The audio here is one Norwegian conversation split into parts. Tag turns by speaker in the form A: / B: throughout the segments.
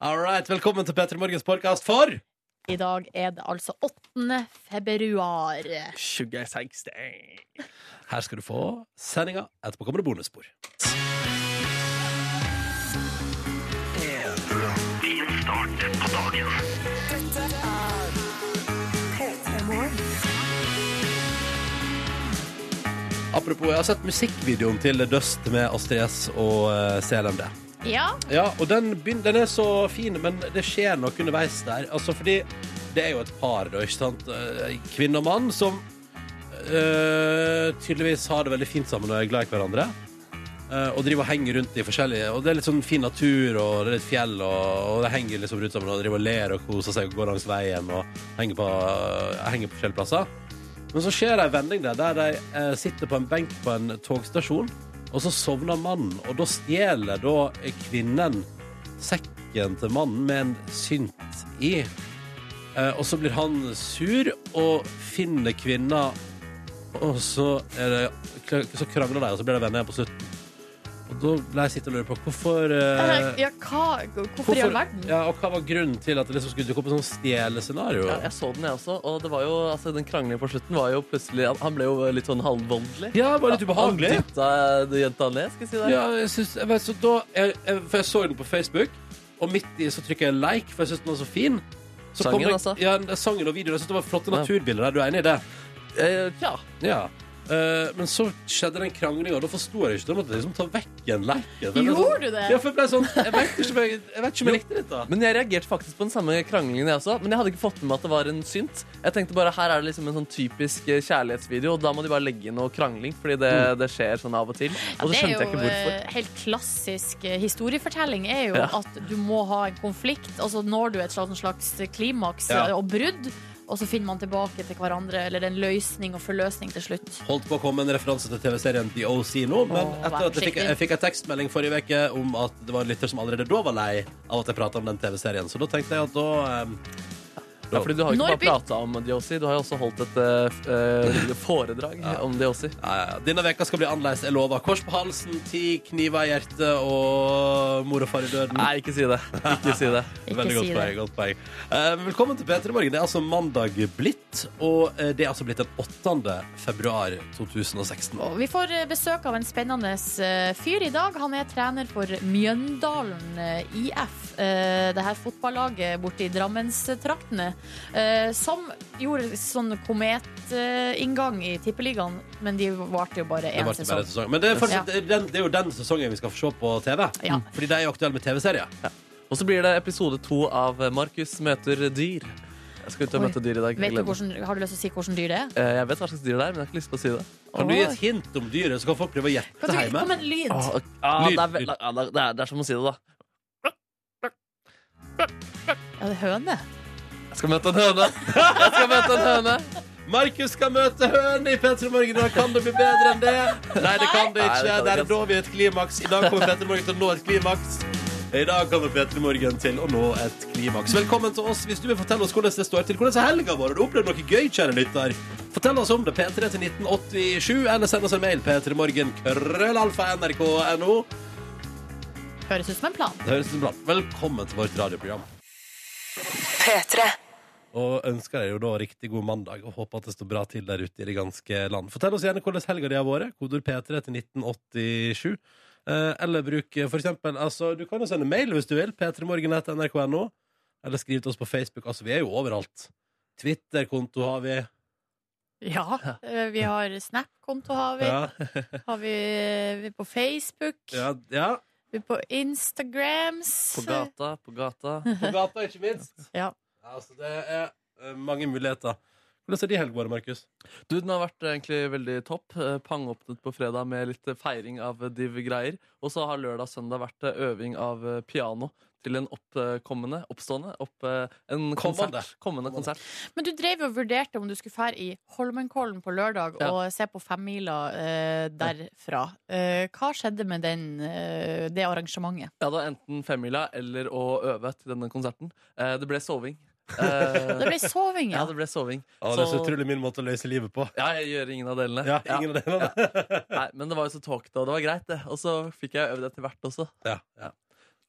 A: All right, velkommen til Petter Morgens podcast for
B: I dag er det altså 8. februar.
A: Sugar Sex Day. Her skal du få sendinga. Etterpå kommer det bonusspor. Apropos, jeg har sett musikkvideoen til Dust med Astrid S og eh, CLMD.
B: Ja,
C: Eh,
A: Ja, og den, begyn- den er så fin, men det skjer noe underveis der. Altså, fordi det er jo et par, da, ikke sant? Eh, Kvinne og mann som eh, tydeligvis har det veldig fint sammen og er glad i hverandre. Eh, og driver og henger rundt i forskjellige Og det er litt sånn fin natur, og det er litt fjell, og, og det henger liksom rundt sammen og driver og ler og koser seg og går langs veien og henger på, eh, henger på forskjellige plasser. Men så skjer det en vending der, der de eh, sitter på en benk på en togstasjon, og så sovner mannen, og da stjeler da kvinnen sekken til mannen med en synt i. Eh, og så blir han sur og finner kvinna, og så, er det, så krangler de, og så blir de venner igjen på slutten. Og da ble jeg sittende og lure på hvorfor eh,
B: ja hva, hvorfor i all verden?
A: ja, og hva var grunnen til at det liksom skulle dukke opp et sånt stjelescenario?
C: Ja, jeg så den, jeg også. Og det var jo, altså, den kranglingen på slutten var jo plutselig Han, han ble jo litt sånn halvvoldelig.
A: Ja, det var litt ubehagelig.
C: Han dytta det jenta ned, skal jeg si det.
A: Ja, jeg synes, jeg vet, så da, jeg, jeg, for jeg så den på Facebook, og midt i så trykker jeg like, for jeg syns den var så fin. Så kom
C: Sangen,
A: jeg,
C: altså?
A: Ja, den- sangen og videoen. Jeg synes det var flotte
C: Ja.
A: naturbilder der. Du er enig i det?
C: Eh, tja.
A: Ja. Eh, men så skjedde den kranglinga, og da forsto jeg ikke. Da måtte jeg liksom ta vekk en like. For jeg ble
B: Gjorde
A: sånn,
B: du det?
A: Ja, for jeg ble sånn Jeg vet ikke om jeg, jeg, vet ikke om jeg likte dette.
C: Men jeg reagerte faktisk på den samme kranglingen, jeg også. Men jeg hadde ikke fått med meg at det var en synt. Jeg tenkte bare her er det liksom en sånn typisk eh, kjærlighetsvideo, og da må de bare legge inn noe krangling, fordi det, det skjer sånn av og til.
B: Mm. Ja,
C: Og
B: det
C: så
B: er
C: skjønte
B: jo
C: jeg ikke hvorfor.
B: eh, helt klassisk eh, historiefortelling er jo
C: Ja.
B: at du må ha en konflikt, og så når du et slags, slags klimaks
A: Ja.
B: eh, og brudd, og så finner man tilbake til hverandre, eller en løsning og forløsning til slutt.
A: Holdt på å komme en referanse til TV-serien The OC nå, men
B: Åh,
A: etter at
B: vær
A: jeg fikk,
B: forsiktig.
A: jeg fikk en tekstmelding forrige uke om at det var en lytter som allerede da var lei av at jeg prata om den TV-serien, så da tenkte jeg at da eh,
C: Ja, fordi du har jo ikke
B: Når
C: bare prata om Diosi, du har jo også holdt et eh, f- eh, foredrag om Diosi.
A: Ja, ja, ja. Denne veka skal bli annerledes, jeg lover. Kors på halsen, ti kniver i hjertet og mor og far i
B: Mm.
A: døden.
C: Nei, ikke si det. Ikke si det.
B: Ikke
A: Veldig godt
B: si
A: poeng.
B: det.
A: godt poeng. Eh, men velkommen til P3 Morgen. Det er altså mandag blitt, og eh, det er altså blitt den 8. februar 2016.
B: Og Vi får eh, besøk av en spennende eh, fyr i dag. Han er trener for Mjøndalen eh, IF. eh, Det her fotballaget borte i Drammenstraktene. eh, Som gjorde sånn kometinngang i Tippeligaen, men de varte jo bare
A: Det
B: én
A: var ikke bare
B: sesong.
A: en sesong. Men det er, fortsatt, den, det er jo den sesongen vi skal få se på TV.
B: Ja.
A: Fordi de er jo aktuelle med TV-serier.
C: Og så blir det episode to av Markus møter dyr. Jeg skal ut og
B: Oi.
C: møte dyr i
B: Vet
C: dag.
B: du
C: Gleder meg.
B: hvordan, har du lyst til å si hvordan dyr det er?
C: Eh, Jeg vet hva slags dyr det er, men jeg har ikke lyst til å si det.
A: Kan du gi
B: Åh.
A: et hint om dyret, så kan folk prøve å gjette
B: Kan du
A: hjemme?
B: komme en lyd?
C: Åh, ah,
A: Lyd,
C: det, er,
A: lyd.
C: vel- ah, det, er, det er som å si det, da.
B: Ja, det er høne.
C: Jeg skal møte en høne! Jeg skal møte en høne!
A: Markus skal møte høne i P3 Morgen. Da kan det bli bedre enn det. Nei, det kan det
C: Nei,
A: ikke.
C: det kan det
A: Der
C: ikke.
A: når vi et klimaks. I dag kommer P3 Morgen til å nå et klimaks. I dag kommer P3 Morgen til å nå et klimaks. Velkommen til oss. Hvis du vil fortelle oss hvordan det står til, hvordan er helga vår? Har du opplevd noe gøy, kjære lytter? Fortell oss om det. P3 til 1987, eller send oss en mail. P3morgen, krøllalfa, nrk.no.
B: Høres ut som en plan.
A: Det høres ut som bra. Velkommen til vårt radioprogram. Og ønsker deg jo da riktig god mandag og håper at det står bra til der ute i det ganske land. Fortell oss gjerne hvordan helga di har vært. Kodord P3 til 1987. Eh, eller bruk eh, for eksempel altså, Du kan jo sende mail hvis du vil. p3morgen.nrk.no. Eller skriv til oss på Facebook. Altså, vi er jo overalt. Twitter-konto har vi.
B: Ja. eh, Vi har Snap-konto, har vi.
A: Ja,
B: Har vi, eh, vi er på Facebook.
A: ja, ja.
B: Vi er på Instagrams.
C: På gata, på gata.
A: På gata, ikke minst.
B: Ja.
A: Altså, det er eh, mange muligheter. Hvordan er de helga våre, Markus?
C: Du, den har vært eh, egentlig veldig topp. Eh, Pangåpnet på fredag med litt eh, feiring av eh, div-greier. Og så har lørdag og søndag vært eh, øving av eh, piano til en oppkommende, oppstående, opp, eh, en
A: Kommende.
C: konsert. Kommende konsert.
B: Men du drev jo og vurderte om du skulle fære i Holmenkollen på lørdag
C: Ja.
B: og se på femmila eh, derfra. Eh, hva skjedde med den, eh, det arrangementet?
C: Ja, da enten femmila eller å øve til denne konserten. Eh, det ble soving. Eh,
B: Det ble soving,
C: Ja,
B: ja.
C: det ble soving.
A: Ja, det er så utrolig min måte å løse livet på.
C: Ja, jeg gjør ingen av delene.
A: Ja, ingen av delene.
C: Ja. Nei, men det var jo så tåkete, og det var greit, det. Og så fikk jeg øvd etter hvert også.
A: Ja, ja.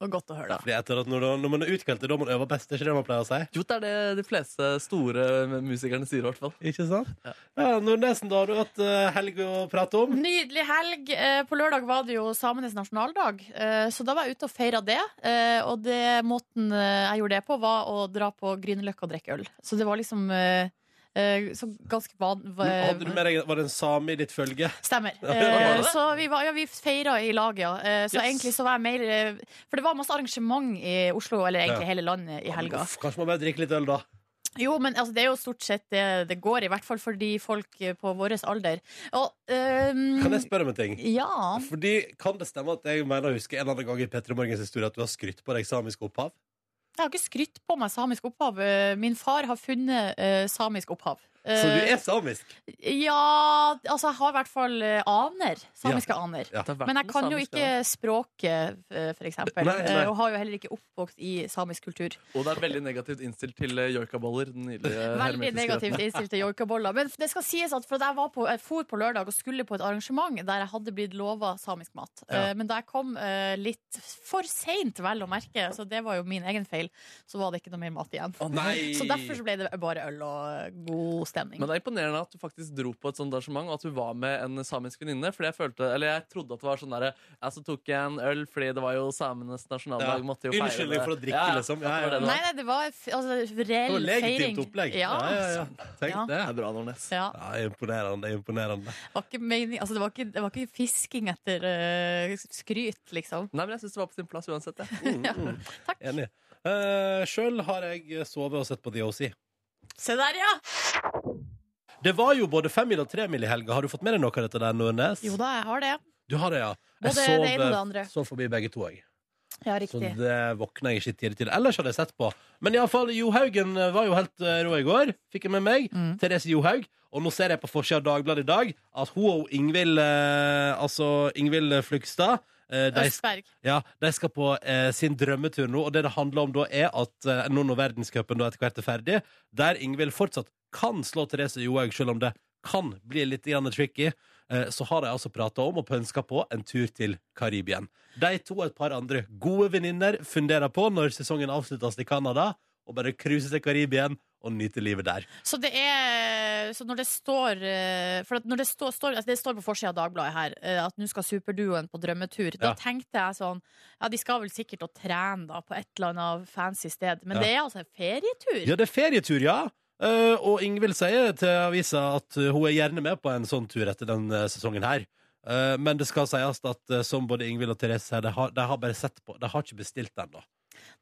B: Det var godt å høre, da.
A: Fordi jeg tror at når, når man er utkalt, det er da man øver best. Det er ikke det man pleier å si?
C: Jo, det er det de fleste store musikerne sier, i hvert fall.
A: Ikke sant? Ja, Nordnesen, da har du hatt eh, helg å prate om.
B: Nydelig helg. Eh, På lørdag var det jo samenes nasjonaldag, eh, så da var jeg ute og feira det. Eh, Og det måten eh, jeg gjorde det på, var å dra på Grünerløkka og drikke øl. Så det var liksom eh, eh, så ganske van... eh, va-
A: Men Hadde du med deg, Var det en same i ditt følge?
B: Stemmer.
A: Ja, det var
B: Eh,
C: det.
B: Så vi, var, ja, vi feira i lag, ja. Eh, Så
C: Yes.
B: egentlig så var jeg mer eh, For det var masse arrangement i Oslo, eller egentlig hele landet, i helga.
A: Uff, kanskje man bare drikker litt øl, da.
B: Jo, men altså, det er jo stort sett det det går, i hvert fall for de folk eh, på vår alder. Og ehm,
A: Kan jeg spørre om en ting?
B: Ja.
A: Fordi Kan det stemme at jeg mener å huske en eller annen gang i Petter Morgens historie at du har skrytt på deg samisk opphav?
B: Jeg har ikke skrytt på meg samisk opphav. Eh, Min far har funnet eh, samisk opphav.
A: Så du
B: Eh,
A: er samisk?
B: Ja, altså jeg har i hvert fall eh, aner. Samiske aner.
A: Ja.
C: Det har vært
B: Men jeg
C: noe
B: kan jo
C: samisk,
B: ikke
C: ja.
B: språket, eh, for eksempel.
A: Nei, nei.
B: Eh, Og har jo heller ikke oppvokst i samisk kultur.
C: Og det er veldig negativt innstilt til eh, joikaboller. Den nydelige
B: Veldig
C: hermetiske
B: negativt
C: retten.
B: innstilt til joikaboller. Men det skal sies at for at jeg, var på, jeg for på lørdag og skulle på et arrangement der jeg hadde blitt lova samisk mat.
A: Ja.
B: Eh, Men da jeg kom eh, litt for seint, vel å merke, så det var jo min egen feil, så var det ikke noe mer mat igjen.
A: Å nei!
B: Så derfor så ble det bare øl og eh, god stemning.
C: Men det er imponerende at du faktisk dro på et sånt arrangement, og at du var med en samisk venninne. Fordi jeg følte, eller jeg trodde at det var sånn derre Jeg så tok jeg en øl fordi det var jo samenes
A: Ja.
C: nasjonaldag. Eh, Måtte jo feire det.
A: Unnskyldning for å drikke,
C: Ja, ja.
A: liksom. Ja, ja, ja.
C: det
B: Nei, nei, det var f- altså,
A: Det
B: reell
A: var
B: feiring.
A: legitimt opplegg.
B: Ja.
A: Ja, ja, ja. Tenk
B: Ja.
A: det.
C: Det er bra, Nordnes.
B: Ja,
A: Ja, imponerende. imponerende
B: det var ikke mening, altså det var ikke, det var ikke fisking etter eh, skryt, liksom.
C: Nei, men jeg syns det var på sin plass uansett. jeg.
A: mm, mm.
B: Takk.
A: Enig. Uh, Sjøl har jeg sovet og sett på DOC.
B: Se der, ja!
A: Det var jo både femmil og tremil i helga. Har du fått med deg noe av dette der, Nordnes?
B: Jo da, jeg har det.
A: Du har det, ja.
B: Både det ene og det andre.
A: sov forbi begge to, jeg.
B: Ja,
A: Så
B: riktig.
A: det våkna jeg ikke i tide til. Ellers hadde jeg sett på. Men iallfall, Jo Haugen eh, var jo helt eh, rå i går. Fikk jeg med meg.
B: Mm.
A: Therese Johaug. Og nå ser jeg på forsida av Dagbladet i dag at hun og Ingvild eh, Altså Ingvild Flugstad eh, de,
B: Østberg.
A: ja, de skal på eh, sin drømmetur nå, og det det handler om da, er at eh, nå når verdenscupen da etter hvert er ferdig, der Ingvild fortsatt kan slå Therese Johaug, selv om det kan bli litt grann tricky, eh, så har de altså prata om og pønska på en tur til Karibien. De to og et par andre gode venninner funderer på, når sesongen avsluttes i Canada, å bare cruise til Karibien og nyte livet der.
B: Så det er Så når det står eh, For at når det står, står altså Det står på forsida av Dagbladet her eh, at nå skal superduoen på drømmetur. Da
A: Ja.
B: tenkte jeg sånn Ja, de skal vel sikkert og trene da på et eller annet fancy sted, men
A: Ja.
B: det er altså en ferietur.
A: Ja, det er ferietur, ja. Eh, og Ingvild sier til avisa at eh, hun er gjerne med på en sånn tur etter den eh, sesongen her. Eh, men det skal sies at eh, som både Ingvild og Therese sier, de har, de har bare sett på. De har ikke bestilt den, da.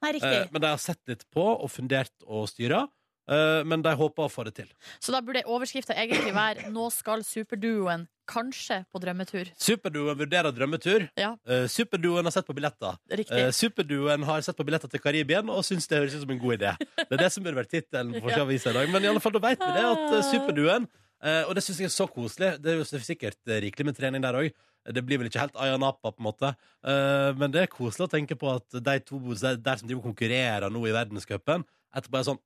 B: Nei, riktig.
A: Eh, men de har sett litt på og fundert og styra. eh, men de håper å få det til.
B: Så da burde overskrifta egentlig være 'Nå skal superduoen kanskje på drømmetur'.
A: Superduoen vurderer drømmetur.
B: Ja.
A: Eh, superduoen har sett på billetter.
B: Riktig.
A: Eh, superduoen har sett på billetter til Karibien og syns det høres ut som en god idé. Det er det som burde vært tittelen på
B: Ja.
A: avisa i dag. Men i alle fall, da vet vi det at eh, Superduen eh, Og det syns jeg er så koselig. Det er jo sikkert eh, rikelig med trening der òg. Det blir vel ikke helt Aya Napa, på en måte. Eh, men det er koselig å tenke på at de to der, der som driver og konkurrerer nå i verdenscupen, etterpå er sånn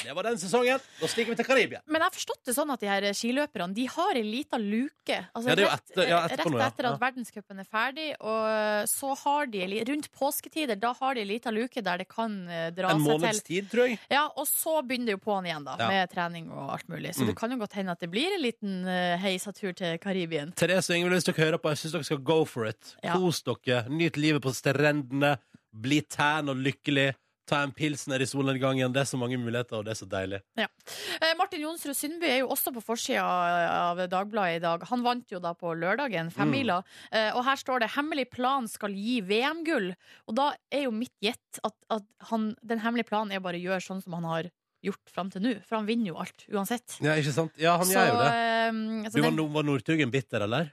A: Det var den sesongen! Da stikker vi til Karibia.
B: Men jeg har forstått det sånn at de her skiløperne De har ei lita luke. Altså,
A: Ja, det er jo
B: rett-
A: etter- ja, etterpå
B: rett
A: nå, ja.
B: etter
A: Ja.
B: at verdenscupen er ferdig, og så har de ei li- Rundt påsketider, da har de ei lita luke der det kan eh, dra
A: En
B: seg til.
A: måneds tid, tror jeg.
B: Ja, og så begynner det jo på'n igjen, da,
A: Ja.
B: med trening og alt mulig. Så
A: Mm.
B: det kan jo godt hende at det blir en liten eh, heisatur til Karibien.
A: Therese og Ingvild, hvis dere hører på, jeg syns dere skal go for it.
B: Ja.
A: Kos dere. Nyt livet på strendene. Bli tan og lykkelig. Ta en pilsner i solnedgangen. Det er så mange muligheter, og det er så deilig.
B: Eh, Martin Jonsrud Sundby er jo også på forsida av Dagbladet i dag. Han vant jo da på lørdagen,
A: Mm.
B: femmila. Eh, og her står det 'Hemmelig plan skal gi VM-gull'. Og da er jo mitt gjett at, at han, den hemmelige planen er å bare å gjøre sånn som han har gjort fram til nå. For han vinner jo alt, uansett.
A: Ja, ikke sant? Ja, han
B: Så,
A: gjør jo det.
B: eh, så
A: Du var,
B: den,
A: var Northugen bitter, eller?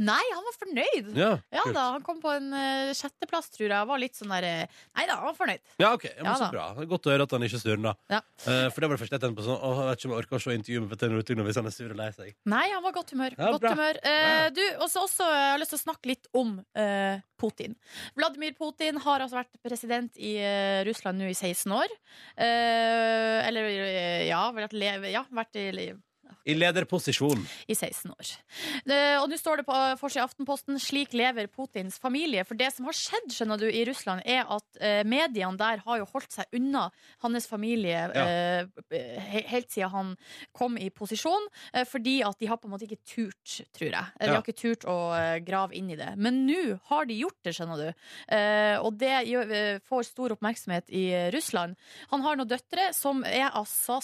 B: nei, han var fornøyd. Ja.
A: Ja, kult.
B: da, Han kom på en eh, sjetteplass, tror jeg. Var litt sånn der eh, Nei da, han var fornøyd.
A: Ja, ok. Ja, men
B: Ja,
A: så
B: da.
A: bra. Det er Godt å høre at han ikke surna.
B: Ja.
A: Eh, for det var det første jeg tenkte på. sånn, Åh, jeg vet ikke om jeg orker å se intervjuet med Petter Northugen hvis han er sur og lei seg.
B: Nei, han var godt humør.
A: Ja,
B: godt
A: bra.
B: humør. Eh,
A: Ja.
B: du, også, også, eh, jeg har lyst til å snakke litt om eh, Putin. Vladimir Putin har altså vært president i eh, Russland nå i 16 år. Eh, eller eh, ja, vært, leve, ja, vært i,
A: I lederposisjon.
B: i 16 år. Det- Og nå står det på eh, forsiden av Aftenposten slik lever Putins familie. For det som har skjedd skjønner du, i Russland, er at eh, mediene der har jo holdt seg unna hans familie
A: Ja.
B: eh, he helt siden han kom i posisjon, eh, fordi at de har på en måte ikke turt, tror jeg. Eh, De
A: Ja.
B: har ikke turt å eh, grave inn i det. Men nå har de gjort det, skjønner du. Eh, og det gjør, eh, får stor oppmerksomhet i eh, Russland. Han har noen døtre som er altså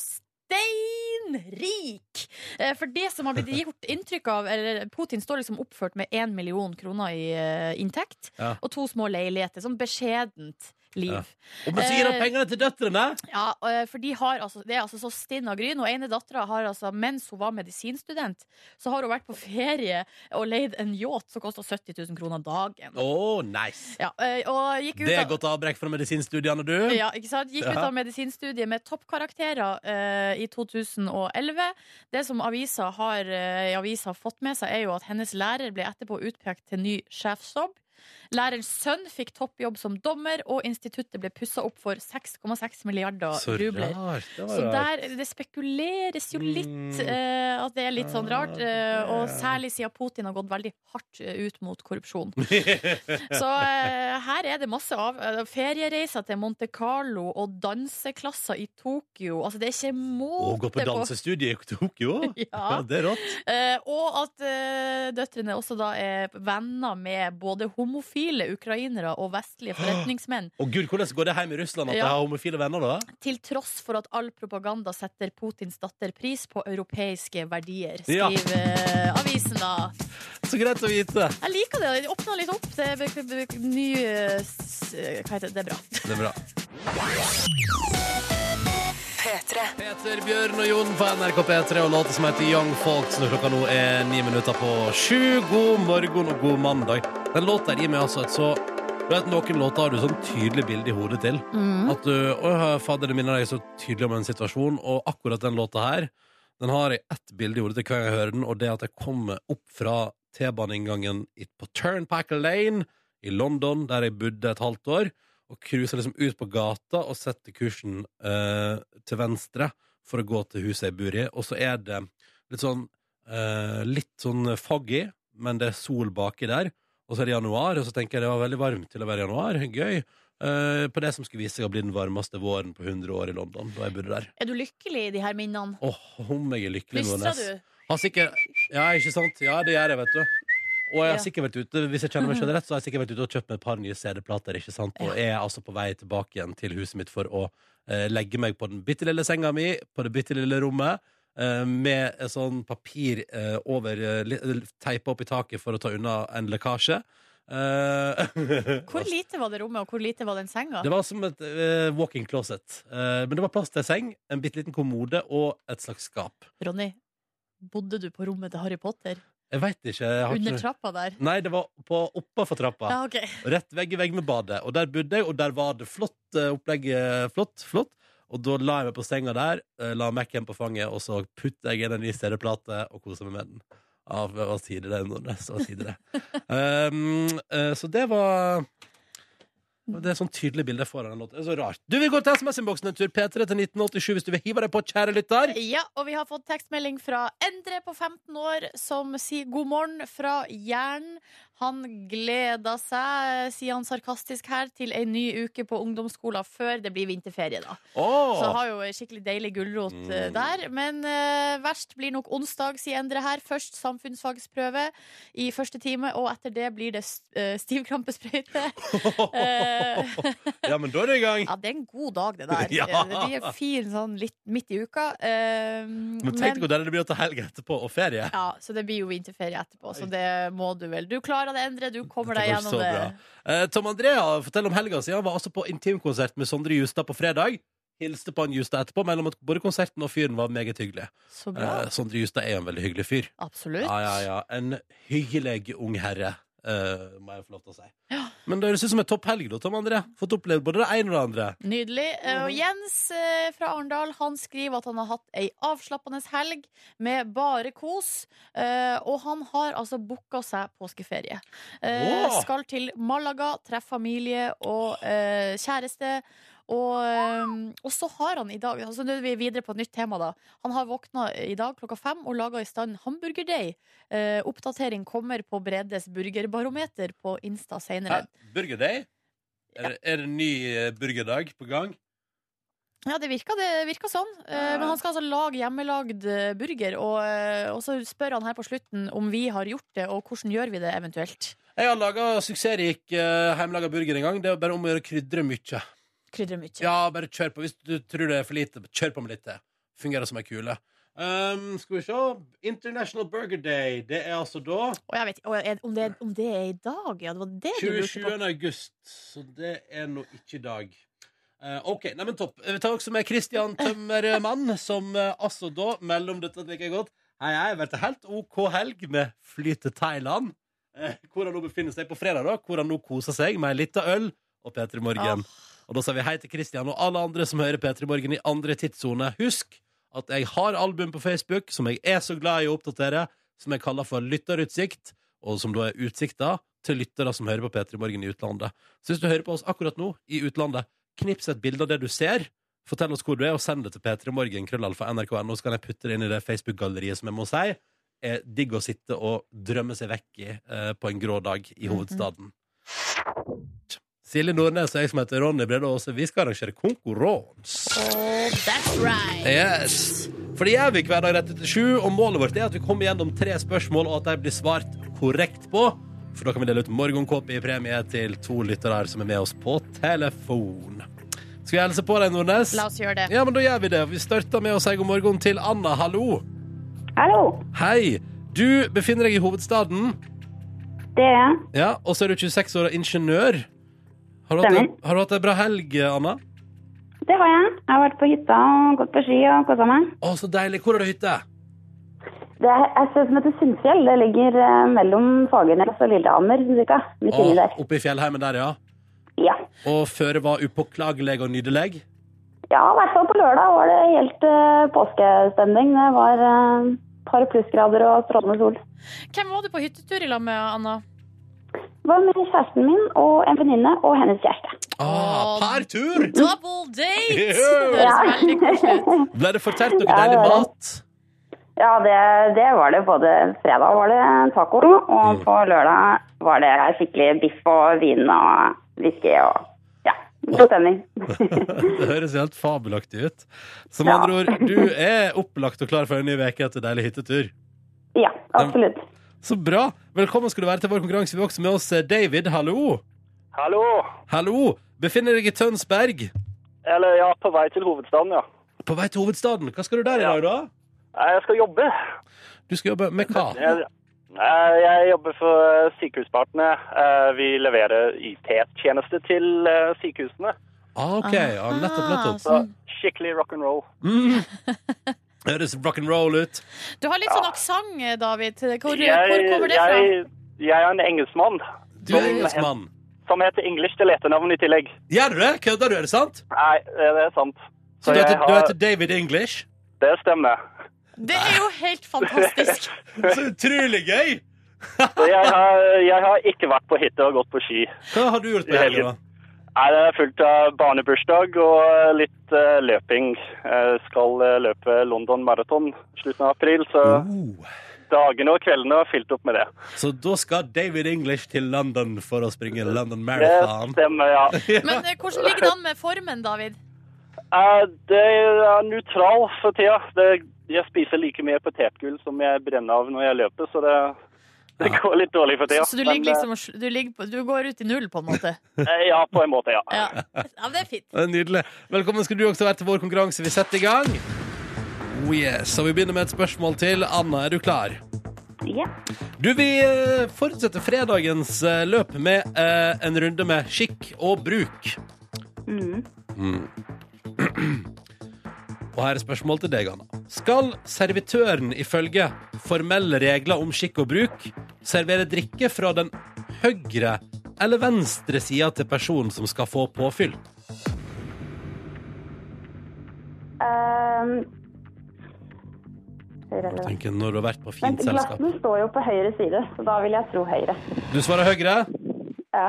B: steinrik! Eh, For det som har blitt gjort inntrykk av eller Putin står liksom oppført med én million kroner i eh, inntekt
A: Ja.
B: og to små leiligheter. Sånn beskjedent liv.
A: Ja. Og men så
B: Eh,
A: gir han pengene til døtrene!
B: Ja, eh, for de har altså, Det er altså så stinn og gryn. Og ene dattera har altså, mens hun var medisinstudent, så har hun vært på ferie og leid en yacht som kosta 70 000 kroner dagen.
A: Å, nice!
B: Ja, eh, og gikk ut
A: Det er
B: av-
A: godt avbrekk fra medisinstudiene, du.
B: ja, ikke sant? Gikk ut
A: Ja.
B: av medisinstudiet med toppkarakterer eh, i 2011. Det som avisa har, eh, i avisa har fått med seg, er jo at hennes lærer ble etterpå utpekt til ny sjefsjobb. Lærerens sønn fikk toppjobb som dommer, og instituttet ble pussa opp for 6,6 milliarder
A: Så
B: rubler.
A: rart. Det
B: Så
A: var rart.
B: der, det spekuleres jo litt
A: Mm. Ah,
B: eh, at det er litt sånn rart. eh, og
A: Ja.
B: særlig siden Putin har gått veldig hardt eh, ut mot korrupsjon. Så eh, her er det masse av eh, feriereiser til Monte Carlo og danseklasser i Tokyo. Altså, det er ikke
A: Å, gå
B: måte
A: på dansestudie i Tokyo?
B: Ja.
A: Ja, det er rått.
B: Eh, og at eh, døtrene også da er venner med både homofile ukrainere og vestlige forretningsmenn.
A: Å gud, Hvordan går det hjem i Russland at
B: Ja.
A: jeg har homofile venner, da?
B: Til tross for at all propaganda setter Putins datter pris på europeiske verdier,
A: Ja.
B: skriver eh, avisen da.
A: Så greit å vite.
B: Jeg liker det. Det åpner litt opp. Det er be- be- be- ny eh, s- Hva heter det? Det er bra.
A: Det er bra. Peter Bjørn og Jon på NRK P3 og låta som heter Young Folks når klokka nå er ni minutter på sju. God morgen og god mandag. Den låta gir meg altså et så du vet, Noen låter har du sånn tydelig bilde i hodet til. At du Å, fader, det minner deg så tydelig om en situasjon, og akkurat den låta her, den har jeg ett bilde i hodet til hver gang jeg hører den, og det er at jeg kommer opp fra T-baneinngangen i- på Turnpacker Lane i London, der jeg bodde et halvt år, og cruiser liksom ut på gata og setter kursen eh, til venstre for å gå til huset jeg bor i, og så er det litt sånn eh, litt sånn foggy, men det er sol baki der, og så er det januar, og så tenker jeg det var veldig varmt til å være januar, gøy. Eh, på det som skulle vise seg å bli den varmeste våren på 100 år i London. Da jeg bodde der
B: Er du lykkelig i de her minnene?
A: Åh, om jeg er lykkelig nå,
B: Plystrer
A: Nes.
B: du?
A: Har sikkert Ja, ikke sant? Ja, det gjør jeg, vet du. Og jeg har
B: Ja. Mhm.
A: sikkert vært ute Hvis jeg kjenner meg selv rett, så har jeg sikkert vært ute og kjøpt meg et par nye CD-plater. Ikke sant? Og er altså på vei tilbake igjen til huset mitt for å eh, legge meg på den bitte lille senga mi, på det bitte lille rommet, eh, med eh, sånn papir eh, over eh, li- Teipa opp i taket for å ta unna en lekkasje. Eh,
B: Hvor lite var det rommet, og hvor lite var den senga?
A: Det var som et eh, walk-in closet. Eh, men det var plass til seng, en bitte liten kommode og et slags skap.
B: Ronny, bodde du på rommet til Harry Potter?
A: Jeg veit ikke. Jeg har
B: Under
A: ikke...
B: trappa der?
A: Nei, det var på oppafor trappa.
B: Ja, ok.
A: Rett vegg i vegg med badet. Og der bodde jeg, og der var det flott eh, opplegg. eh, Flott, flott. Og da la jeg meg på senga der, eh, la Mac-en på fanget, og så putta jeg inn en ny CD-plate og kosa meg med den. Ja, det var tidlig det, Nordnes. Det var tidlig det. um, eh, så det var det er sånn tydelig bilde jeg får av den låten. Det er så rart. Du vil gå til SMS-innboksen en tur, P3 til 1987, hvis du vil hive deg på, kjære lytter.
B: Ja, og vi har fått tekstmelding fra Endre på 15 år, som sier god morgen fra Jæren. Han gleder seg, sier han sarkastisk her, til ei ny uke på ungdomsskolen før det blir vinterferie, da. Så
A: Åh!
B: har jo ei skikkelig deilig gulrot eh,
A: Mm.
B: der. Men eh, verst blir nok onsdag, sier Endre her. Først samfunnsfagsprøve i første time, og etter det blir det uh, stivkrampesprøyte. eh,
A: ja, men da er det i gang.
B: Ja, det er en god dag, det der.
A: Ja.
B: Eh, Det blir en fin sånn litt midt i uka. eh,
A: Men tenk deg hvor deilig det blir å ta helg etterpå, og ferie.
B: ja, så det blir jo vinterferie etterpå, så det må du vel. Du klarer det, Endre. Du kommer
A: Dette
B: deg
A: går så
B: gjennom det.
A: bra. Eh, Tom Andrea forteller om helga si. Han var altså på intimkonsert med Sondre Justad på fredag. Hilste på han Justad etterpå, mellom at både konserten og fyren var meget hyggelig.
B: Så bra.
A: Eh, Sondre Justad er jo en veldig hyggelig fyr.
B: Absolutt.
A: Ja, ja, ja. En hyggelig ung herre, eh, må jeg få lov til å si. Men det høres ut som en topp helg, da, Tom André. Fått opplevd både det ene og det andre.
B: Nydelig. Eh, Og Jens eh, fra Arendal han skriver at han har hatt ei avslappende helg med bare kos. eh, Og han har altså booka seg påskeferie. Eh,
A: Åh!
B: Skal til Malaga, treffe familie og eh, kjæreste. Og, eh, og så har han i dag altså Nå er vi videre på et nytt tema. da Han har våkna i dag klokka fem og laga i stand hamburgerdeig. Eh, oppdatering kommer på Bredes burgerbarometer på Insta seinere.
A: Burger Day? Er, det- er det ny eh, burgerdag på gang?
B: Ja, det virka, det virka sånn. Eh, Men han skal altså lage hjemmelagd eh, burger. Og, eh, og så spør han her på slutten om vi har gjort det, og hvordan gjør vi det eventuelt.
A: Jeg har laga suksessrik uh, hjemmelaga burger en gang. Det er bare om å gjøre å krydre mye.
B: Krydre mye.
A: Ja, bare kjør på. Hvis du tror det er for lite, kjør på med litt til. Fungerer som ei kule. Um, skal vi se. International Burger Day. Det er altså da
B: Og jeg vet og er- om det, om det er i dag, ja. Det var det du lurte
A: 27.
B: på.
A: august. Så det er nå ikke i dag. Eh, OK, nei, men topp. Vi tar også med Christian Tømmermann, som eh, altså da, mellom dette at det ikke er godt Hei, hei, vært en helt OK helg med fly til Thailand. Eh, hvor han nå befinner seg på fredag, da. Hvor han nå koser seg med ei lita øl og P3 Morgen. Og da sier vi hei til Kristian og alle andre som hører P3 Morgen i andre tidssoner. Husk at jeg har album på Facebook som jeg er så glad i å oppdatere, som jeg kaller for Lytterutsikt, og som da er utsikta til lyttere som hører på P3 Morgen i utlandet. Så hvis du hører på oss akkurat nå i utlandet, knips et bilde av det du ser. Fortell oss hvor du er, og send det til p3morgen.krøllalfa.nrk.no, så kan jeg putte det inn i det Facebook-galleriet som jeg må si er digg å sitte og drømme seg vekk i eh, på en grå dag i
B: Mhm.
A: hovedstaden. Silje Nordnes og jeg som heter Ronny Brede Aase, vi skal arrangere konkurranse.
B: Oh, that's right.
A: Yes. For det gjør vi hver dag rett etter sju, og målet vårt er at vi kommer gjennom tre spørsmål, og at de blir svart korrekt på. For da kan vi dele ut morgenkåpe i premie til to lyttere her som er med oss på telefon. Skal jeg helse på deg, Nordnes?
B: La oss gjøre det.
A: Ja, men da gjør vi det. Vi starter med å si god morgen til Anna. Hallo.
D: Hallo,
A: Hei. Du befinner deg i hovedstaden,
D: det er jeg.
A: ja, og så er du 26 år og ingeniør. Har du hatt en-
D: Stemmer.
A: har du hatt ei bra helg, Anna?
D: Det har jeg. Jeg har vært på hytta og gått på ski og kosa meg.
A: Å, så deilig. Hvor har du hytte?
D: Det er et sted som heter Sundfjell. Det ligger eh, mellom Fagernes og Lillehammer, cirka. Midt inni
A: Å,
D: der.
A: oppe i fjellheimen der, ja.
D: Ja.
A: Og føre var upåklagelig og nydelig.
D: ja, i hvert fall på lørdag var det helt eh, påskestemning. Det var eh, par plussgrader og strålende sol.
B: Hvem var du på hyttetur i lag med, Anna?
D: Det var med kjæresten min og en venninne og hennes kjæreste.
A: Ah,
B: Å,
A: partur!
B: Double date!
A: Yeah.
B: Det høres veldig koselig ut.
A: Ble det fortært noe
D: Ja, det
A: deilig
D: var det.
A: mat?
D: Ja, det, det var det. Både fredag var det taco, og på lørdag var det skikkelig biff og vin og whisky og ja, god stemning.
A: Det høres jo helt fabelaktig ut. Som
D: Ja.
A: andre ord, du er opplagt og klar for en ny uke etter deilig hyttetur.
D: Ja, absolutt.
A: Så bra. Velkommen skal du være til vår konkurranse. Vi har også med oss eh, David. Hallo.
E: Hallo.
A: Hallo. Befinner deg i Tønsberg.
E: Eller ja, på vei til hovedstaden, ja.
A: På vei til hovedstaden. Hva skal du der i dag, da?
E: Nei, Jeg skal jobbe.
A: Du skal jobbe med hva?
E: Jeg, Nei, jeg jobber for eh, Sykehuspartene. Eh, Vi leverer IT-tjenester til eh, sykehusene.
A: Ah, OK. Ja, nettopp, nettopp.
E: Så
B: Ah,
E: skikkelig rock'n'roll.
A: Mm. Høres rock'n'roll ut.
B: Du har litt sånn aksent, David. Hvor, hvor
E: Jeg,
B: kommer det fra?
E: jeg, jeg er en engelskmann
A: Du er engelskmann.
E: som heter English til etternavn i tillegg.
A: Gjør du det? Kødder du? Er det sant?
E: Nei, det er sant.
A: Så du
E: jeg
A: heter, du
E: har-
A: heter David English?
E: Det stemmer.
B: Det er jo helt fantastisk.
A: Så utrolig gøy!
E: Så jeg har, jeg har ikke vært på hytte og gått på ski.
A: Hva har du gjort på
E: I
A: helga,
E: helgen.
A: da?
E: Nei, det er fullt av barnebursdag og litt eh, løping. Jeg skal eh, løpe London Marathon slutten av april, så
A: Oh.
E: dagene og kveldene er fylt opp med det.
A: Så da skal David English til London for å springe London
E: Det
A: Marathon.
E: stemmer, ja.
B: Men eh, hvordan ligger det an med formen, David?
E: Eh, Det er nøytral for tida. Det, jeg spiser like mye potetgull som jeg brenner av når jeg løper, så det, det går litt dårlig for tida.
B: Så du
E: Men,
B: ligger liksom og sl- du, ligger på, du går ut i null, på en måte?
E: eh, Ja, på en måte, ja.
B: Ja, ja det er fint.
A: Det er Nydelig. Velkommen skal du også være til vår konkurranse. Vi setter i gang. Oh yes, og Vi begynner med et spørsmål til. Anna, er du klar?
D: Ja.
A: Du, Vi eh, fortsetter fredagens eh, løp med eh, en runde med skikk og bruk. Mm.
D: Mm.
A: Og her er spørsmål til deg, Anna. Skal servitøren ifølge formelle regler om skikk og bruk servere drikke fra den høyre eller venstre sida til personen som skal få påfyll?
D: Ehm, høyre eller venstre?
A: Tenk når du har vært på
D: Men
A: fint selskap.
D: glassen står jo på høyre side, så da vil jeg tro høyre.
A: Du svarer høyre.
D: Ja.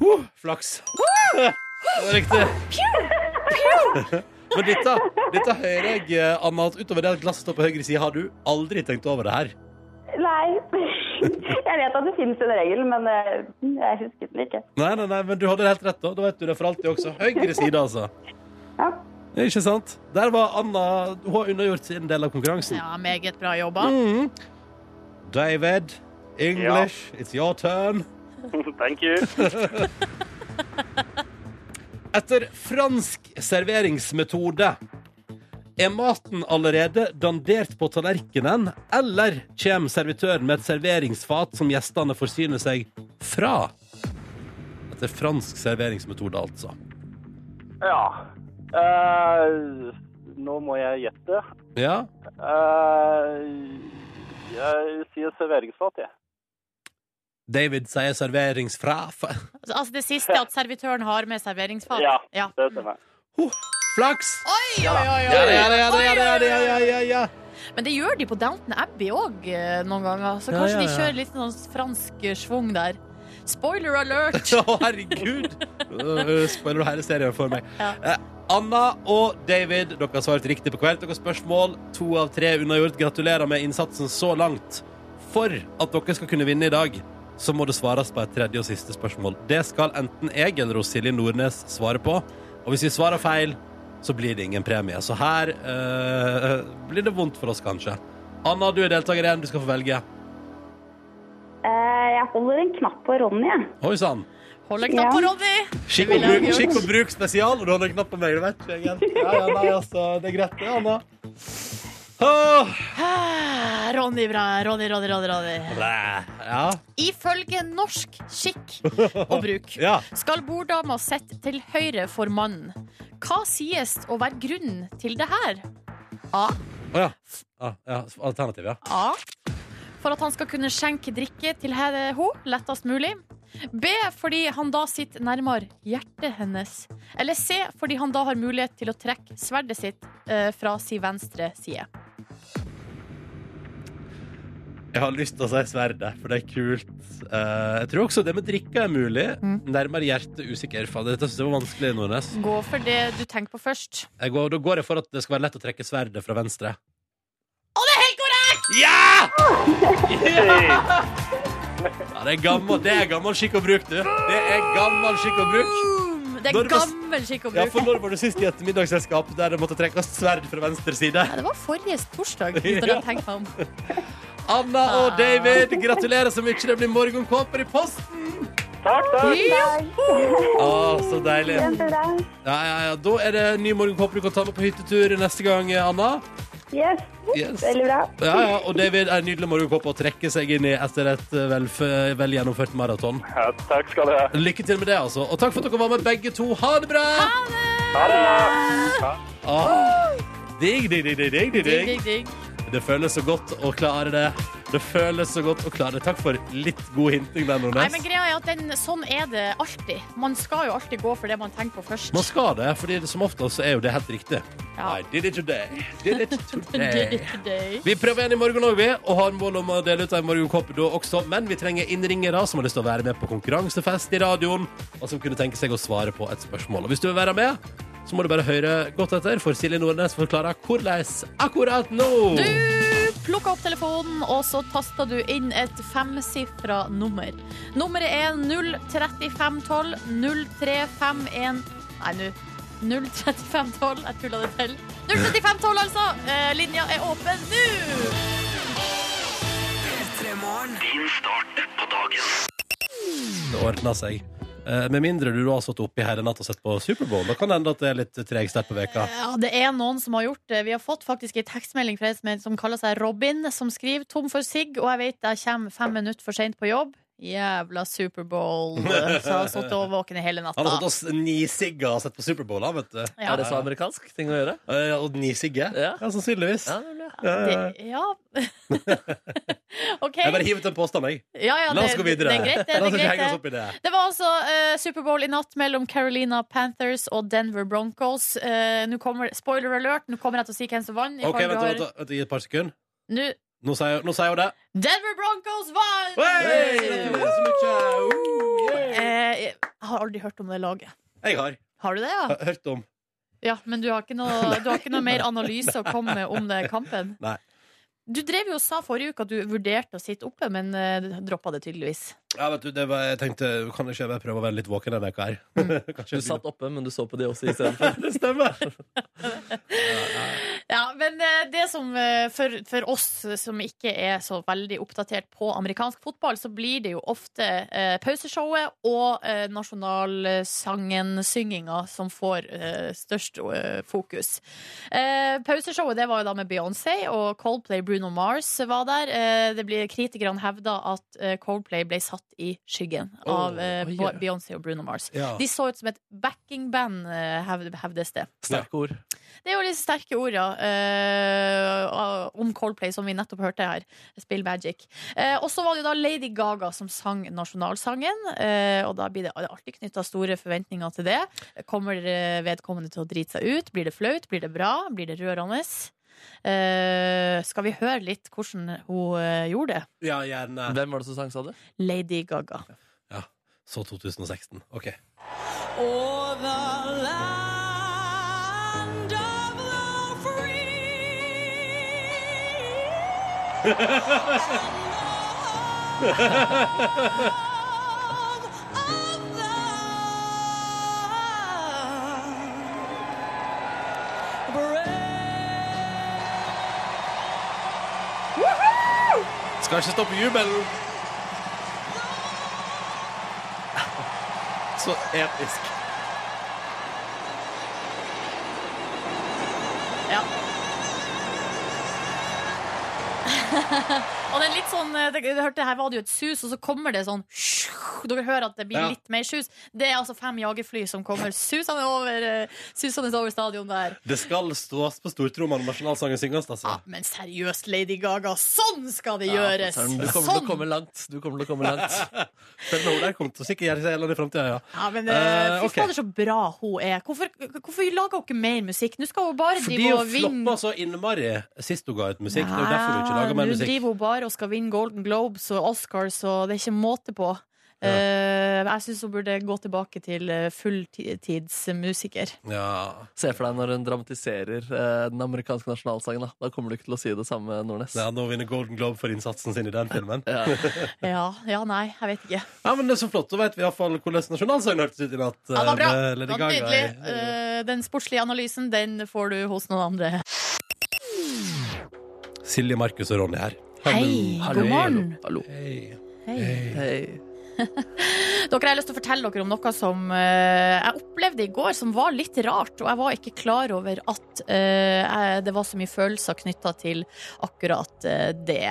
A: Huh, flaks. Det var riktig. Men dette, dette hører jeg, eh, Anna, at utover det at glasset står på høyre side, har du aldri tenkt over det her.
D: Nei. Jeg vet at det finnes en regel, men eh, jeg husket den ikke.
A: Nei, nei, nei, men du hadde det helt rett, da. Da vet du det for alltid også. Høyre side, altså.
D: Ja.
A: Ikke sant? Der var Anna Hun har unnagjort sin del av konkurransen.
B: Ja, meget bra jobba.
A: Mhm. David, English, it's your turn.
E: Thank you.
A: Etter fransk serveringsmetode er maten allerede dandert på tallerkenen, eller kommer servitøren med et serveringsfat som gjestene forsyner seg fra? Etter fransk serveringsmetode, altså.
E: Ja. Eh, nå må jeg gjette.
A: Ja,
E: Eh, jeg sier serveringsfat, jeg.
A: David sier serveringsfra.
B: Altså altså det siste at servitøren har med serveringsfat.
E: Ja.
B: Ja.
E: Det stemmer.
A: Ho, Flaks!
B: Oi, oi, oi,
A: Ja,
B: oi.
A: ja, ja, ja, ja, ja, ja, ja, ja, ja.
B: Men det gjør de på Downton Abbey òg noen ganger, så
A: Ja, ja,
B: kanskje
A: ja.
B: de kjører litt sånn fransk eh, schwung der. Spoiler alert!
A: Å, herregud! Uh, Spoiler hele serien for meg.
B: Ja.
A: Eh, Anna og David, dere har svart riktig på hvert deres spørsmål. To av tre unnagjort. Gratulerer med innsatsen så langt. For at dere skal kunne vinne i dag, så må det svares på et tredje og siste spørsmål. Det skal enten jeg eller hos Silje Nordnes svare på. Og hvis vi svarer feil, så blir det ingen premie. Så her eh, blir det vondt for oss, kanskje. Anna, du er deltaker igjen. Du skal få velge.
D: Eh, Jeg holder en knapp på Ronny, jeg.
A: Oi sann.
B: Hold en knapp på Ronny!
A: Skikk og,
B: Det ville jeg
A: bruk,
B: gjort.
A: skikk og bruk spesial, og du holder knapp på meg, du vet ikke, egentlig. Ja, ja, nei, altså, det er greit, det, Anna. Åh,
B: Ah, Ronny, bra. Ronny, Ronny, Ronny. Ronny.
A: blæ, ja,
B: Ifølge norsk skikk og bruk
A: ja.
B: skal borddama sitte til høyre for mannen. Hva sies å være grunnen til det her? A.
A: Å, ja. Ah, ja. Alternativ, ja.
B: A. For at han skal kunne skjenke drikke til henne lettest mulig. B. Fordi han da sitter nærmere hjertet hennes. Eller C. Fordi han da har mulighet til å trekke sverdet sitt eh, fra sin venstre side.
A: Jeg har lyst til å si sverdet, for det er kult. Eh, jeg tror også det med drikka er mulig.
B: Mm.
A: Nærmere hjertet usikker. Faen, dette synes jeg var vanskelig, Nordnes.
B: Gå for det du tenker på først.
A: Jeg går, da går jeg for at det skal være lett å trekke sverdet fra venstre.
B: Og det er helt korrekt!
A: Ja! ja! ja det er gammel, det er gammel skikk og bruk, du. Det er gammel skikk og bruk.
B: Boom! Det
A: Når
B: er
A: du får-
B: gammel skikk og
A: Ja, for
B: bruk.
A: når var du sist i et middagsselskap der det måtte trekkes sverd fra venstre side?
B: Ja, det var forrige torsdag. Når jeg tenker meg om.
A: Anna
E: Ah.
A: og David, gratulerer så mye. Det blir morgenkåper i posten.
E: Takk, takk.
A: Å, så deilig.
D: Kjempebra.
A: Ja, ja, ja. Da er det ny morgenkåper du kan ta med på hyttetur neste gang, Anna.
D: Yes.
A: Yes.
D: Veldig bra.
A: Ja, ja. Og David er en nydelig morgenkåpe å trekke seg inn i etter et eh, vel, vel gjennomført maraton.
E: Ja, takk skal dere ha.
A: Lykke til med det, altså. Og takk for at dere var med, begge to. Ha det bra!
E: Ha det.
A: Ah. Digg, digg, digg, digg, digg, digg.
B: Digg, digg, digg.
A: Det føles så godt å klare det. Det føles så godt å klare det. Takk for litt god hinting der,
B: Nei,
A: Nordnes.
B: men greia er at den, Sånn er det alltid. Man skal jo alltid gå for det man tenker på først.
A: Man skal det, fordi det- som oftest så er jo det helt riktig.
B: Ja.
A: I did it today. Did it today.
B: Today.
A: Vi prøver igjen i morgen òg, vi, og har mål om å dele ut en morgenkopp da også. Men vi trenger innringere som har lyst til å være med på konkurransefest i radioen, og som kunne tenke seg å svare på et spørsmål. Og hvis du vil være med, så må du bare høre godt etter, for Silje Nordnes forklarer hvordan akkurat nå.
B: Du plukka opp telefonen, og så tasta du inn et femsifra nummer. Nummeret er 03512 03511 Nei, nå. 03512. Jeg tulla det til. 03512, altså! Eh, linja er åpen nå!
A: Det ordner seg. Eh, Med mindre du da har stått oppi hele natt og sett på Superbowl. Da kan det hende at det er litt treg start på veka.
B: Ja, det er noen som har gjort det. Vi har fått faktisk en tekstmelding fra en som- som kaller seg Robin, som skriver 'tom for sigg', og jeg vet jeg kommer fem minutter for seint på jobb. Jævla Superbowl. Så jeg har sittet overvåken i hele
A: Han har fått
B: natta.
A: oss nisigga og sett på Superbowl, han, vet du.
B: Ja.
C: Er det så amerikansk ting å gjøre?
A: Eh, Og nisigge?
C: Ja.
A: Ja, sannsynligvis.
C: Ja, nemlig.
A: Eh,
B: Det, ja. OK.
A: Jeg bare hiver ut en påstand, jeg.
B: Ja, ja,
A: La oss
B: det-
A: gå videre.
B: Det er greit,
A: La
B: det. det,
A: oss ikke
B: er
A: henge oss
B: greit, det.
A: opp i det.
B: Det var altså eh, Superbowl i natt mellom Carolina Panthers og Denver Broncos. Eh, nå kommer, spoiler alert, nå kommer jeg til å si hvem som vant. i
A: OK,
B: fall du
A: vent,
B: har-
A: vent, vent, vent, gi et par sekunder.
B: Nå,
A: Nå sier jeg- nå sier hun det.
B: Denver Broncos vant!
A: Hey! Gratulerer så mye. Uh, yeah.
B: Eh, jeg har aldri hørt om det laget.
A: Jeg har.
B: Har du det, ja?
A: Har jeg Hørt om.
B: Ja, Men du har ikke noe, du har ikke noe mer analyse å komme med om den kampen?
A: Nei.
B: Du drev jo og sa forrige uke at du vurderte å sitte oppe, men uh, droppa det tydeligvis.
A: Ja, vet du, det var, jeg tenkte, kan ikke jeg bare prøve å være litt våken denne uka her?
B: Mm.
A: Kanskje
C: Du
A: jeg
C: satt oppe, men du så på de også istedenfor.
A: begynner- Det stemmer!
B: Ja, men eh, det som eh, for, for oss som ikke er så veldig oppdatert på amerikansk fotball, så blir det jo ofte eh, pauseshowet og eh, nasjonalsangen-synginga som får eh, størst eh, fokus. Eh, pauseshowet det var jo da med Beyoncé, og Coldplay Bruno Mars var der. Eh, det blir Kritikerne hevda at eh, Coldplay ble satt i skyggen av eh,
C: oi.
B: Bo- Beyoncé og Bruno Mars.
A: Ja.
B: De så ut som et backingband, eh, hev- hevdes det.
C: Sterke ord.
B: Det er jo litt sterke ord, ja. eh, om Coldplay, som vi nettopp hørte her. Spill Magic. Eh, og så var det jo da Lady Gaga som sang nasjonalsangen. eh, og da blir det alltid knytta store forventninger til det. Kommer eh, vedkommende til å drite seg ut? Blir det flaut? Blir det bra? Blir det rørende? Eh, skal vi høre litt hvordan hun eh, gjorde det?
A: Ja, gjerne.
C: Hvem var det som sang, sa du?
B: Lady Gaga.
A: Ja, så 2016. Ok. Skal ikke stoppe jubelen! Så episk.
B: Ja. og det er litt sånn eh, det, du hørte, Her var det jo et sus, og så kommer det sånn Dere hører at det blir
A: Ja.
B: litt mer sus. Det er altså fem jagerfly som kommer susende over, eh, susende over stadion der.
A: Det skal stås på stortromma når nasjonalsangen synges, altså.
B: Ja, Ah, men seriøst, Lady Gaga, sånn skal det gjøres! Sånn!
C: Ja, du kommer til å komme langt. Du kommer til å komme langt.
A: Den noe der kommer til å sikkert gjøre seg gjeldende i fremtiden, ja.
B: Ja, men eh,
A: Eh,
B: Fy
A: ok.
B: fader, så bra hun er. Hvorfor, hvorfor lager hun ikke mer musikk? Nå skal hun bare
A: Fordi
B: drive
A: hun
B: og vinne.
A: floppa så innmari sist hun ga ut musikk. Det er jo derfor hun ikke lager mer
B: Nå
A: musikk.
B: driver hun bare og skal vinne Golden Globes og Oscars, og det er ikke måte på.
A: Ja.
B: Eh, jeg syns hun burde gå tilbake til eh, fulltidsmusiker.
A: Ja,
C: Se for deg når hun dramatiserer eh, den amerikanske nasjonalsangen. Da. da kommer du ikke til å si det samme, Nordnes.
A: Nei, nå vinner Golden Globe for innsatsen sin i den filmen.
C: Ja.
B: Ja, ja, nei, jeg vet ikke.
A: Ja, men det er så flott, Da vet vi iallfall hvordan nasjonalsangen hørtes ut i natt.
B: Ja, det var bra!
A: eh, med
B: Det
A: Lady
B: var
A: Gaga
B: nydelig.
A: i-
B: Eh, den sportslige analysen den får du hos noen andre.
A: Silje, Markus og Ronny her.
B: Hei,
C: Hallo,
B: god morgen.
C: Hallo.
A: Hei.
B: Hei.
C: Hei.
B: Dere, jeg har lyst til å fortelle dere om noe som eh, jeg opplevde i går, som var litt rart. Og jeg var ikke klar over at eh, jeg, det var så mye følelser knytta til akkurat eh, det.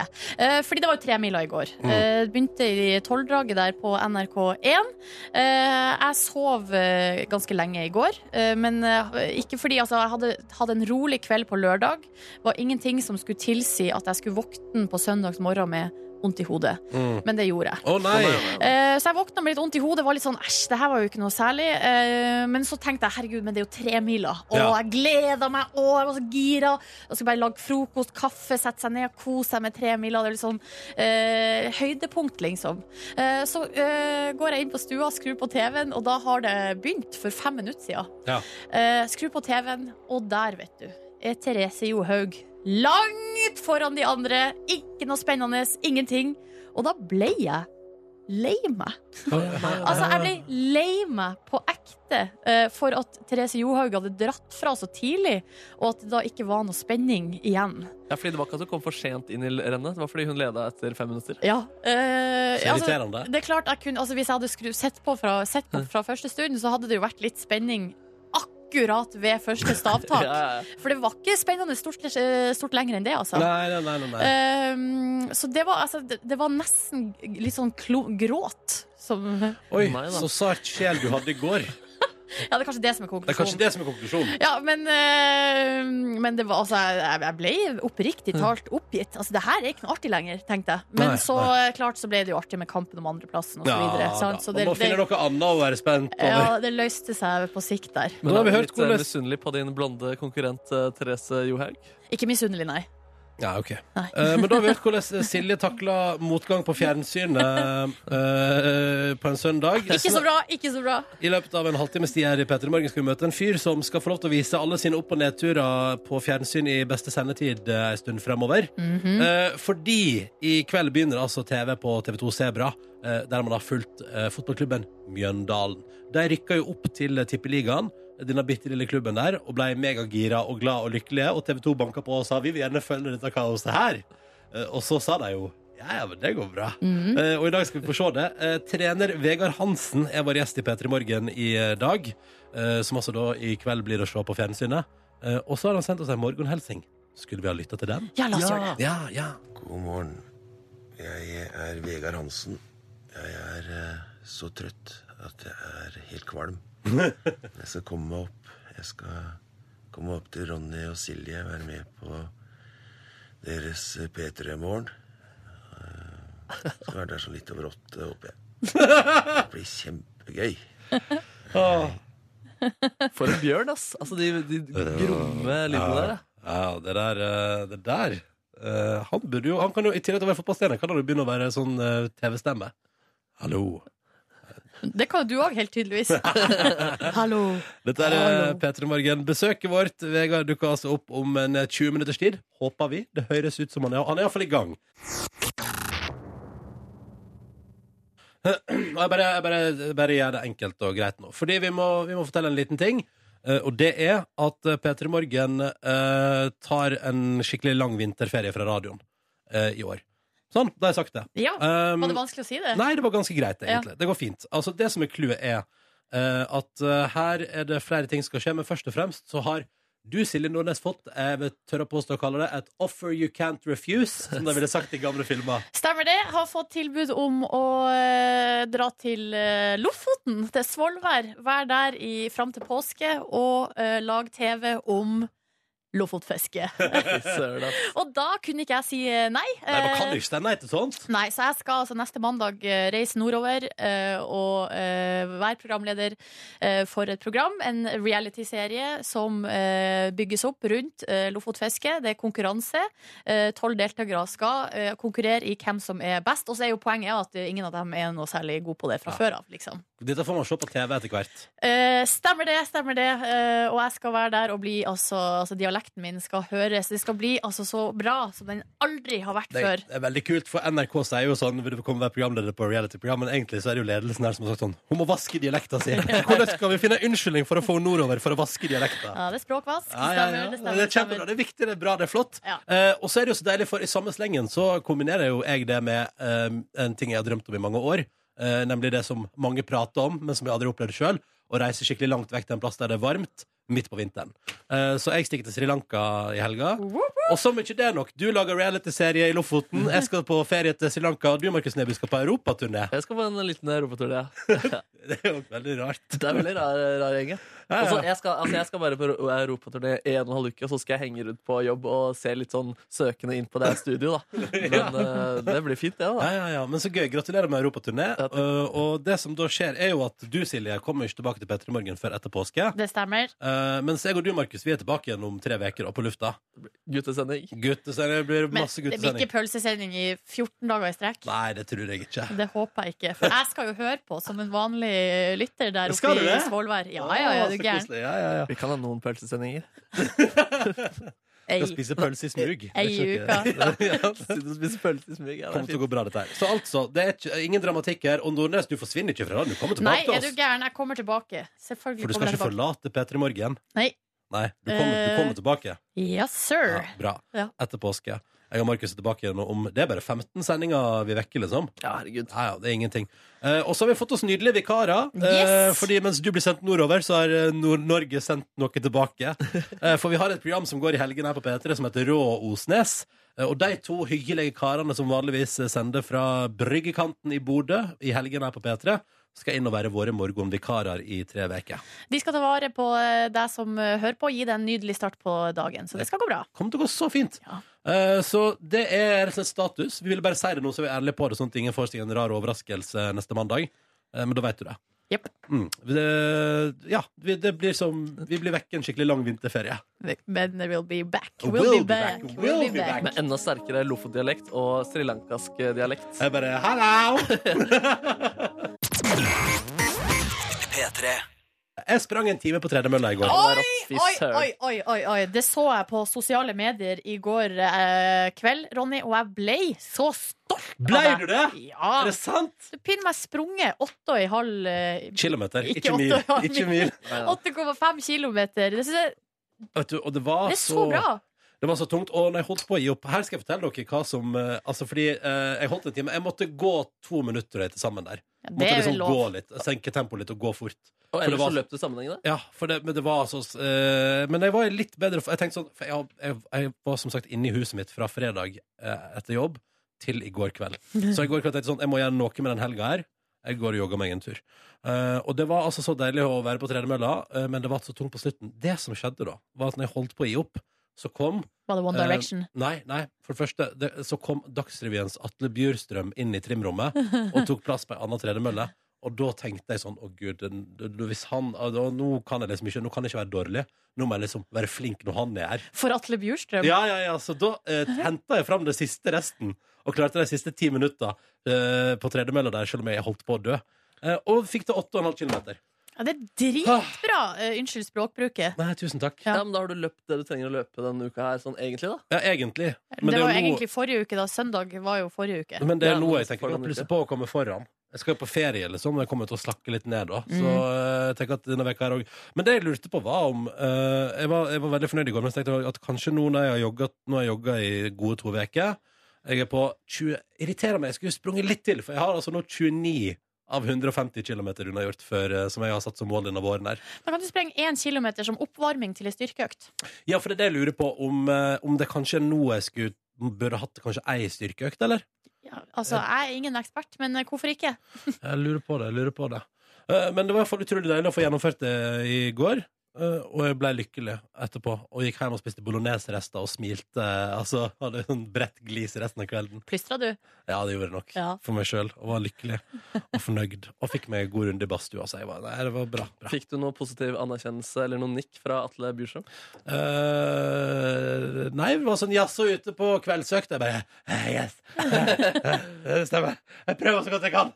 B: Eh, fordi det var jo tremila i går.
A: Mm.
B: Eh, begynte i tolvdraget der på NRK1. Eh, jeg sov eh, ganske lenge i går, eh, men eh, ikke fordi altså, jeg hadde hatt en rolig kveld på lørdag. Det var ingenting som skulle tilsi at jeg skulle våkne på søndagsmorgen med vondt i hodet.
A: Mm.
B: Men det gjorde jeg.
A: Å nei!
B: Eh, Så jeg våkna med litt vondt i hodet. Var litt sånn, æsj, det her var jo ikke noe særlig. Eh, Men så tenkte jeg herregud, men det er jo tre miler. Og
A: Ja.
B: jeg gleda meg, og jeg var så gira. Jeg skulle bare lage frokost, kaffe, sette seg ned og kose seg med tre miler. Det er litt sånn eh, høydepunkt, liksom. Eh, så eh, går jeg inn på stua, skrur på TV-en, og da har det begynt for fem minutter siden.
A: Ja.
B: Eh, skru på TV-en, og der, vet du, er Therese Johaug langt foran de andre. Ikke noe spennende, ingenting. Og da ble jeg lei meg. Altså, jeg ble lei meg på ekte eh, for at Therese Johaug hadde dratt fra så tidlig, og at det da ikke var noe spenning igjen.
C: Ja, fordi det var ikke at hun kom for sent inn i rennet. Det var fordi hun leda etter fem minutter.
B: Ja, eh,
A: Så
B: altså,
A: irriterende.
B: det er klart jeg kunne, altså, Hvis jeg hadde skru, sett, på fra, sett på fra første stund, så hadde det jo vært litt spenning akkurat ved første stavtak.
C: Ja, ja, ja.
B: For det var ikke spennende stort, eh, stort lenger enn det, altså.
A: Nei, nei, nei, nei, nei.
B: Ehm, så det var, altså, det, det var nesten litt sånn klo, gråt som Ja,
A: Oi,
C: Nei da.
A: så sart sjel du hadde i går.
B: det er kanskje det som er
A: Det er kanskje
B: konklusjonen.
A: det som er konklusjonen.
B: Ja, men, eh, men det var, altså, jeg, jeg ble oppriktig talt oppgitt. Altså, det her er ikke noe artig lenger, tenkte jeg. Men
A: Mm. Nei,
B: så eh, klart så ble det jo artig med kampen om andreplassen og så videre.
A: Ja, da.
B: sant? Så det,
A: Man må finne
B: det,
A: noe annet å være spent over.
B: ja, det løste seg på sikt der.
A: Nå har vi
C: er du
A: hørt
C: litt eh,
A: hvordan-
C: misunnelig på din blonde konkurrent eh, Therese Johaug.
B: Ikke misunnelig, nei.
A: Ja, ok.
B: Nei.
A: Eh, men da har vi hørt hvordan Silje takla motgang på fjernsynet eh, på en søndag.
B: Ikke så bra, ikke så bra.
A: I løpet av en halvtimes tid her i Petter i Morgen skal vi møte en fyr som skal få lov til å vise alle sine opp- og nedturer på fjernsyn i beste sendetid eh, en stund fremover. Eh, fordi i kveld begynner altså TV på TV2 Sebra, eh, der man har fulgt eh, fotballklubben Mjøndalen. De rykka jo opp til eh, Tippeligaen, denne bitte lille klubben der, og ble megagira og glad og lykkelige, og TV2 banka på og sa vi vil gjerne følge dette kaoset her. Eh, og så sa de jo ja, ja, men det går bra. Eh, og i dag skal vi få se det. Eh, trener Vegard Hansen er vår gjest i P3 Morgen i eh, dag. eh, som altså da i kveld blir å se på fjernsynet. Eh, og så har han sendt oss en morgenhelsing. Skulle vi ha lytta til den?
B: Ja, la oss gjøre det.
A: Ja, ja.
F: God morgen. Jeg er Vegard Hansen. Jeg er eh, så trøtt at jeg er helt kvalm. Jeg skal komme meg opp. Jeg skal komme opp til Ronny og Silje, være med på deres eh, P3-morgen. Skal være der sånn litt over åtte, håper jeg. Det blir kjempegøy.
A: Åh.
C: For en bjørn, ass! Altså, de, de gromme lydene der. ja.
A: ja det der, eh, det der. eh, han burde jo Han kan jo i tillegg til å være fotballstjerne Kan han jo begynne å være sånn eh, TV-stemme. Hallo.
B: Det kan jo du òg, helt tydeligvis. Hallo.
A: Dette er eh, P3 Morgen. Besøket vårt. Vegard dukker altså opp om en eh, 20 minutters tid. Håper vi. Det høres ut som han er Han er iallfall i gang. Og Jeg bare, jeg bare, jeg bare gjør det enkelt og greit nå. Fordi vi må, vi må fortelle en liten ting. eh, Og det er at P3 Morgen eh, tar en skikkelig lang vinterferie fra radioen eh, i år. Sånn, da har jeg sagt det.
B: Ja,
A: Um,
B: var det vanskelig å si det?
A: Nei, det var ganske greit, egentlig. Det går fint. Altså, det som er clouet, er eh, at eh, her er det flere ting som skal skje, men først og fremst så har du, Silje Nordnes, fått eh, jeg vil tørre å påstå å kalle det et 'offer you can't refuse', som de ville sagt i gamle filmer.
B: Stemmer det. Har fått tilbud om å eh, dra til eh, Lofoten, til Svolvær. Være der i, fram til påske og eh, lage TV om lofotfiske.
C: Fy søren, ass.
B: og da kunne ikke jeg si eh, nei.
A: Nei, man
B: Eh,
A: kan ikke si nei til sånt.
B: Nei, så jeg skal altså neste mandag eh, reise nordover eh, og eh, være programleder eh, for et program. En reality-serie som eh, bygges opp rundt eh, Lofotfiske. Det er konkurranse. eh, Tolv deltakere skal eh, konkurrere i hvem som er best. Og så er jo poenget at eh, ingen av dem er noe særlig god på det fra
A: Ja.
B: før av, liksom.
A: Dette får man se på TV etter hvert.
B: Eh, stemmer det, stemmer det. Eh, og jeg skal være der og bli altså, altså Dialekten min skal høres. Det skal bli altså så bra som den aldri har vært
A: Det
B: før.
A: er veldig kult, for NRK sier jo sånn Vil du komme og være programleder på reality-program? Men egentlig så er det jo ledelsen her som har sagt sånn Hun må vaske dialekta si. Hvordan kan vi finne en unnskyldning for å få henne nordover for å vaske dialekta?
B: Ja, det er språkvask.
A: Ja, ja, ja.
B: Stemmer, det
A: Det
B: stemmer.
A: er kjempebra. Det er viktig, det er bra, det er flott.
B: Ja.
A: Eh, og så er det jo så deilig, for i samme slengen så kombinerer jo jeg det med eh, en ting jeg har drømt om i mange år, eh, nemlig det som mange prater om, men som jeg aldri opplevde sjøl, å reise skikkelig langt vekk til en plass der det er varmt, midt på vinteren. Eh, så jeg stikker til Sri Lanka i helga. Og som ikke det er nok, du lager reality-serie i Lofoten, jeg skal på ferie til Sri Lanka, og du, Markus Neby, skal på europaturné.
C: Jeg skal på en liten eh, europatur, jeg.
A: Det er jo veldig rart.
C: Det er veldig rar, eh, rar gjeng. ja.
A: Ja, ja.
C: Og så jeg, skal, altså jeg skal være på ro- europaturné i en og en halv uke, og så skal jeg henge rundt på jobb og se litt sånn søkende inn på det her studio, da. Men eh, det blir fint, det, da.
A: Ja, ja, ja, men så gøy. Gratulerer med europaturné.
C: Ja, takk.
A: Uh, og det som da skjer, er jo at du, Silje, kommer ikke tilbake til Petter i morgen før etter påske.
B: Det stemmer.
A: Uh, mens jeg og du, Markus, vi er tilbake igjen om tre uker og på lufta.
C: Guttesending.
A: Guttesending, det blir
B: Men
A: masse
B: det blir ikke
A: guttesending.
B: pølsesending i 14 dager i strekk.
A: Nei, det tror jeg ikke.
B: Det håper jeg ikke. For jeg skal jo høre på som en vanlig lytter der
A: Skal du
B: oppe i
A: det?
B: Svolvær. Ja, ja, ja,
A: Å, så
B: du er gæren.
A: koselig. Ja, ja, ja.
C: Vi kan ha noen pølsesendinger.
B: Ei,
A: Skal spise pølse i smug.
B: ei
A: Det er
B: uke.
A: ikke- Ja, det
C: Sitte og spise pølse i smug. Ja, det
A: Kommer
C: er
A: til å
C: fint.
A: gå bra, dette her. Så altså, det er ikke, ingen dramatikk her. Og Nordnes, du forsvinner ikke fra radioen. Du kommer
B: Nei,
A: tilbake til
B: er du
A: oss.
B: gæren? Jeg kommer tilbake.
A: For
B: Selvfølgelig
A: du skal
B: kommer jeg
A: ikke
B: tilbake.
A: forlate Petter i morgen.
B: Nei.
A: Nei, du kommer, du
B: Eh.
A: kommer tilbake.
B: Yes, sir.
A: Ja, bra.
B: Ja.
A: Etter påske. Jeg og Markus er tilbake igjen om Det er bare 15 sendinger vi vekker, liksom.
C: Ja, herregud.
A: Ja, ja, det er ingenting. Eh, og så har vi fått oss nydelige vikarer. Eh,
B: Yes!
A: fordi mens du blir sendt nordover, så har eh, Nord-Norge sendt noe tilbake. Eh, for vi har et program som går i helgen her på P3, som heter Rå og Osnes. Eh, og de to hyggelige karene som vanligvis eh, sender fra bryggekanten i Bodø i helgen her på P3, skal inn og være våre morgenvikarer i tre uker.
B: De skal ta vare på eh, deg som eh, hører på, og gi deg en nydelig start på dagen. Så det skal gå bra.
A: kommer til å gå så fint.
B: Ja.
A: Eh, så det er rett og slett status. Vi ville bare si det nå, så vi er ærlige på det, sånn at ingen får seg en rar overraskelse neste mandag. Eh, men da vet du det.
B: Jepp.
A: Mm. Det, ja, vi, det blir som Vi blir vekk en skikkelig lang vinterferie.
B: Men we'll be back.
A: Oh,
B: We'll be back.
A: We'll
B: We'll
A: be
B: be back.
C: Med enda sterkere lofotdialekt og srilankask dialekt.
A: Jeg bare Hello! Jeg sprang en time på tredemølla i går.
C: Å!
B: Oi,
C: Rått, fy
B: oi,
C: søren.
B: oi, oi, oi, oi. Det så jeg på sosiale medier i går eh, kveld, Ronny, og jeg ble så stolt
A: Blei
B: av
A: du
B: deg.
A: det?
B: Ja.
A: Er det sant?
B: Du pinner meg sprunget åtte og en halv eh,
A: Kilometer,
B: Ikke
A: ikke
B: åtte
A: mil.
B: og en halv
A: Ikke
B: mil.
A: mil.
C: Ja, ja.
B: 8,5 kilometer. Det, synes jeg,
A: Vet du, og det var
B: det er så bra.
A: Det var Ah, så tungt, og når jeg holdt på å gi opp Her skal jeg fortelle dere hva som eh, Altså, fordi eh, jeg holdt en time Jeg måtte gå to minutter til sammen der
B: Ja, det
A: Måtte
B: er
A: liksom
B: vel
A: gå
B: lov.
A: litt, senke tempoet litt og gå fort
C: Og
A: For det
C: ellers
A: var-
C: så løp du sammenhengende.
A: Ja, for det, men det var altså eh, Men jeg var i litt bedre Jeg tenkte sånn For jeg, jeg, jeg var som sagt inne i huset mitt fra fredag eh, etter jobb Til i går kveld Så i går kveld tenkte jeg sånn Jeg må gjøre noe med den helga her Jeg går og jogger meg en tur Eh, Og det var altså så deilig å være på tredemølla eh, Men det var så tungt på slutten Det som skjedde da Var at når jeg holdt på å gi opp Så kom
B: Var det One
A: Eh,
B: Direction?
A: Nei, nei, for det første det, Så kom Dagsrevyens Atle Bjørstrøm inn i trimrommet Og tok plass på en annen tredemølle Og da tenkte jeg sånn, å gud den- den- Hvis han, ah, da, nå kan jeg liksom ikke Nå kan jeg ikke være dårlig, nå må jeg liksom være flink Når han er her
B: For Atle Bjurstrøm?
A: Ja, ja, ja, så da eh, hentet jeg frem det siste resten Og klarte de siste ti minutter eh, På tredemølla der, selv om jeg holdt på å dø eh, Og fikk det 8,5 kilometer
B: Ja, det er dritbra! Eh, unnskyld språkbruket.
A: Nei, tusen takk
B: Ja.
C: Ja, men Da har du løpt det du trenger å løpe denne uka her, sånn egentlig, da.
A: Ja, egentlig
B: det,
A: er
B: var jo
A: nå-
B: egentlig forrige uke, da. Søndag var jo forrige uke.
A: Men det
C: Ja,
A: er noe
C: men
A: jeg tenker
C: foran
A: Jeg kan plusse
C: uke.
A: på å komme foran Jeg skal jo på ferie liksom og Jeg kommer til å slakke litt ned da Så eh, jeg tenker at denne veka her også Men det jeg lurte på var om eh, jeg, var, jeg var veldig fornøyd i går Men jeg tenkte at kanskje nå når jeg har jogget Nå har jeg jogget i gode to veker Jeg er på 20 Irriterer meg, jeg skulle sprunget litt til For jeg har altså nå 29 av 150 kilometer unnagjort før, eh, Som jeg har satt som mål denne våren her
B: Da kan du sprenge én kilometer som oppvarming til ei styrkeøkt.
A: Ja, for det er det jeg lurer på Om, eh, om det kanskje er nå jeg skulle Burde hatt kanskje ei styrkeøkt, eller?
B: Ja, altså, jeg er ingen ekspert, men eh, hvorfor ikke?
A: Jeg lurer på det, jeg lurer på det. Eh, Men det var i hvert fall utrolig deilig å få gjennomført det i går. eh, Og jeg ble lykkelig etterpå. Og gikk hjem og spiste bolognese-rester og smilte. eh, Altså, hadde sånn bredt glis resten av kvelden.
B: Plystra du?
A: Ja, det gjorde jeg nok.
B: Ja.
A: For meg sjøl. Og var lykkelig og fornøyd. Og fikk meg en god runde i badstua. Så jeg var, nei, det var bra. bra.
C: Fikk du noe positiv anerkjennelse eller noe nikk fra Atle Bjurstrøm?
A: Eh, nei, vi var sånn jaså ute på kveldsøkt. Jeg bare eh, Yes! Det stemmer. Jeg prøver så godt jeg kan.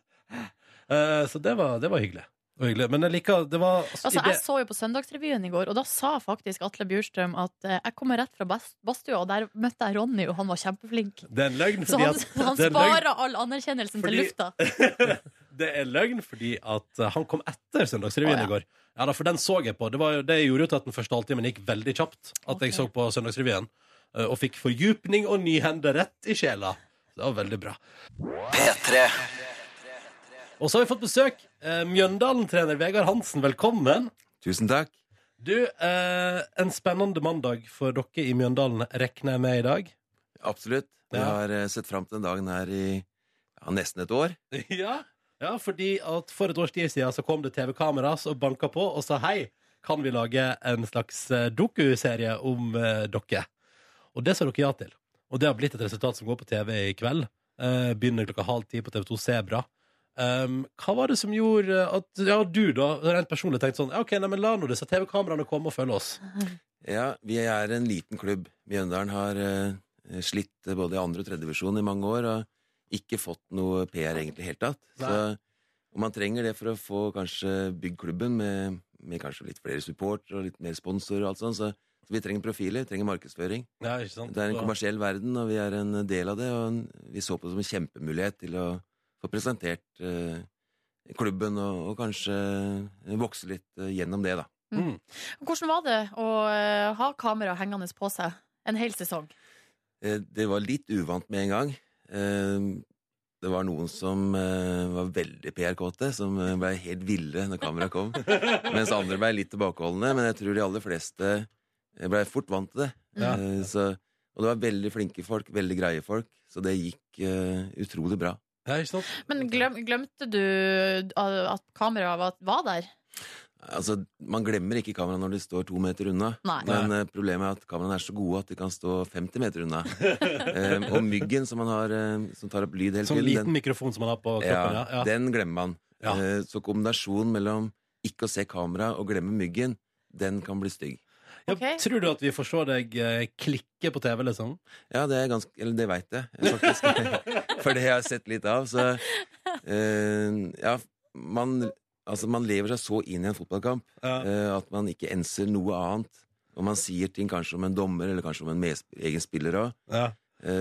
A: Eh, så det var, det var hyggelig. Det var hyggelig. Men jeg liker Det var
B: Altså,
A: i det-
B: jeg så jo på Søndagsrevyen i går, og da sa faktisk Atle Bjurstrøm at eh, jeg kommer rett fra bas- badstua, og der møtte jeg Ronny, og han var kjempeflink.
A: Det er en løgn.
B: Så
A: fordi
B: han,
A: at-
B: han
A: det er en løgn.
B: sparer all anerkjennelsen
A: Fordi-
B: til lufta.
A: Det er løgn fordi at eh, han kom etter Søndagsrevyen
B: Å, ja.
A: i går. Ja da, For den så jeg på. Det, var, jo- det gjorde jo til at den første halvtimen gikk veldig kjapt. At
B: Ok.
A: jeg så på Søndagsrevyen eh, og fikk fordypning og nyhender rett i sjela. Det var veldig bra. Og så har vi fått besøk. Eh, Mjøndalen-trener Vegard Hansen, velkommen.
G: Tusen takk.
A: Du, eh, en spennende mandag for dere i Mjøndalen regner jeg med i dag.
G: Absolutt. Jeg
A: Ja.
G: har eh, sett fram til den dagen her i ja, nesten et år.
A: Ja, ja fordi at for et års tid siden så kom det TV-kamera som banka på og sa hei, kan vi lage en slags eh, dokuserie om eh, dere? Og det sa dere ja til. Og det har blitt et resultat som går på TV i kveld. Eh, begynner klokka halv ti på TV2 Sebra. Um, hva var det som gjorde at ja, du da, rent personlig tenkte sånn ja, Ok, nei, men la nå disse TV-kameraene komme og følge oss.
G: Ja, Vi er en liten klubb. Mjøndalen har eh, slitt eh, både i andre og tredje divisjon i mange år og ikke fått noe PR egentlig i det hele tatt. Så
A: Nei.
G: og man trenger det for å få kanskje bygd klubben med, med kanskje litt flere supportere og litt mer sponsorer og alt sånt. Så, så vi trenger profiler, vi trenger markedsføring.
A: Ja, ikke sant?
G: Det er en kommersiell verden, og vi er en del av det. Og en- vi så på det som en kjempemulighet til å få presentert eh, klubben og, og kanskje vokse litt eh, gjennom det, da.
B: Hvordan var det å eh, ha kamera hengende på seg en hel sesong?
G: Eh, Det var litt uvant med en gang. Eh, Det var noen som eh, var veldig PR-kåte, som eh, ble helt ville når kameraet kom. Mens andre ble litt tilbakeholdne, men jeg tror de aller fleste eh, ble fort vant til det.
A: Ja.
G: Eh, Så, og det var veldig flinke folk, veldig greie folk, så det gikk eh, utrolig bra.
A: Ja, ikke sant?
B: Men glem, glemte du eh, at kameraet var, var der?
G: Altså, Man glemmer ikke kameraet når de står to meter unna.
B: Nei.
G: Men eh, problemet er at kameraene er så gode at de kan stå 50 meter unna. Eh, og myggen som man har eh, som tar opp lyd hele
A: Sånn
G: tiden,
A: liten mikrofon som man har på
G: den,
A: kroppen. Ja, ja.
G: den glemmer man.
A: Ja.
G: Eh, Så kombinasjonen mellom ikke å se kamera og glemme myggen, den kan bli stygg.
A: Ja,
B: Ok.
A: Tror du at vi får se deg eh, klikke på TV, liksom?
G: Ja, det er ganske Eller det veit jeg, faktisk. For det har jeg sett litt av. Så eh, ja, man, altså, man lever seg så inn i en fotballkamp
A: Ja.
G: eh, at man ikke enser noe annet. Og man sier ting kanskje om en dommer eller kanskje om en mes- egen spiller òg,
A: Ja.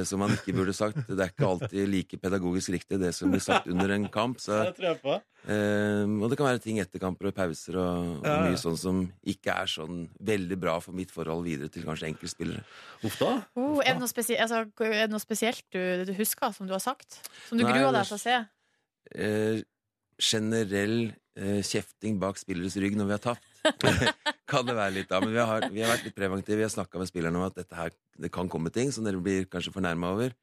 G: som man ikke burde sagt. Det er ikke alltid like pedagogisk riktig, det som blir sagt under en kamp. Så,
A: Det tror jeg på.
G: eh, og det kan være ting etter kamper og pauser og, og
A: Ja, ja.
G: mye sånn som ikke er sånn veldig bra for mitt forhold videre til kanskje enkeltspillere.
A: Uff da.
B: Oh, er, det noe spesielt, altså, er det noe spesielt du, du husker, som du har sagt? Som du
G: Nei,
B: gruer
G: det-
B: deg til å se?
G: eh, generell eh, kjefting bak spilleres rygg når vi har tapt. kan det være litt av, men vi har, vi har vært litt preventive. Vi har snakka med spillerne om at dette her, det kan komme ting som dere blir kanskje fornærma over.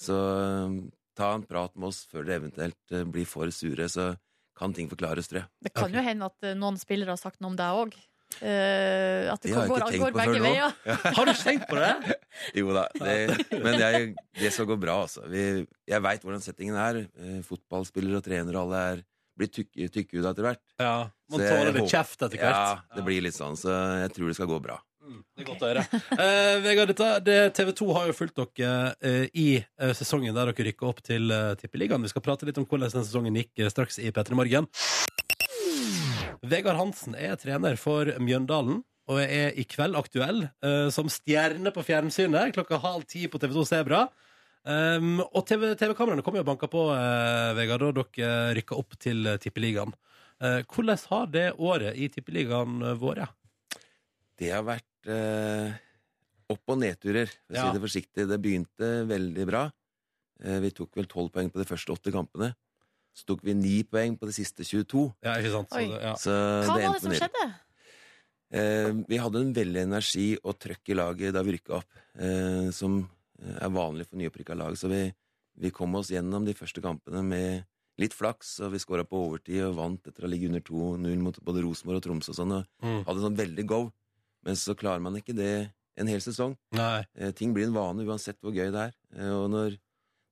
G: Så eh, ta en prat med oss før dere eventuelt eh, blir for sure, så kan ting forklares, tror jeg.
B: Det kan jo hende at eh, noen spillere har sagt noe om deg òg. Eh, at det
G: Det har jeg
B: går,
G: ikke tenkt
B: går
G: på
B: begge
G: før nå.
B: veier.
A: Har du tenkt på det?
G: Jo da, det, men jeg, det skal gå bra, altså. Vi, jeg veit hvordan settingen er. Eh, fotballspillere og trenere og alle er, blir tykke- tykkhuda etter hvert.
A: Ja. Man
G: Så jeg
A: tåler litt
G: håper-
A: kjeft etter
G: Ja,
A: hvert.
G: det blir litt sånn, så jeg tror det skal gå bra.
A: Det er godt å høre. Eh, Vegard, dette- det, TV 2 har jo fulgt dere eh, i eh, sesongen der dere rykka opp til eh, Tippeligaen. Vi skal prate litt om hvordan den sesongen gikk eh, straks i P3 Morgen. Vegard Hansen er trener for Mjøndalen og er i kveld aktuell eh, som stjerne på fjernsynet klokka halv ti på TV 2 Sebra. Um, og TV TV-kameraene kom jo og banka på, eh, Vegard, da dere rykka opp til eh, Tippeligaen. Eh, hvordan har det året i Tippeligaen eh, vært?
G: Det har vært eh, opp- og nedturer, for å
A: Ja.
G: si det forsiktig. Det begynte veldig bra. Eh, vi tok vel tolv poeng på de første åtte kampene. Så tok vi ni poeng på de siste 22.
A: Ja, ikke sant? Så
B: Oi.
A: det- ja.
G: Så
B: Hva var det
G: endte
B: som
G: ned.
B: skjedde?
G: Eh, vi hadde en veldig energi og trøkk i laget da vi rykka opp, eh, som er vanlig for nyopprykka lag. Så vi, vi kom oss gjennom de første kampene med litt flaks, og vi skåra på overtid og vant etter å ligge under 2-0 mot både Rosenborg og Tromsø og sånn, og
A: Mm.
G: hadde sånn veldig go. Men så klarer man ikke det en hel sesong.
A: Nei.
G: Eh, ting blir en vane uansett hvor gøy det er. Eh, og når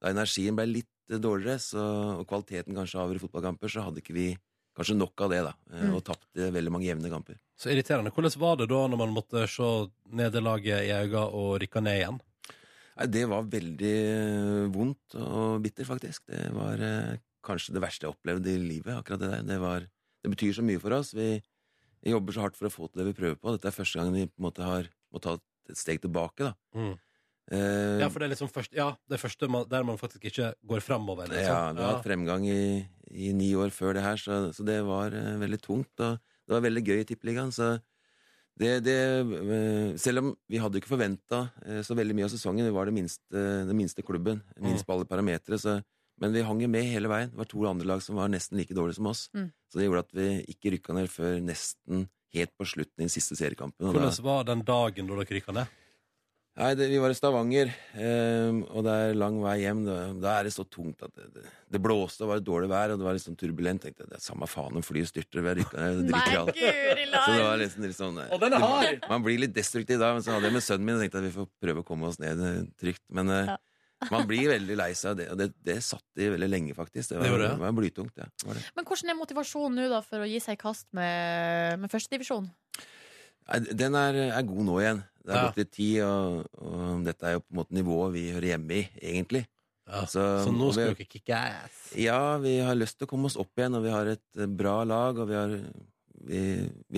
G: da energien ble litt eh, dårligere, så, og kvaliteten kanskje avgjør i fotballkamper, så hadde ikke vi kanskje nok av det, da. Eh,
B: Mm.
G: Og tapte veldig mange jevne kamper.
A: Så irriterende. Hvordan var det da når man måtte se nederlaget i øynene og rykka ned igjen?
G: Nei, det var veldig eh, vondt og bitter, faktisk. Det var eh, kanskje det verste jeg opplevde i livet, akkurat det der. Det, var, det betyr så mye for oss. Vi jobber så hardt for å få til det vi prøver på. Dette er første gang vi på en måte har må ta et steg tilbake, da.
A: Mm.
G: Eh,
A: Ja, for det er liksom først, ja, det første man, der man faktisk ikke går framover. Liksom.
G: Ja, vi har hatt fremgang i, i ni år før det her, så, så det var eh, veldig tungt. Og det var veldig gøy i Tippeligaen, så det, det eh, Selv om vi hadde ikke forventa så veldig mye av sesongen, vi var det minste, den minste klubben, minst på alle parametere, så men vi hang jo med hele veien. Det var to andre lag som var nesten like dårlige som oss.
B: Mm.
G: Så det gjorde at vi ikke rykka ned før nesten helt på slutten i den siste seriekampen. og da-
A: Hvordan var den dagen da dere rykka ned?
G: Nei, det, vi var i Stavanger, eh, og det er lang vei hjem. Da, da er det så tungt at det, det, det blåste, og var det dårlig vær, og det var litt sånn turbulent. Tenkte jeg, det er samme faen om flyet styrter, vi har rykka ned,
B: Nei,
G: det driter jeg i alt.
B: guri
G: Så det var
B: land!
G: liksom litt sånn eh,
A: Og den er
G: det-
A: hard!
G: Man blir litt destruktiv da, men så hadde jeg med sønnen min og tenkte at vi får prøve å komme oss ned eh, trygt. Men eh,
B: Ja.
G: man blir veldig lei seg av det, og det, det satt i veldig lenge, faktisk. Det var,
A: Det gjorde det.
G: det var blytungt, ja. Det var det.
B: Men hvordan er motivasjonen nå da for å gi seg i kast med, med førstedivisjon?
G: Nei, Den er, er god nå igjen. Det har
A: Ja.
G: gått litt tid, og, og dette er jo på en måte nivået vi hører hjemme i, egentlig.
A: Ja. Så,
G: Så-
A: nå
G: og vi-
A: skal dere kicke ass.
G: Ja, vi har lyst til å komme oss opp igjen, og vi har et eh, bra lag. Og vi har, vi,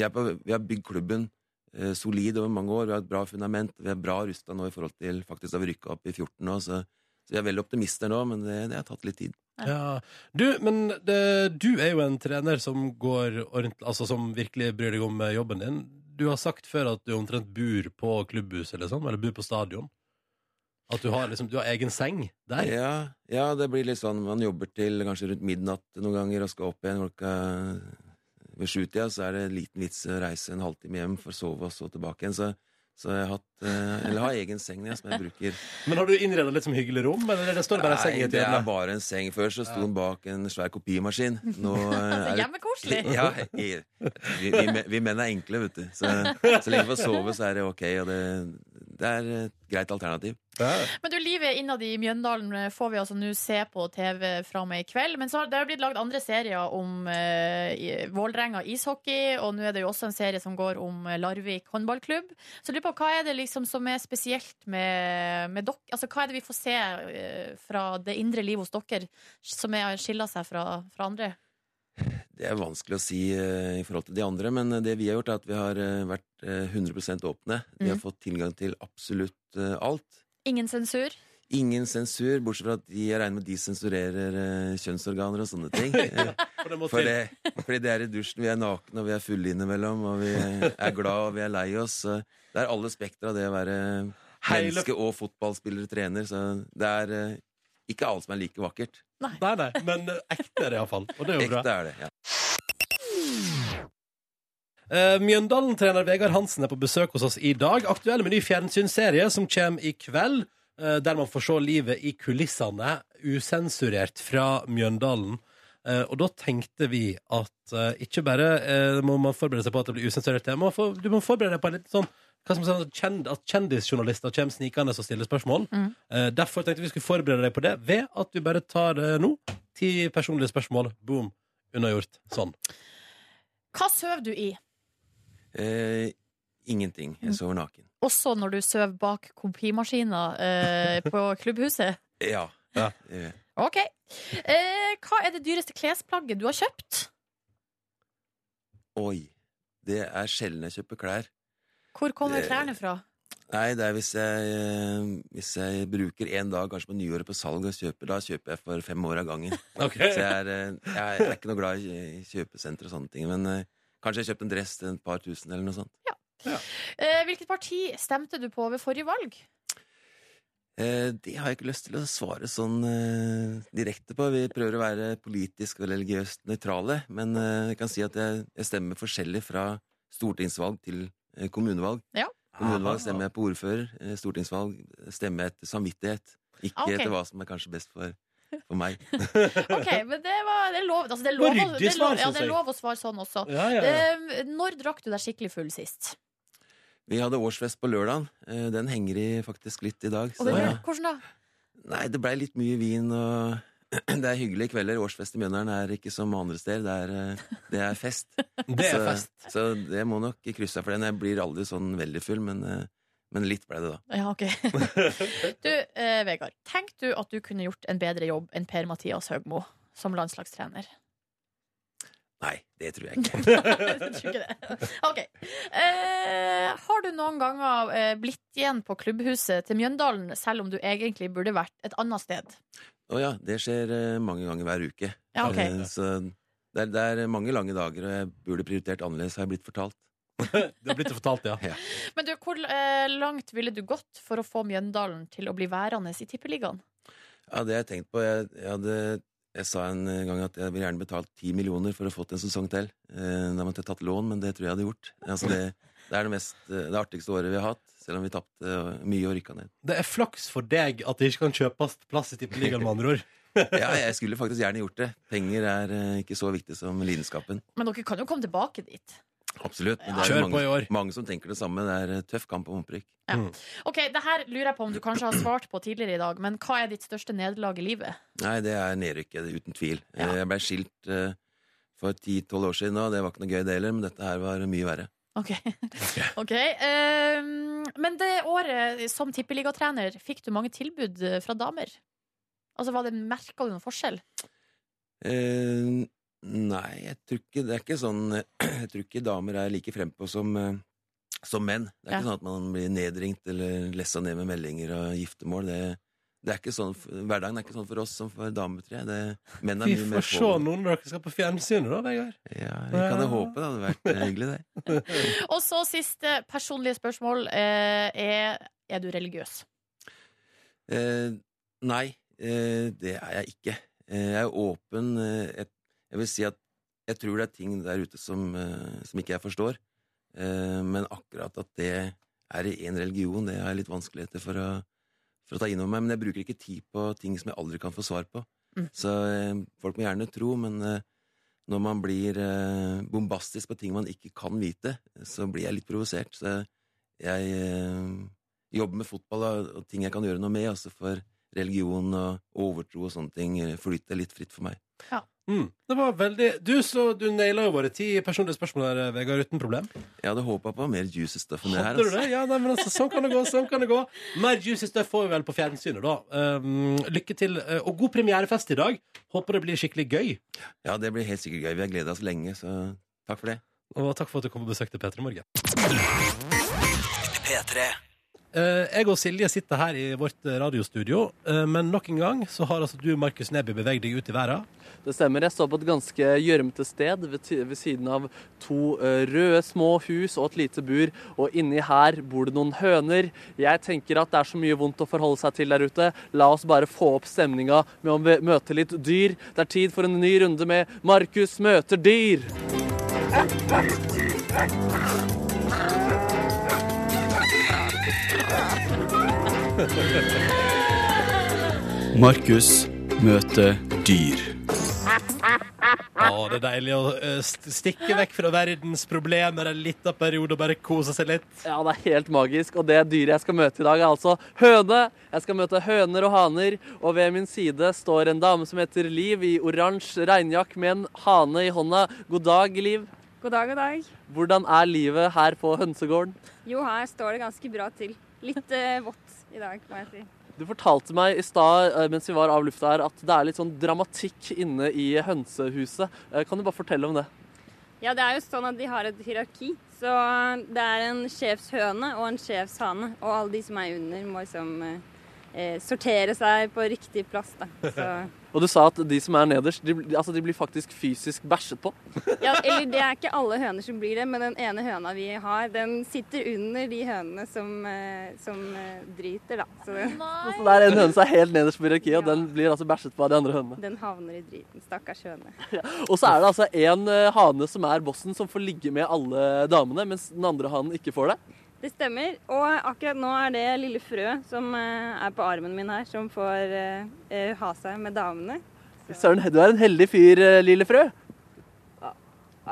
G: vi er på, vi har bygd klubben eh, solid over mange år. Vi har et bra fundament. Vi er bra rusta nå i forhold til faktisk da vi rykka opp i 14 nå, så, så vi er veldig optimister nå, men det, det har tatt litt tid.
A: Ja. Du, men det, du er jo en trener som går ordentlig Altså som virkelig bryr deg om eh, jobben din. Du har sagt før at du omtrent bor på klubbhuset, eller sånn, eller bor på stadion. At du har liksom, du har egen seng der.
G: Ja, ja, det blir litt sånn man jobber til kanskje rundt midnatt noen ganger og skal opp igjen klokka eh, ved sjutida, så er det liten vits å reise en halvtime hjem for å sove og så tilbake igjen. Så, så jeg har hatt, eh, eller har egen seng ja, som jeg bruker.
A: Men har du innreda litt som hyggelig rom, eller det står det bare en seng i
G: Nei,
A: et
G: det
A: hjørne?
G: er bare en seng. Før så sto den bak en svær kopimaskin. Nå eh, er det
B: Hjemmekoselig!
G: ja, i- vi, vi, men- vi menn er enkle, vet du. Så, så lenge vi får sove, så er det ok. Og det, det er et greit alternativ.
B: Men du, livet innad i Mjøndalen eh, får vi altså nå se på TV fra og med i kveld. Men så har det har blitt lagd andre serier om eh, i- Vålerenga ishockey, og nå er det jo også en serie som går om eh, Larvik håndballklubb. Så jeg lurer på hva er det liksom som er spesielt med, med dere? Altså, hva er det vi får se eh, fra det indre livet hos dere som er skiller seg fra, fra andre?
G: Det er vanskelig å si eh, i forhold til de andre, men eh, det vi har gjort, er at vi har eh, vært eh, 100 åpne. Vi har
B: Mhm.
G: fått tilgang til absolutt eh, alt.
B: Ingen sensur?
G: Ingen sensur, bortsett fra at de, jeg regner med de sensurerer eh, kjønnsorganer og sånne ting. Eh,
A: For det må
G: For
A: til.
G: det, fordi det er i dusjen. Vi er nakne, og vi er fulle innimellom. Og vi er glad, og vi er lei oss. Så Det er alle spekter av det å være
A: Hele-
G: menneske og fotballspiller og trener. Så det er eh, ikke alle som er like vakkert.
A: Nei, nei, men eh, ekte er det iallfall. Og det er jo bra.
G: Ekte er det. ja.
A: Eh, Mjøndalen-trener Vegard Hansen er på besøk hos oss i dag. Aktuell med ny fjernsynsserie som kommer i kveld, eh, der man får se livet i kulissene usensurert fra Mjøndalen. Eh, og da tenkte vi at eh, ikke bare eh, må man forberede seg på at det blir usensurert, man får, du må forberede deg på en litt sånn hva som er sånn kjend, at kjendisjournalister kommer snikende og stiller spørsmål.
B: Mm.
A: Eh, derfor tenkte vi skulle forberede deg på det ved at vi bare tar det nå. Ti personlige spørsmål. Boom. Unnagjort. Sånn.
B: Hva sover du i?
G: Eh, ingenting.
A: Mm.
G: Jeg sover naken.
B: Også når du sover bak kopimaskiner eh, på klubbhuset?
G: Ja.
A: Ja.
G: Eh,
B: Ok. Eh, hva er det dyreste klesplagget du har kjøpt?
G: Oi. Det er sjelden jeg kjøper klær.
B: Hvor kommer
A: Eh.
G: Det-
B: klærne fra?
G: Nei, det er hvis jeg, eh, hvis jeg bruker en dag, kanskje på nyåret, på salg og kjøper. Da kjøper jeg for fem år av gangen.
A: Okay.
G: Så jeg er, eh, jeg er ikke noe glad i i kjøpesenter og sånne ting. Men eh, kanskje jeg kjøpte en dress til et par tusen eller noe sånt.
B: Eh, hvilket parti stemte du på ved forrige valg?
G: Eh, Det har jeg ikke lyst til å svare sånn eh, direkte på. Vi prøver å være politisk og religiøst nøytrale. Men eh, jeg kan si at jeg, jeg stemmer forskjellig fra stortingsvalg til eh, kommunevalg.
B: Ja.
G: Kommunevalg stemmer jeg på ordfører. eh, Stortingsvalg stemmer jeg etter samvittighet. Ikke
B: Ah, ok.
G: etter hva som er kanskje best for, for meg.
B: Ok, men det, var, det er lov altså, det
A: var
B: er lov, å-
A: ryddig
B: det er
A: svar,
B: lov, ja,
A: synes
B: det er
A: jeg.
B: lov å svare sånn også.
A: Ja, ja, ja.
B: Eh, når drakk du deg skikkelig full sist?
G: Vi hadde årsfest på lørdagen. Eh, Den henger i faktisk litt i dag.
B: Og det,
A: Så, ja.
B: Hvordan da?
G: Nei, det blei litt mye vin, og det er hyggelige kvelder. Årsfest i Mjøndalen er ikke som andre steder. Det er, eh, det er fest.
A: Det er fest.
G: Så, så det må nok krysse av for den. Jeg blir aldri sånn veldig full, men, eh, men litt blei det, da.
B: Ja, ok. Du, eh, Vegard. Tenk du at du kunne gjort en bedre jobb enn Per-Mathias Høgmo som landslagstrener?
G: Nei, det tror jeg ikke.
B: Jeg tror ikke det. Ok. Eh, har du noen ganger eh, blitt igjen på klubbhuset til Mjøndalen, selv om du egentlig burde vært et annet sted?
G: Å ja, det skjer eh, mange ganger hver uke.
B: Ja, ok.
G: Eh, Så det er, det er mange lange dager, og jeg burde prioritert annerledes, har jeg blitt fortalt.
A: Det har blitt fortalt, ja.
B: Men du, hvor eh, langt ville du gått for å få Mjøndalen til å bli værende i Tippeligaen?
G: Ja, det har jeg tenkt på. Jeg, jeg, hadde, jeg sa en gang at jeg ville gjerne betalt ti millioner for å fått en sesong til. Eh, Da måtte jeg tatt lån, men det tror jeg jeg hadde gjort. Altså, det, det er det, mest, eh, det artigste året vi har hatt, selv om vi tapte eh, mye og rykka ned.
A: Det er flaks for deg at det ikke kan kjøpes plass i Tippeligaen, med andre ord.
G: Ja, jeg skulle faktisk gjerne gjort det. Penger er eh, ikke så viktig som lidenskapen.
B: Men dere kan jo komme tilbake dit.
G: Absolutt. Men det er
A: Kjør
G: jo
A: på i
G: mange,
A: år.
G: mange som tenker det samme. Det er eh, tøff kamp om opprykk.
B: Ok, det her lurer jeg på om du kanskje har svart på tidligere i dag, men hva er ditt største nederlag i livet?
G: Nei, det er nedrykket, uten tvil.
B: Ja.
G: Eh, Jeg blei skilt eh, for ti-tolv år siden, og det var ikke noe gøy det heller, men dette her var mye verre.
B: Ok. Ok, eh, men det året som tippeligatrener, fikk du mange tilbud eh, fra damer? Altså, var det Merka du noen forskjell?
G: Eh, nei, jeg tror ikke Det er ikke sånn Jeg tror ikke damer er like frempå som, eh, som menn. Det er
B: Ja.
G: ikke sånn at man blir nedringt eller lessa ned med meldinger og giftermål. Det, det er ikke sånn, f- Hverdagen er ikke sånn for oss som for damer, tror jeg. Det, menn er
A: Vi
G: mye mer
A: får se
G: på.
A: noen når dere skal på fjernsynet, da, Vegard.
G: Ja, vi kan jo håpe. Det hadde vært eh, hyggelig, det.
B: Og så siste personlige spørsmål eh, er Er du religiøs?
G: Eh, nei, eh, det er jeg ikke. Eh, jeg er åpen. Eh, jeg, jeg vil si at jeg tror det er ting der ute som, eh, som ikke jeg forstår. Eh, men akkurat at det er i én religion, det har jeg litt vanskeligheter for å, for å ta inn over meg. Men jeg bruker ikke tid på ting som jeg aldri kan få svar på.
B: Mm.
G: Så eh, folk må gjerne tro, men eh, når man blir eh, bombastisk på ting man ikke kan vite, så blir jeg litt provosert. Så jeg eh, jobbe med fotball og, og ting jeg kan gjøre noe med. Også for religion og overtro og sånne ting eh, flyter litt fritt for meg.
A: Mm. Det var veldig Du, så du naila jo våre ti personlige spørsmål der, Vegard, uten problem.
G: Jeg hadde håpa på mer juicy stuff enn det her.
A: Hadde du det? Ja, nei, men altså, sånn kan det gå. sånn kan det gå Mer juicy stuff får vi vel på fjernsynet, da. Um, lykke til, eh, og god premierefest i dag. Håper det blir skikkelig gøy.
G: Altså. Ja, det blir helt sikkert gøy. Vi har gleda oss lenge, så takk for det.
A: Og takk for at du kom og besøkte P3 Morgen. Eh, Jeg og Silje sitter her i vårt eh, radiostudio, eh, men nok en gang så har altså du, Markus Neby, beveget deg ut i verden.
C: Det stemmer. Jeg står på et ganske gjørmete sted ved, ti- ved siden av to eh, røde små hus og et lite bur, og inni her bor det noen høner. Jeg tenker at det er så mye vondt å forholde seg til der ute. La oss bare få opp stemninga med å mø- møte litt dyr. Det er tid for en ny runde med Markus møter dyr.
H: Markus møter dyr.
A: Å, det er deilig å eh, st- stikke vekk fra verdens problemer en liten periode og bare kose seg litt.
C: Ja, det er helt magisk. Og det dyret jeg skal møte i dag, er altså høne. Jeg skal møte høner og haner, og ved min side står en dame som heter Liv i oransje regnjakk med en hane i hånda. God dag, Liv.
I: God dag, god dag.
C: Hvordan er livet her på hønsegården?
I: Jo, her står det ganske bra til. Litt eh, vått i dag, må jeg si.
C: Du fortalte meg i stad eh, mens vi var av lufta her, at det er litt sånn dramatikk inne i hønsehuset. Eh, Kan du bare fortelle om det?
I: Ja, det er jo sånn at de har et hierarki. Så det er en sjefshøne og en sjefshane. Og alle de som er under, må liksom eh, eh, sortere seg på riktig plass, da. Så,
C: Og du sa at de som er nederst, de, bl- altså de blir faktisk fysisk bæsjet på.
I: ja, eller det er ikke alle høner som blir det, men den ene høna vi har, den sitter under de hønene som, eh, som eh, driter, da. Så den,
C: Så
B: Nei.
C: det er en høne som er helt nederst på hierarkiet, og den blir altså bæsjet på av de andre hønene.
I: den havner i driten. Stakkars høne.
C: Og så er det altså en eh, hane som er bossen, som får ligge med alle damene, mens den andre hanen ikke får det.
I: Det stemmer. Og akkurat nå er det lille frø som eh, er på armen min her, som får eh, eh, ha seg med damene.
C: Søren, du er en heldig fyr, eh, lille frø. Nei,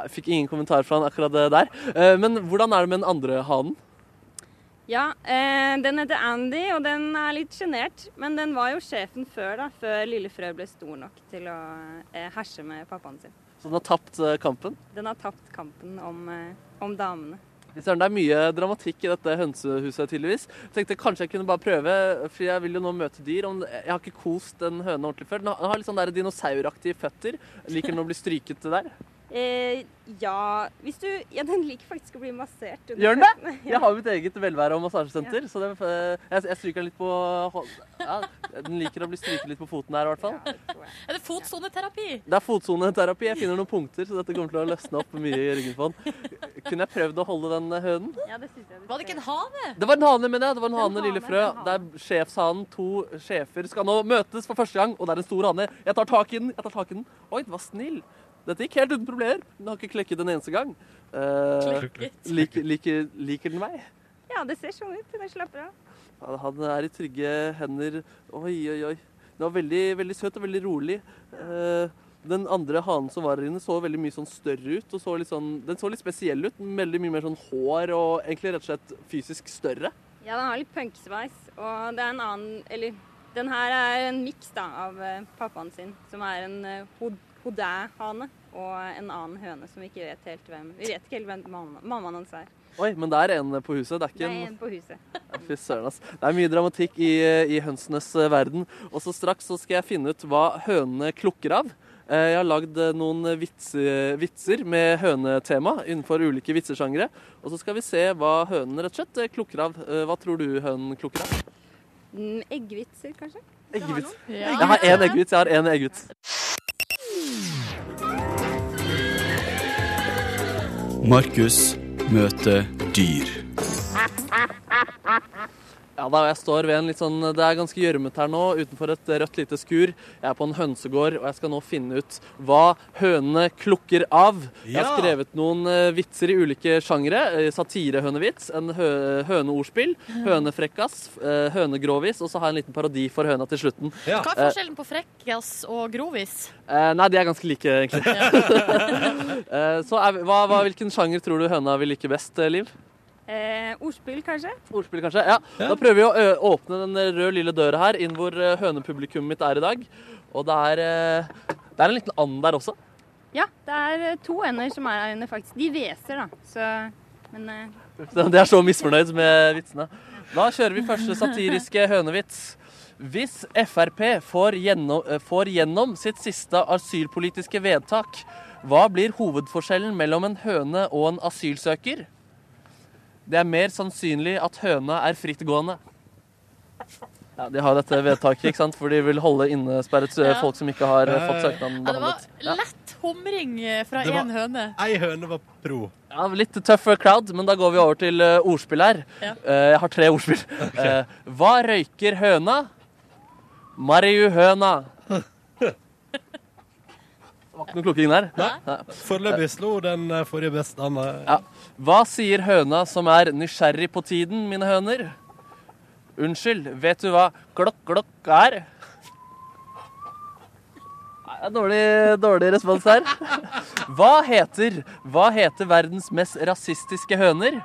C: Jeg fikk ingen kommentar fra han akkurat det der. Eh, Men hvordan er det med den andre hanen?
I: Ja, eh, den heter Andy, og den er litt sjenert. Men den var jo sjefen før, da. Før lille frø ble stor nok til å eh, herse med pappaen sin.
C: Så den har tapt eh, kampen.
I: Den har tapt kampen om, eh, om damene.
C: Søren, det er mye dramatikk i dette hønsehuset, tydeligvis. Jeg tenkte kanskje jeg kunne bare prøve, for jeg vil jo nå møte dyr. Om eh, jeg har ikke kost en høne ordentlig før. Den har- Den har litt sånn der dinosauraktige føtter. Liker den å bli stryket det der?
I: Eh, ja Hvis du Ja, den liker faktisk å bli massert. under
C: Gjør den
I: føttene.
C: Jeg har mitt eget velvære- og massasjesenter, så det, eh, jeg, jeg stryker den litt på hå- ja, Den liker å bli stryket litt på foten her, i hvert fall.
I: Ja, det tror jeg.
B: Er det fotsoneterapi?
C: Det er fotsoneterapi. Jeg finner noen punkter, så dette kommer til å løsne opp mye i ryggen på han. Kunne jeg prøvd å holde den eh, hønen?
I: Ja, det synes jeg du
B: Var det
I: skal
B: ikke en
I: gjøre.
B: hane?
C: Det var en hane, mener jeg. Det var en hane,
I: hane,
C: lille frø.
I: en hane.
C: Det er sjefshanen. To sjefer skal nå møtes for første gang, og det er en stor hane. Jeg tar tak i den. jeg tar tak i den. Oi, den var snill. Dette gikk helt uten problemer. Den har ikke klekket en eneste gang. Eh, liker, liker, liker den meg?
I: Ja, det ser sånn ut. Den slapper av.
C: Ja, Han er i trygge hender. Oi, oi, oi. Den var veldig, veldig søt og veldig rolig. Eh, Den andre hanen som var her inne, så veldig mye sånn større ut. og så litt sånn, Den så litt spesiell ut. Veldig mye mer sånn hår og egentlig rett og slett fysisk større.
I: Ja, den har litt punksveis, og det er en annen Eller den her er en miks da av eh, pappaen sin, som er en eh, hod hodæ-hane, og en annen høne som vi ikke vet helt hvem Vi vet ikke helt hvem mamma- mammaen hans er.
C: Oi, men det er en på huset. Det er
I: Det
C: ikke
I: er
C: en
I: en på huset.
C: Fy søren, ass. Det er mye dramatikk i, i hønsenes eh, verden. Og så straks så skal jeg finne ut hva hønene klukker av. Eh, Jeg har lagd eh, noen vitser, vitser med hønetema innenfor ulike vitsesjangre. Og så skal vi se hva hønen rett og slett eh, klukker av. Eh, Hva tror du hønen klukker av?
I: Mm, Eggvitser, kanskje?
C: Eggvits.
B: Ja.
C: Jeg har én eggvits. Jeg har én eggvits.
H: Markus møter dyr.
C: Ja da, og jeg står ved en litt sånn Det er ganske gjørmete her nå, utenfor et rødt lite skur. Jeg er på en hønsegård, og jeg skal nå finne ut hva hønene klukker av. Jeg har
A: Ja.
C: skrevet noen eh, vitser i ulike sjangre. Eh, Satirehønevits, en hø høneordspill, hønefrekkas, eh, hønegrovis, og så har jeg en liten parodi for høna til slutten.
A: Ja.
B: Hva er forskjellen på frekkas og grovis?
C: Eh, nei, de er ganske like, egentlig. Eh, så er, vi- hva, hva, hvilken sjanger tror du høna vil like best, eh, Liv?
I: Eh, ordspill, kanskje?
C: Ordspill, kanskje? Ja.
A: Ja.
C: Da prøver vi å ø, åpne den røde lille døra her, inn hvor ø, hønepublikummet mitt er i dag. Og det er, ø, det er en liten and der også.
I: Ja, det er eh, to ender som er her inne, faktisk. De hveser, da. Så, men eh,
C: De er så misfornøyd med vitsene. Da kjører vi første satiriske hønevits. Hvis Frp får gjennom, eh, får gjennom sitt siste asylpolitiske vedtak, hva blir hovedforskjellen mellom en høne og en asylsøker? Det er mer sannsynlig at høna er frittgående. Ja, De har dette vedtaket, ikke sant? for de vil holde innesperret eh,
B: Ja.
C: folk som ikke har eh,
A: Ja, ja,
C: fått
A: ja.
C: søknaden
B: Ja, det var
C: behandlet. Ja.
B: lett humring eh, fra
A: Det var-
B: én høne.
A: Ei høne var pro.
C: Ja, Litt tøff crowd, men da går vi over til eh, ordspill her.
B: Ja.
C: Eh, jeg har tre ordspill. Eh, hva røyker høna? Mariuhøna. Det var ikke noe klokking der.
A: Foreløpig slo den eh, forrige best an. eh.
C: Ja. Hva sier høna som er nysgjerrig på tiden, mine høner? Unnskyld, vet du hva klokk-klokk er? Nei, det er Dårlig, dårlig respons her. Hva heter, hva heter verdens mest rasistiske høner?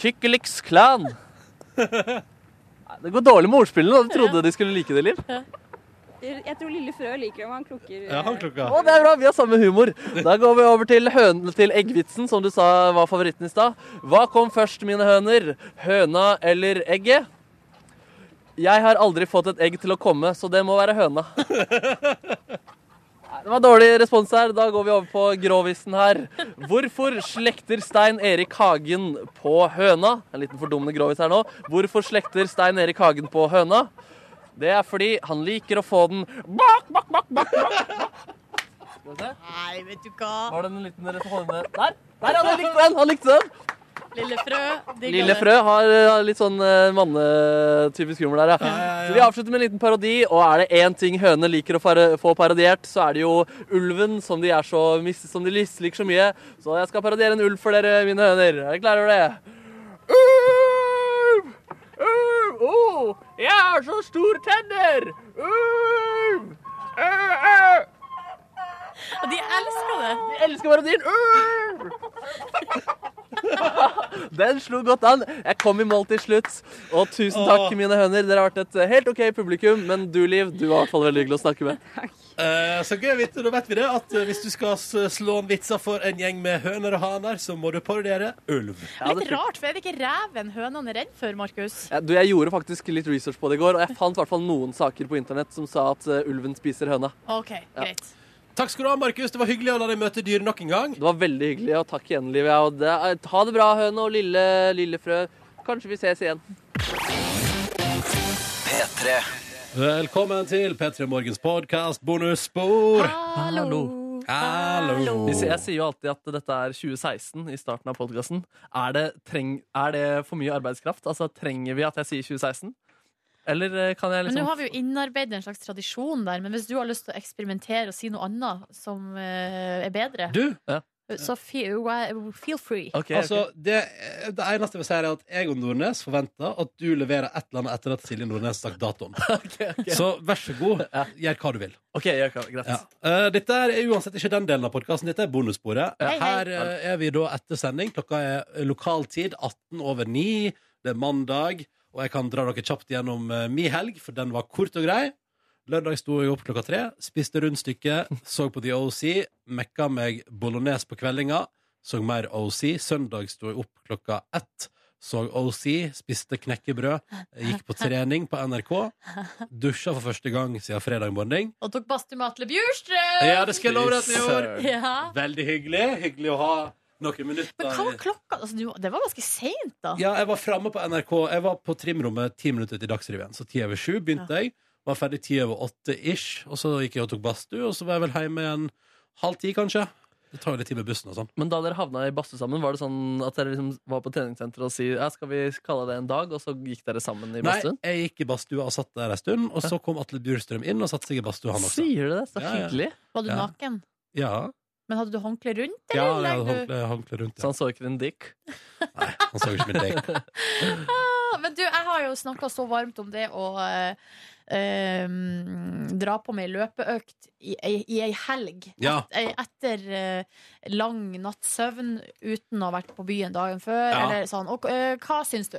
C: Kykkeliks klan. Nei, Det går dårlig med ordspillene. da. Du trodde de skulle like det, Liv?
I: eh, jeg tror Lille Frø liker om han klukker.
A: Ja, han
I: eh,
A: klokka.
C: Å, det er bra, vi har samme humor. Da går vi over til, høn, til eggvitsen, som du sa var favoritten i stad. Hva kom først, mine høner? Høna eller egget? Jeg har aldri fått et egg til å komme, så det må være høna. Nei, Det var dårlig respons her. Da går vi over på gråvisen her. Hvorfor slekter Stein Erik Hagen på høna? En liten fordummende gråvis her nå. Hvorfor slekter Stein Erik Hagen på høna? Det er fordi han liker å få den bak, bak, bak, bak, bak. Skal vi se.
B: Nei, vet du hva.
C: Var det en liten rett hånde Der! Der, ja, han likte den! han likte den
B: Lille frø. digger
C: Lille
B: det.
C: Frø har eh, litt sånn eh, mannetypisk humor der, ja. Så vi avslutter med en liten parodi, og er det én ting høne liker å fare- få parodiert, så er det jo ulven, som de, er så, mis- som de misliker så mye. Så jeg skal parodiere en ulv for dere, mine høner. Er dere klare over det? Ulv! Ulv! Å, jeg har så store tenner! Ulv! Eh, Æ, æ.
B: Og de elsker det.
C: Jeg elsker parodien! Urr! Den slo godt an. Jeg kom i mål til slutt. Og tusen takk,
A: Åh.
C: mine høner. Dere har vært et helt OK publikum. Men du, Liv, du var i hvert fall veldig hyggelig å snakke med.
A: Eh, så gøy å vite, da vet vi det, at eh, hvis du skal s- slå en vitser for en gjeng med høner og haner, så må du parodiere ulv.
C: Ja, det
B: Litt rart, for er det ikke reven hønene er redd for, Markus?
C: Ja, du, jeg gjorde faktisk litt research på det i går, og jeg fant i hvert fall noen saker på internett som sa at eh, ulven spiser høna.
B: OK, greit.
A: Takk skal du ha, Markus. Det var hyggelig å la deg møte dyr nok en gang.
C: Det var veldig hyggelig, og takk igjen, Liv. Ja, og det, er- ha det bra, høne og lille, lille frø. Kanskje vi ses igjen.
A: Velkommen til P3 Morgens podkast bonusspor.
B: Hallo.
A: Hallo.
C: Hvis jeg sier jo alltid at dette er 2016 i starten av podkasten. Er, det treng- er det for mye arbeidskraft? Altså, Trenger vi at jeg sier 2016? Eller eh, kan jeg
B: Men nå
C: liksom
B: har vi jo innarbeidet en slags tradisjon der. Men hvis du har lyst til å eksperimentere og si noe annet som eh, er bedre,
A: Du,
B: så feel, feel free.
C: Ok, ok.
A: altså, det, det eneste jeg vil si, er at jeg og Nordnes forventer at du leverer et eller annet etter at Silje Nordnes har sagt datoen.
C: ok, ok.
A: Så vær så god, gjør hva du vil.
C: OK, jeg kan, greit.
A: Ja. Eh, dette er uansett ikke den delen av podkasten, dette er bonussporet.
B: Hei, hei.
A: Her eh, er vi da etter sending. Klokka er eh, lokal tid, 18 over 9. Det er mandag, og jeg kan dra dere kjapt gjennom eh, mi helg, for den var kort og grei. Lørdag sto jeg opp klokka tre, spiste rundstykket, så på The OC, mekka meg bolognese på kveldinga, så mer OC. Søndag sto jeg opp klokka ett, så OC, spiste knekkebrød, gikk på trening på NRK, dusja for første gang siden fredag morgen.
B: Og tok badstue med Atle Bjurstrøm!
A: Ja, det skal jeg love deg at jeg gjorde.
B: Ja.
A: Veldig hyggelig. Hyggelig å ha noen minutter.
B: Men hva var klokka? Altså, du- det var ganske seint, da.
A: Ja, jeg var framme på NRK. Jeg var på trimrommet ti minutter til Dagsrevyen. Så ti over sju begynte jeg. Var ferdig ti over åtte ish. Og så gikk jeg og tok badstue, og så var jeg vel hjemme igjen halv ti, kanskje. Det tar jo litt tid med bussen og sånn.
C: Men da dere havna i badstue sammen, var det sånn at dere liksom var på treningssenteret og si ja, skal vi kalle det en dag, og så gikk dere sammen i
A: Nei,
C: badstuen?
A: jeg gikk i badstua og satt der ei stund, og så kom Atle Bjurstrøm inn og satte seg i badstua, han også.
C: Sier du det? Så
A: Ja, ja.
C: hyggelig.
B: Var du
A: Ja.
B: naken?
A: Ja,
B: Men hadde du håndkle rundt,
A: ja jeg
B: eller? legger
A: hadde
B: du-
A: håndkle, håndkle rundt.
C: Så
A: Ja.
C: han så ikke din dick?
A: Nei, han så jo ikke min deg.
B: Ja, Men du, jeg har jo snakka så varmt om det å eh, eh, dra på meg løpeøkt i, ei- i ei helg.
A: Ja.
B: Et- ei- etter eh, lang natts søvn uten å ha vært på byen dagen før.
A: Ja.
B: Eller sånn. Og, eh, hva syns du?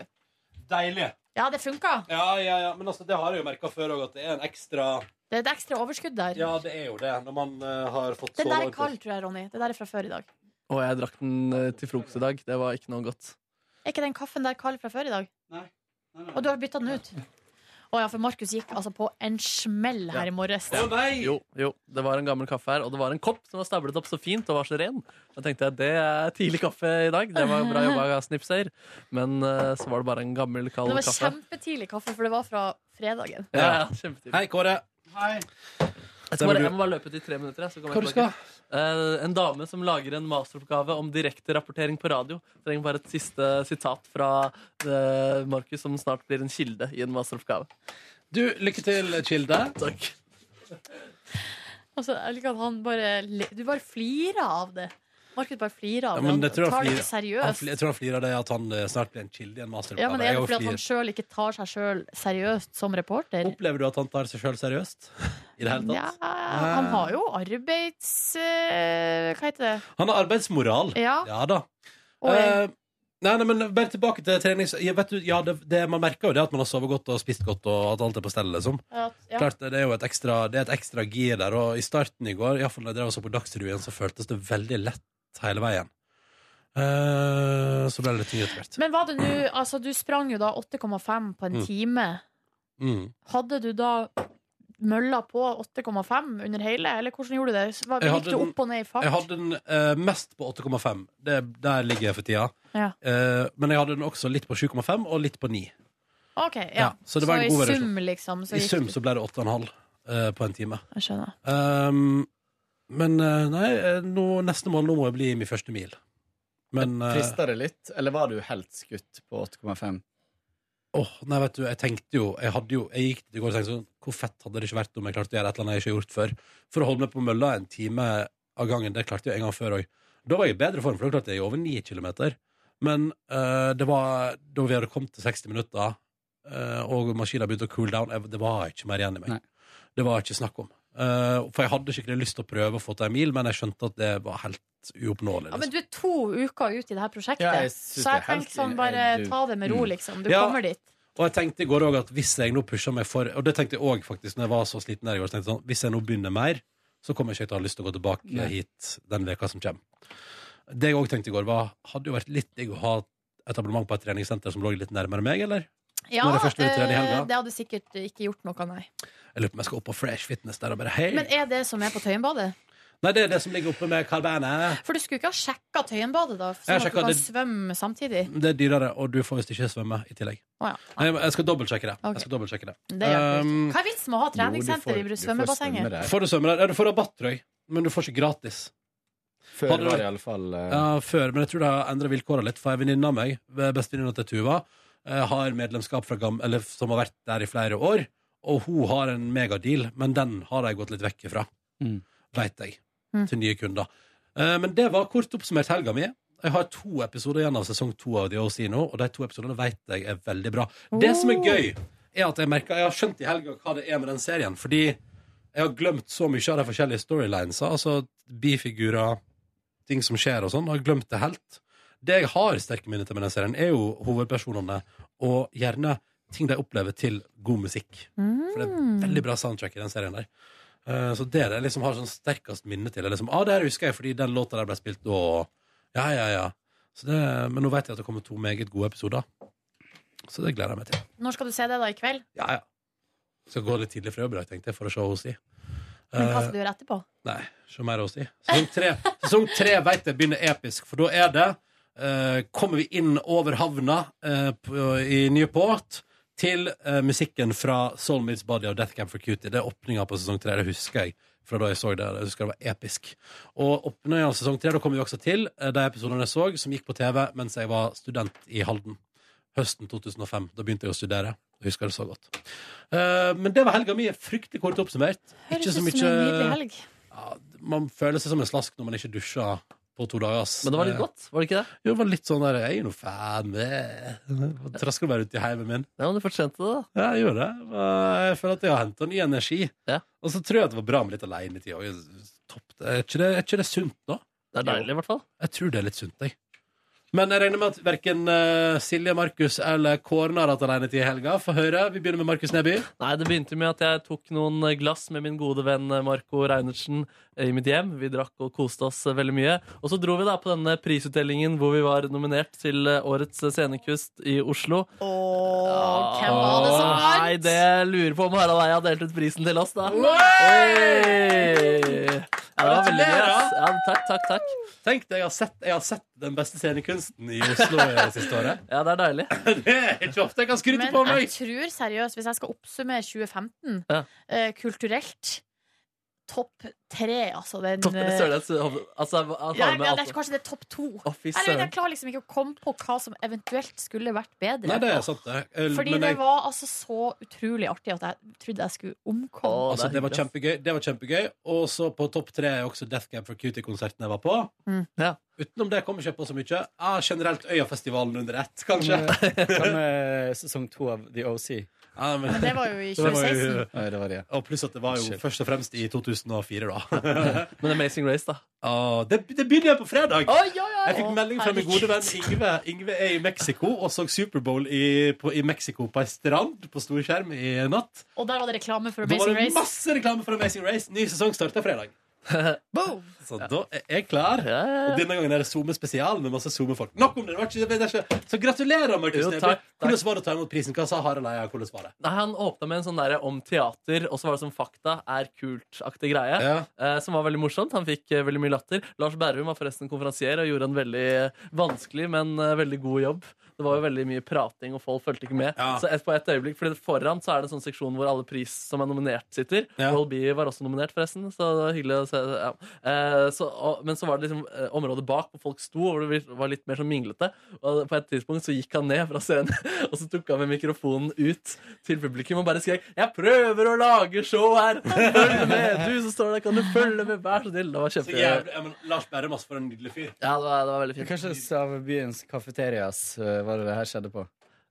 A: Deilig.
B: Ja, det funka.
A: Ja, ja, ja. Men altså, det har jeg jo merka før òg, at det er en ekstra
B: Det er et ekstra overskudd der.
A: Ja, det er jo det, når man eh, har fått så
B: Den der
A: lang
B: er kald, tror jeg, Ronny. Det der er fra før i dag.
C: Og jeg drakk den eh, til frokost i dag. Det var ikke noe godt.
B: Er ikke den kaffen der kald fra før i dag? Og du har bytta den ut? Å ja, for Markus gikk altså på en smell her i morges.
A: Å nei!
C: Jo, jo, det var en gammel kaffe her, og det var en kopp som var stablet opp så fint og var så ren. Da tenkte jeg det er tidlig kaffe i dag. Det var bra jobba, Snipser. Men eh, så var det bare en gammel, kald
B: Det var
C: kaffe.
B: kjempetidlig kaffe, for det var fra fredagen.
C: Ja, ja, kjempetidlig.
A: Hei, Kåre.
C: Jeg, skal bare, jeg må bare løpe ut i tre minutter. jeg, Så kommer jeg tilbake. Eh, en dame som lager en masteroppgave om direkterapportering på radio. Trenger bare et siste sitat fra eh, Markus, som snart blir en kilde i en masteroppgave.
A: Du, lykke til, Kilde.
C: Takk.
B: Altså, jeg liker at han bare le- Du bare flirer av det. Markus bare flirer
A: Ja,
B: av det.
A: men
B: Han
A: jeg tror han
B: tar det ikke
A: flirer- han
B: seriøst.
A: flirer- jeg tror han flirer av det at han eh, snart blir en kilde i en masteroppgave.
B: Ja, men Er
A: Jeg
B: det
A: også
B: fordi at han
A: flirer.
B: sjøl ikke tar seg sjøl seriøst som reporter?
A: Opplever du at han tar seg sjøl seriøst? I det hele
B: Ja,
A: tatt?
B: han har jo arbeids... eh, Hva heter det?
A: Han har arbeidsmoral.
B: Ja.
A: Ja da.
B: Og
A: Eh, nei, nei, men bare tilbake til trenings... Ja, vet du, ja, det, det, man merker jo det at man har sovet godt og spist godt, og at alt er på stell, liksom.
B: at, ja.
A: Klart, det er jo et ekstra, det er et ekstra gir der, og i starten i går, iallfall da jeg drev og så på Dagsrevyen, så føltes det veldig lett hele veien. Eh, så ble det litt tyngre etter hvert.
B: Men var det nå Altså, du sprang jo da 8,5 på en
A: Mm.
B: time.
A: Mm.
B: Hadde du da mølla på 8,5 under hele, eller hvordan gjorde du det? Så Var,
A: Jeg
B: gikk
A: hadde
B: du
A: den-
B: opp og ned i fart?
A: Jeg hadde den eh, mest på 8,5. Det- Der ligger jeg for tida.
B: Ja.
A: Eh, men jeg hadde den også litt på 7,5 og litt på 9.
B: Ok,
A: Ja,
B: ja.
A: så det var en god
B: i
A: variasjon.
B: sum, liksom. Så
A: I
B: gikk
A: sum
B: du-
A: så ble det 8,5 eh, på en time.
B: Jeg skjønner.
A: Um, men eh, nei, eh, nå, neste mål nå må jeg bli min første mil. Men eh,
J: Frista det litt, eller var du helt skutt på 8,5?
A: åh, nei, vet du, jeg tenkte jo Jeg hadde jo, jeg gikk i går og tenkte sånn Hvor fett hadde det ikke vært om jeg klarte å gjøre et eller annet jeg ikke har gjort før? For å holde meg på mølla en time av gangen, det klarte jeg en gang før òg. Da var jeg i bedre form, for da klarte jeg over 9 kilometer. Men eh, det var da vi hadde kommet til 60 minutter, eh, og maskinen begynte å cool down, jeg, det var ikke mer igjen i meg.
J: Nei.
A: Det var ikke snakk om. Eh, for jeg hadde skikkelig lyst til å prøve å få til en mil, men jeg skjønte at det var helt uoppnåelig.
B: Ja, men
A: Liksom.
B: du er to uker ut i det her prosjektet,
J: Ja, jeg
B: så jeg
J: synes det er helt-
B: tenker sånn, bare
J: du-
B: ta det med ro, liksom. Du
A: eh, Mm. Ja.
B: kommer dit.
A: Og jeg tenkte i går òg at hvis jeg nå pusher meg for Og det tenkte jeg òg faktisk når jeg var så sliten der i går. så tenkte jeg sånn, Hvis jeg nå begynner mer, så kommer jeg ikke til å ha lyst til å gå tilbake
J: Nei.
A: hit den veka som kommer. Det jeg òg tenkte i går, var Hadde jo vært litt digg å ha et abonnement på et treningssenter som lå litt nærmere meg, eller?
B: Ja,
A: Når det første utredet i helga.
B: eh, det hadde sikkert ikke gjort noe, nei.
A: Jeg lurer på om jeg skal opp på Fresh Fitness der og bare Hei!
B: Men er det som er på Tøyenbadet?
A: Nei, det er det som ligger oppe med Carbanet.
B: For du skulle ikke ha sjekka Tøyenbadet, da,
A: Jeg har
B: sånn at du
A: sjekket
B: kan
A: det-
B: svømme samtidig?
A: Det er dyrere, og du får visst ikke svømme i tillegg.
B: Å ja.
A: Nei, men jeg skal dobbeltsjekke det.
B: Ok.
A: Jeg skal dobbeltsjekke det.
B: Det hjelper
A: Um,
B: ikke. Hva er vitsen med å ha treningssenter
J: Jo, du
B: i
J: får- Du får
B: svømmebassenget?
J: svømme der.
A: Får du svømme der? Ja, du får rabatt, tror jeg. Men du får ikke gratis.
J: Før
A: Hadde
J: var
A: du-
J: det i alle fall eh,
A: Ja, før, men jeg tror det har endret vilkårene litt For en venninne av meg, bestevenninna til Tuva eh, Har medlemskap fra gam- eller, som har vært der i flere år Og hun har en megadeal Men den har jeg gått litt vekk fra
J: Mm.
A: Vet jeg,
B: Mm.
A: til nye kunder eh, Men det var kort oppsummert helga mi Jeg har to episoder igjen av sesong 2 av The OC nå Og de to episoderne vet jeg er veldig bra Det som er gøy er at jeg, merker, jeg har skjønt i helga hva det er med den serien Fordi jeg har glemt så mye av de forskjellige storylinesa Altså bifigurer ting som skjer og sånn, har glemt det helt. Det jeg har sterke minner til med den serien, er jo hovedpersonene, og gjerne ting de opplever til god musikk.
B: Mhm.
A: For det er
B: Mm.
A: veldig bra soundtrack i den serien der. Eh, Så det er det jeg liksom har sånn sterkest minne til. er Liksom, ah, det her husker jeg fordi den låta der ble spilt da. og- Ja, ja, ja. Så det, men nå vet jeg at det kommer to meget gode episoder. Så det gleder jeg meg til.
B: Når skal du se det, da? I kveld?
A: Ja, ja. Skal gå litt tidlig fra jobb i dag, tenkte jeg, for å se henne si. Eh,
B: Men hva skal du gjøre etterpå?
A: Nei, se mer hos de. Sesong tre, sesong tre vet jeg begynner episk, for da er det eh, Kommer vi inn over havna eh, på, i Newport til eh, musikken fra Soulmates Body og Death Camp for Cutie. Det er åpninga på sesong tre, det husker jeg. Fra da jeg så det, jeg husker det var episk. Og åpninga av sesong tre, da kommer vi også til eh, de episodene jeg så som gikk på TV mens jeg var student i Halden. Høsten 2005. Da begynte jeg å studere. Jeg husker det så godt. Eh, men det var helga mi. Fryktelig kort oppsummert.
B: Høres
A: Ikke
B: ut
A: så
B: som en
A: mye
B: nydelig helg.
A: ja, man føler seg som en slask når man ikke dusjer på to dager. ass.
C: Men det var litt godt, var det ikke det?
A: Jo, det var litt sånn der Jeg er jo noe fan med Trasker bare rundt i heimen min.
C: Ja, men du fortjente det, da.
A: Ja, jeg gjorde det. Og Jeg føler at jeg har henta ny energi.
C: Ja.
A: Og så tror jeg at det var bra med litt alenetid òg. Er ikke det er ikke det sunt, da?
C: Det er deilig, i hvert fall.
A: Jeg tror det er litt sunt, jeg. Men jeg regner med at verken eh, Silje, Markus eller Kåren har hatt alenetid i helga. Få høre. Vi begynner med Markus Neby.
C: Nei, Det begynte med at jeg tok noen glass med min gode venn Marco Reinertsen i mitt hjem. Vi drakk og koste oss veldig mye. Og så dro vi da på denne prisutdelingen hvor vi var nominert til Årets scenekunst i Oslo. Ah,
B: Åh, hvem var det som vant?
C: Nei, det lurer på om Harald Eia har delt ut prisen til oss, da. Oi! Ja, det var veldig gøy. ass. Ja, takk, takk, takk.
A: Tenk deg, jeg har sett, jeg har sett den beste scenekunsten i Oslo det siste året.
C: Ja, det er deilig.
A: Det er ikke ofte jeg kan skryte
B: Men
A: på
B: jeg
A: meg!
B: tror seriøst, hvis jeg skal oppsummere 2015
C: Ja.
B: eh, kulturelt Topp tre, altså. Den,
C: Topp-
B: eh,
C: Sørlands- Altså, han
B: ja,
C: har med
B: ja, det
C: alt.
B: er kanskje det er topp to.
C: Å, fy
B: Jeg, vet, jeg
C: søren.
B: klarer liksom ikke å komme på hva som eventuelt skulle vært bedre.
A: Nei, det er sant, det. Eh,
B: Fordi
A: men
B: det
A: jeg-
B: var altså så utrolig artig at jeg trodde jeg skulle omkomme.
C: Å,
A: Altså,
C: er
A: det var
C: hyggelig, ass.
A: kjempegøy. Det var kjempegøy Og så på topp tre er også Death Cab for Cutie-konserten jeg var på.
B: Mm.
C: Ja.
A: Utenom det kommer ikke jeg på så mye. Ah, generelt Øyafestivalen under ett, kanskje.
J: Hva med sesong to av The OC?
A: Ja, men,
B: Men det var jo i
A: det var
B: 2016.
A: jo,
J: Nei, det var det.
A: og pluss at det var jo
J: Shit.
A: først og fremst i 2004, da.
C: Men Amazing Race, da.
A: Ah, det, det begynner jeg på fredag! Jeg fikk
B: Å,
A: melding fra min gode venn
B: herregud.
A: Yngve. Yngve er i Mexico og så Superbowl i, på- i Mexico på ei strand på storskjerm i natt.
B: Og der var det reklame for
A: Da var
B: Amazing
A: det
B: Race.
A: masse reklame for Amazing Race. Ny sesong starter fredag.
B: Boom!
A: Så da er jeg klar.
C: Ja, ja, ja.
A: Og denne gangen er det SoMe-spesial med masse SoMe-folk. Nok om det, det var ikke, det er ikke. Så gratulerer, Markus
C: Jo,
A: Neby.
C: takk, takk.
A: Hvordan var det å ta imot prisen? Hva sa Harald Eia? Hvordan var det?
C: Nei, Han åpna med en sånn der om teater, og så var det sånn fakta er kult-aktig greie. Eh, som var veldig morsomt. Han fikk eh, veldig mye latter. Lars Berrum var forresten konferansier og gjorde en veldig eh, vanskelig, men eh, veldig god jobb. Det var jo veldig mye prating, og folk fulgte ikke med.
A: Ja.
C: Så et, på et øyeblikk, fordi Foran så er det en sånn seksjon hvor alle pris som er nominert, sitter.
A: Ja.
C: Old B var også nominert, forresten. Så det var hyggelig å se. Ja. Eh, så, og, men så var det liksom eh, området bak hvor folk sto, hvor det var litt mer sånn minglete. Og på et tidspunkt så gikk han ned fra scenen, og så tok han med mikrofonen ut til publikum og bare skrek 'Jeg prøver å lage show her! Følg med! Du som står der, kan du følge med? Vær så snill!' Det var
A: Så
C: kjempe... Ja,
A: jævlig, ja, men Lars Berrum, altså, for en nydelig fyr.
C: det var, det var veldig fint.
J: Kanskje Samebyens kafeterias eh, var det det her skjedde på.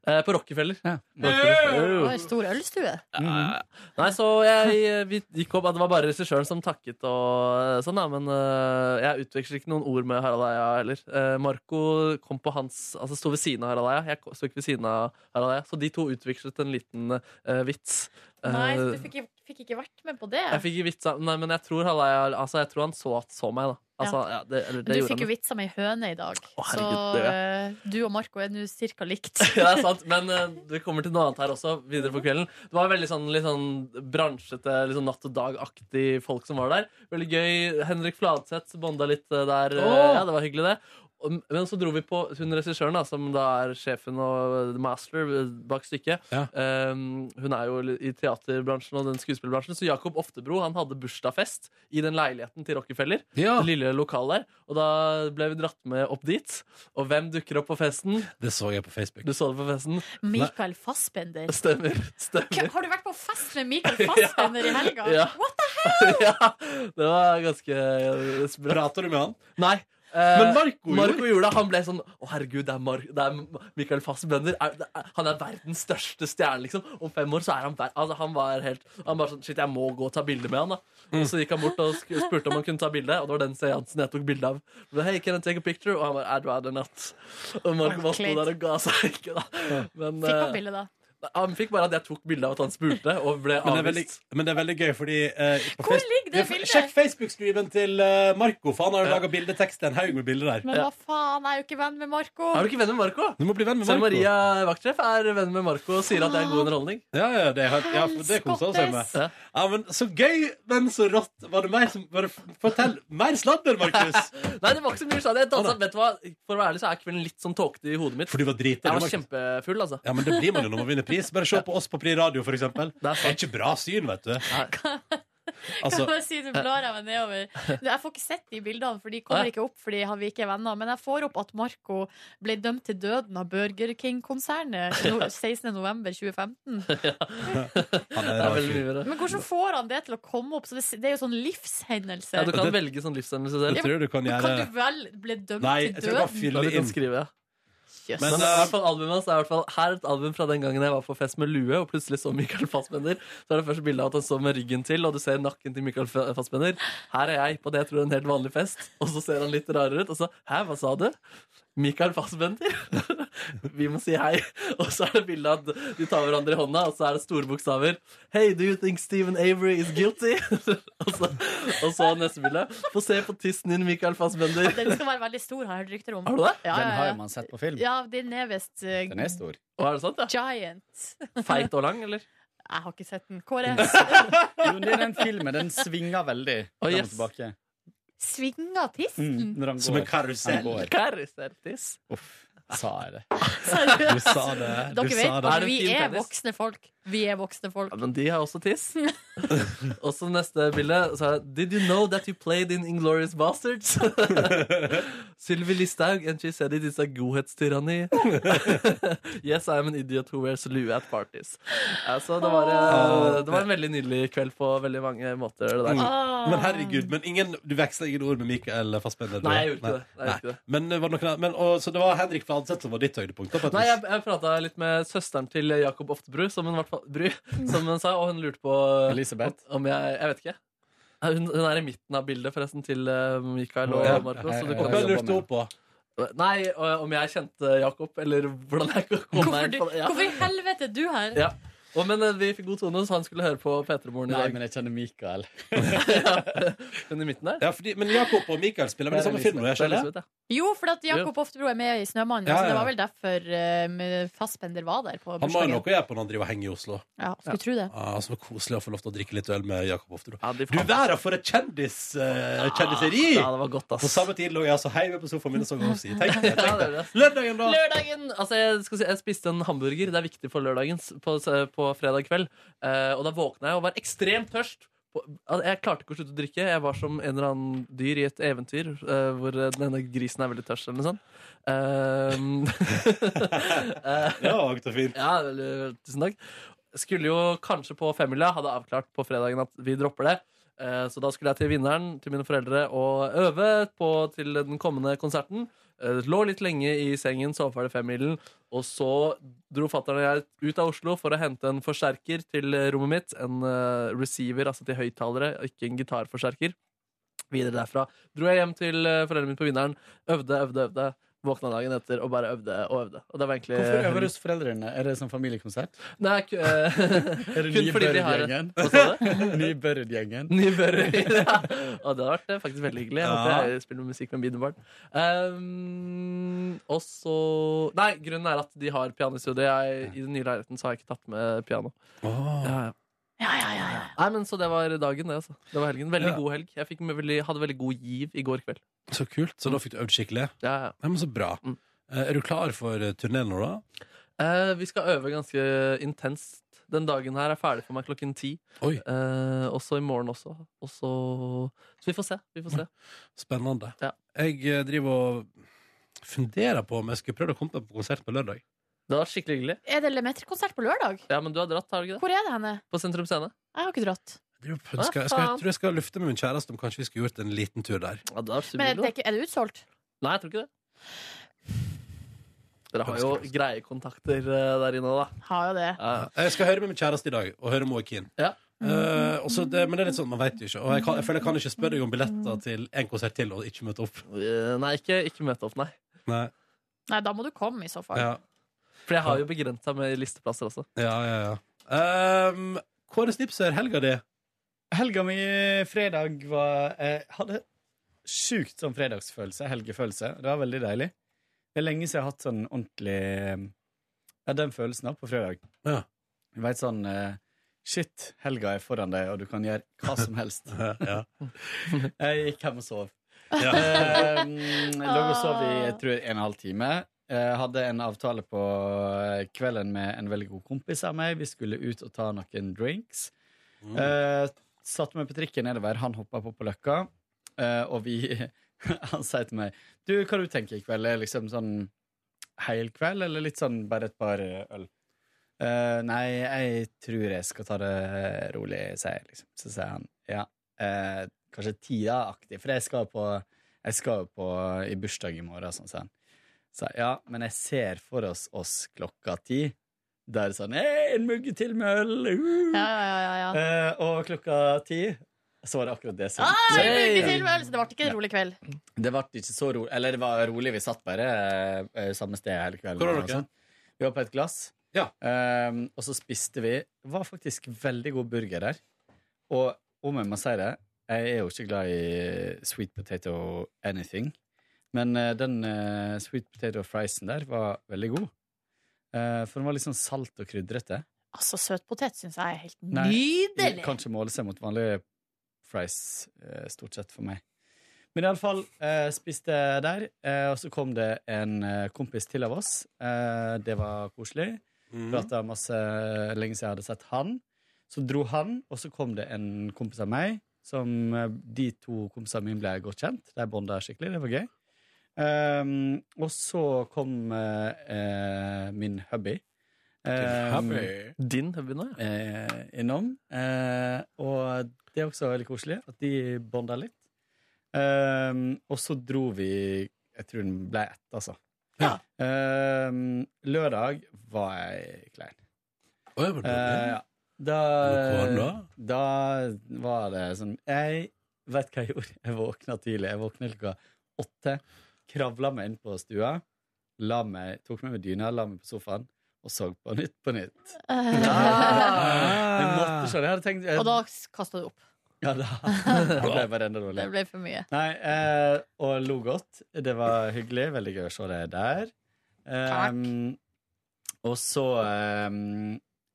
C: Eh, på Rockefeller.
J: Ja.
C: Rockefeller.
B: Det
C: Oh.
B: var en stor ølstue.
C: Nei, så jeg vi gikk opp, det var bare regissøren som takket og sånn, da, men eh, jeg utveksler ikke noen ord med Harald Eia heller. Eh, Marco kom på hans, altså sto ved siden av Harald Eia, jeg sto ikke ved siden av Harald Eia, så de to utvekslet en liten eh, vits. Eh,
B: Nei, så du fikk, ikke- fikk ikke vært med på det.
C: Jeg fikk ikke vitsa, nei, men jeg tror, Harald Eia, altså, jeg tror han så, så meg da. Altså, ja. det, eller,
B: Men
C: det
B: du
C: gjorde
B: fikk jo
C: han.
B: vitsa med ei høne i dag, så
C: herregud, det
B: eh, du og Marco er nå cirka likt.
C: Ja, det er sant, men eh, det kommer til noe annet her også videre på kvelden. Det var veldig sånn, litt sånn bransjete, litt sånn natt og dag-aktig folk som var der. Veldig gøy. Henrik Fladseth bonda litt eh, der. eh,
A: Åh!
C: Ja, det var hyggelig, det. Og- Men så dro vi på hun regissøren, da, som da er sjefen og the master eh, bak stykket.
A: Ja.
C: Eh, hun er jo i teaterbransjen og den skuespillerbransjen, så Jakob Oftebro han hadde bursdagsfest i den leiligheten til Rockefeller. Det lille lokalet der. Og da ble vi dratt med opp dit. Og hvem dukker opp på festen?
A: Det så jeg på Facebook.
C: Du så det på festen?
B: Mikael Fassbender.
C: Stemmer. stemmer.
B: Har du vært på fest med Mikael Fassbender i helga?
C: Ja.
B: What?
C: ja, det var ganske bra.
A: Prater du med han?
C: Nei. eh,
A: Men Marco gjorde-
C: Marco gjorde det. Han ble sånn Å, herregud, det er, Mar det er Michael Fassbender. Er, det er, han er verdens største stjerne, liksom. Om fem år så er han ver altså, Han var helt Han bare sånn Shit, jeg må gå og ta bilde med han, da. Og så gikk han bort og sk spurte om han kunne ta bilde, og det var den seansen jeg tok bilde av. Men, hey, can I take a picture? Og han bare I'd rather not. Og Marco bare sto
B: Ordentlig.
C: der og ga seg ikke, da. Men
B: Fikk han
C: eh,
B: bilde, da?
C: han fikk bare at jeg tok bilde av at han spurte, og ble
A: Men det, er veldig,
C: avvist.
A: men det er veldig gøy, fordi eh, på
B: Hvor
A: Face-
B: ligger det bildet?
A: Sjekk Facebook-skriven til eh, Marco, for han har jo
C: Ja.
A: laga bildetekst. En haug med bilder der.
B: Men
C: Ja.
B: hva faen, jeg er jo ikke venn med Marco.
C: Er du ikke venn med Marco?
A: Du må bli venn med
C: Selv
A: Marco.
C: Maria Vaktsjef er venn med Marco og sier at det er god underholdning.
A: Ja, ja, det, er helt- ja, for det koser hun seg med.
C: Ja.
A: Ja, men Så gøy, men så rått. Var det mer som var det, Fortell mer sladder, Markus!
C: Nei, det var ikke så mye sånn. Jeg dansa, vet du hva? For å være ærlig så er kvelden litt sånn tåkete i hodet mitt.
A: For du var drita. du,
C: Jeg var
A: Markus.
C: kjempefull, altså.
A: Ja, men det blir man jo når man vinner pris. Bare se på oss på Pri Radio, for eksempel.
C: Det
A: Det
C: er
A: er
C: sant.
A: ikke bra syn, vet du.
C: Nei.
A: Altså,
B: kan jeg si du blar jeg meg nedover. Jeg får ikke sett de bildene, for de kommer ikke opp fordi han- vi ikke er venner. Men jeg får opp at Marco ble dømt til døden av Burger King-konsernet no- 16.11.2015.
A: han er
C: Det er
A: rar
C: veldig
A: fyr.
C: mye bedre.
B: Men hvordan får han det til å komme opp? Så det, det er jo sånn livshendelse.
C: Ja, du kan
A: Det-
C: velge sånn livsendelse
A: Jeg
C: selv.
A: tror du kan gjøre
B: Kan du vel bli dømt
A: Nei, jeg
B: til
A: tror du kan
B: døden?
C: Ja,
A: fylle
C: du
A: inn.
C: kan skrive, ja.
B: Jøss.
A: Men,
C: Men,
A: eh,
C: i hvert fall albumet hans er i hvert fall Her er et album fra den gangen jeg var på fest med lue, og plutselig så Michael Fassbender. Så er det første bildet av at han står med ryggen til, og du ser nakken til Michael Fa- Fassbender. Her er jeg på det jeg tror er en helt vanlig fest, og så ser han litt rarere ut, og så Hæ, hva sa du? Michael Fassbender. Vi må si hei. Og så er det bilde av at de tar hverandre i hånda, og så er det store bokstaver. Hey, do you think Stephen Avery is guilty? og, så, og så neste bilde. Få se på tissen din, Michael Fassbender.
B: Den skal være veldig stor, har jeg hørt rykter om.
C: Har du det?
B: Ja,
J: Den
B: ja,
J: har jo
B: ja.
J: man sett på film.
B: ja den er visst eh,
J: Den er stor.
C: Å, er det sant, ja?
B: giant.
C: Feit og lang, eller?
B: Jeg har ikke sett den. Kåre,
C: Mm.
J: Jo, men det er den filmen. Den svinger veldig
C: Å,
J: fram og
C: yes.
J: tilbake.
B: svinga tissen?
J: Mm, når han
A: Som en
J: går. Han
A: karusell.
J: går.
C: Karisertis.
J: Sa jeg det.
A: Du sa
B: Seriøst?
A: det. Du
B: Dere
A: sa
B: vet
A: det.
C: Er
B: at
C: det
B: vi
C: fin
B: er
C: penis?
B: voksne folk. Vi er voksne folk.
C: Ja, men de har også tiss. og så neste bilde så er det, Did you know that you played in Inglourious Bastards? Sylvi Listhaug, and she said it is a godhetstyranni. yes, I am an idiot who wears lue at parties. Altså, det, var, eh, det var en veldig nydelig kveld på veldig mange måter. Det der.
B: Ah.
A: Men herregud, men ingen, du veksla ingen ord med Mikael Fassbender? du?
C: Nei, jeg gjorde ikke det. Jeg gjorde
A: Nei.
C: ikke det.
A: Men, det var noen, an- men, og, så det var Henrik fra Hanseth som var ditt høydepunkt? da, på et
C: Nei,
A: vis.
C: jeg, jeg prata litt med søsteren til Jakob Oftebru, som hun, i hvert fall- Bru, som hun sa, og hun lurte på
J: Elisabeth.
C: Om jeg, jeg vet ikke. Hun, hun er i midten av bildet, forresten, til eh, Mikael og
A: Ja.
C: Marco. Så du
J: Ja,
A: og
C: kan
A: hva
J: ja, ja.
A: lurte du på?
C: Nei, og- om jeg kjente Jakob, eller hvordan jeg kom
B: Hvorfor,
C: meg
B: du,
C: inn på det. Ja.
B: hvorfor i helvete er du her?
C: Ja. Og, men eh, vi fikk god tone, så han skulle høre på P3-moren i
J: Nei,
C: dag.
J: men jeg kjenner Mikael.
C: Hun i midten der.
A: Ja, fordi, men Jakob og Mikael spiller vel i samme film? nå,
C: Det er
A: Jeg skjønner.
C: Elisabeth, ja.
B: Jo, for at Jakob Oftebro er med i Snømannen.
A: Ja,
B: Så
A: ja,
B: det
A: ja.
B: var vel derfor eh, Fassbender var der på
A: Han må jo
B: bursdagen.
A: noe å gjøre på når han driver og henger i Oslo.
B: Ja, skulle tro det.
A: Ah, så koselig å få lov til å drikke litt øl med Jakob Oftebro.
C: Ja, de
A: Du
C: faen-
A: verden for et kjendis, eh, kjendiseri!
C: Ja, det var godt,
A: På
C: ass.
A: samme tid lå jeg altså heive på sofaen min og så Ghosty. Tenk det,
C: Ja,
A: tenk det.
C: det er det.
A: Lørdagen, da!
C: Lørdagen! Altså, jeg, skal si, jeg spiste en hamburger. Det er viktig for lørdagen på, på fredag kveld. Eh, og da våkna jeg og var ekstremt tørst. På- al- Jeg klarte ikke å slutte å drikke. Jeg var som en eller annen dyr i et eventyr eh, hvor den ene grisen er veldig tørst, eller noe sånt. Eh, eh,
A: Ja, det var fint.
C: ja, vel, tusen takk. Skulle jo kanskje på femmila, hadde avklart på fredagen at vi dropper det. Eh, Så da skulle jeg til vinneren, til mine foreldre, og øve på til den kommende konserten. Eh, Lå litt lenge i sengen, sov ferdig femmilen, og så dro fatter'n og jeg ut av Oslo for å hente en forsterker til rommet mitt. En eh, receiver, altså til høyttalere, og ikke en gitarforsterker. Videre derfra dro jeg hjem til eh, foreldrene mine på vinneren, øvde, øvde, øvde. Våkna dagen etter og bare øvde og øvde. Og det var egentlig
J: Hvorfor øver du hos foreldrene? Er det sånn familiekonsert?
C: Nei, ku- eh,
J: Er det
C: kun
J: nye
C: fordi vi har
J: Børud-gjengen?
C: Hva sa du?
J: Ny Børud-gjengen?
C: Ny Børud. Ja. Og det hadde vært eh, faktisk veldig hyggelig. Jeg
A: Ja.
C: håper jeg spiller musikk med mine barn. Um, og så Nei, grunnen er at de har pianostudio. Jeg, I den nye leiligheten så har jeg ikke tatt med piano.
A: Åh.
C: Ja, ja.
B: Ja, ja, ja, ja.
C: Nei, men Så det var dagen, det. altså Det var helgen. Veldig
A: Ja.
C: god helg. Jeg fikk med veldig, hadde veldig god giv i går kveld.
A: Så kult. Så da fikk du øvd skikkelig?
C: Ja, ja.
A: Nei, men så bra.
C: Mm.
A: Eh, Er du klar for eh, turneen nå, da?
C: Eh, vi skal øve ganske intenst. Den dagen her er ferdig for meg klokken ti.
A: Oi,
C: Eh, også i morgen også. Og så- så vi får se. Vi får se.
A: spennende.
C: Ja.
A: Jeg eh, driver og funderer på om jeg skulle prøvd å komme meg på konsert på lørdag.
C: Det hadde vært skikkelig hyggelig.
B: Er det Lemeter-konsert på lørdag?
C: Ja, men du har dratt, har du ikke det?
B: Hvor er det henne?
C: På Sentrum Scene?
B: Jeg har ikke dratt.
A: Jeg driver og ønsker- jeg, skal, jeg
C: faen.
A: tror jeg skal lufte med min kjæreste om kanskje vi skulle gjort en liten tur der.
C: Ja, det
B: Men er
C: er superbra.
B: det, ikke, er det utsolgt?
C: Nei, jeg tror ikke det. Dere har jo greie kontakter eh, der inne, da.
B: Har jo det.
C: Ja.
A: Jeg skal høre med min kjæreste i dag, og høre om hun er keen.
C: Ja.
A: Eh, og så det, men det er litt sånn, man vet jo ikke. Og jeg, kan, jeg føler jeg kan ikke spørre deg om billetter til en konsert til og ikke møte opp.
C: Eh, Nei, ikke, ikke møte opp, nei.
A: Nei.
B: Nei, da må du komme, i så fall.
A: Ja,
C: For jeg har jo begrensa med listeplasser også.
A: ja, ja. ja. Um, Kåre Snipser, helga di.
J: Helga mi eh, fredag var Jeg hadde sjukt sånn fredagsfølelse, helgefølelse. Det var veldig deilig. Det er lenge siden jeg har hatt sånn ordentlig eh, Ja, den følelsen da, på fredag.
A: Ja.
J: Du veit sånn eh, Shit, helga er foran deg, og du kan gjøre hva som helst.
A: ja.
J: Jeg gikk hjem og sov.
A: Ja.
J: Eh, Jeg lå og sov i jeg tror, en og en halv time. Jeg hadde en avtale på eh, kvelden med en veldig god kompis av meg. Vi skulle ut og ta noen drinks.
A: Mm.
J: Eh, satte meg på trikken nedover, han hoppa på på Løkka, eh, og vi Han sier til meg Du, hva du tenker i kveld? Er det liksom sånn hel kveld, eller litt sånn bare et par eh, øl? Eh, nei, jeg tror jeg skal ta det rolig, sier jeg liksom. Så sier han ja, eh, kanskje tida-aktig, for jeg skal på Jeg skal på i bursdag i morgen, sånn sier han. Så jeg, ja, men jeg ser for oss oss klokka ti. Da er det sånn Hei, en mugge til med øl! Uh!
B: Ja, ja, ja, ja.
J: Eh, og klokka ti så var det akkurat det som
B: Ah,
J: Så
B: en uke til med øl, så det ble ikke en rolig kveld.
J: Det ble ikke så rolig. Eller det var rolig, vi satt bare eh, samme sted hele kvelden.
A: Hvor var
J: og
A: dere?
J: sånn. Vi var på et glass,
A: Ja.
J: Eh, og så spiste vi Det var faktisk veldig god burger der. Og om jeg må si det, jeg er jo ikke glad i sweet potato anything. Men eh, den eh, sweet potato friesen der var veldig god. Eh, for den var litt sånn salt og krydrete.
B: Altså, søtpotet syns jeg er helt
J: Nei.
B: nydelig.
J: Kan ikke måle seg mot vanlige fries, eh, stort sett, for meg. Men iallfall eh, spiste der, eh, og så kom det en eh, kompis til av oss. Eh, det var koselig.
A: Mhm. Mm.
J: Prata masse lenge siden jeg hadde sett han. Så dro han, og så kom det en kompis av meg. Som eh, De to kompisene mine ble godt kjent. De bonda skikkelig. Det var gøy. Ehm, og så kom eh, eh, min hubby. Ehm,
C: Din hubby nå, ja.
J: eh, innom. Eh, og det er også veldig koselig at de bonda litt. Ehm, og så dro vi Jeg tror den ble ett, altså.
A: Ja.
J: Ehm, lørdag var jeg klein.
A: Oi, var det
J: Eh,
A: dårlig?
J: ja. Eh, da,
A: Hvor var
J: da var det sånn Jeg vet hva jeg gjorde. Jeg våkna tidlig. Jeg våkna klokka åtte. Kravla meg inn på stua. La meg, tok med meg dyna, la meg på sofaen og så på Nytt på Nytt.
A: Ah.
J: Jeg måtte se det. Jeg hadde tenkt jeg,
B: Og da kasta du opp.
J: ja, da. da ble jeg bare enda
B: Det
J: dårligere.
B: ble for mye.
J: Nei, eh, og lo godt. Det var hyggelig. Veldig gøy å se deg der. Ehm, og så ehm,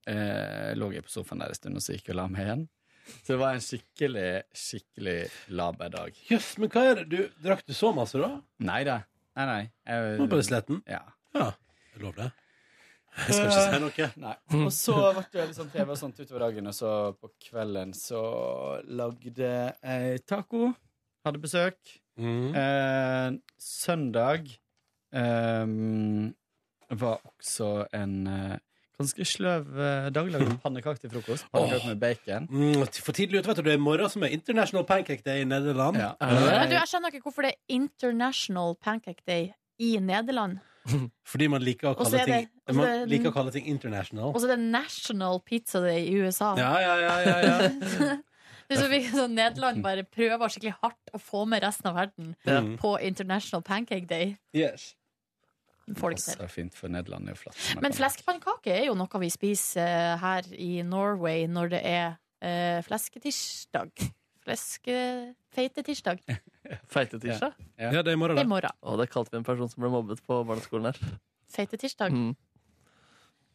J: eh, lå jeg på sofaen der en stund, og så gikk jeg og la meg igjen. Så det var en skikkelig, skikkelig laber dag.
A: Jøss, men hva er det? Du, drakk du så masse, da?
J: Nei da. Nei, nei. Jeg,
A: Du var bare sletten?
J: ja.
A: Ja. Jeg lover det. Jeg skal
J: Eh.
A: ikke si noe.
J: Nei. Og så ble det litt sånn TV og sånt utover dagen, og så på kvelden så lagde jeg taco. Hadde besøk.
A: Mm.
J: Eh, søndag ehm, var også en eh, ganske sløv eh, dag. Lagde pannekaker til frokost. Pannekaker med bacon.
A: Mm, for tidlig ute, vet du. Det er i morgen som er International Pancake Day i Nederland.
J: Ja.
B: Men du, jeg skjønner ikke hvorfor det er International Pancake Day i Nederland.
A: Fordi man liker å
B: Og så
A: kalle
B: er det-
A: ting
B: og så er
A: Man
B: det-
A: liker å kalle ting international.
B: Og så er det National Pizza Day i USA.
A: Ja, ja, ja, ja, ja.
B: Det er så virker som Nederland bare prøver skikkelig hardt å få med resten av verden
A: Mm.
B: på International Pancake Day.
A: Yes.
B: Får det ikke til.
J: Passer fint for Nederland. Det er jo flatt.
B: Men fleskpannkake er jo noe vi spiser eh, her i Norway når det er eh, flesketirsdag. Fleskefeitetirsdag. Det
C: Feitetirsdag.
A: Ja, det er i morgen,
B: er
A: da.
B: morgen.
C: Å, det kalte vi en person som ble mobbet på barneskolen her.
B: Feitetirsdag.
C: Mm.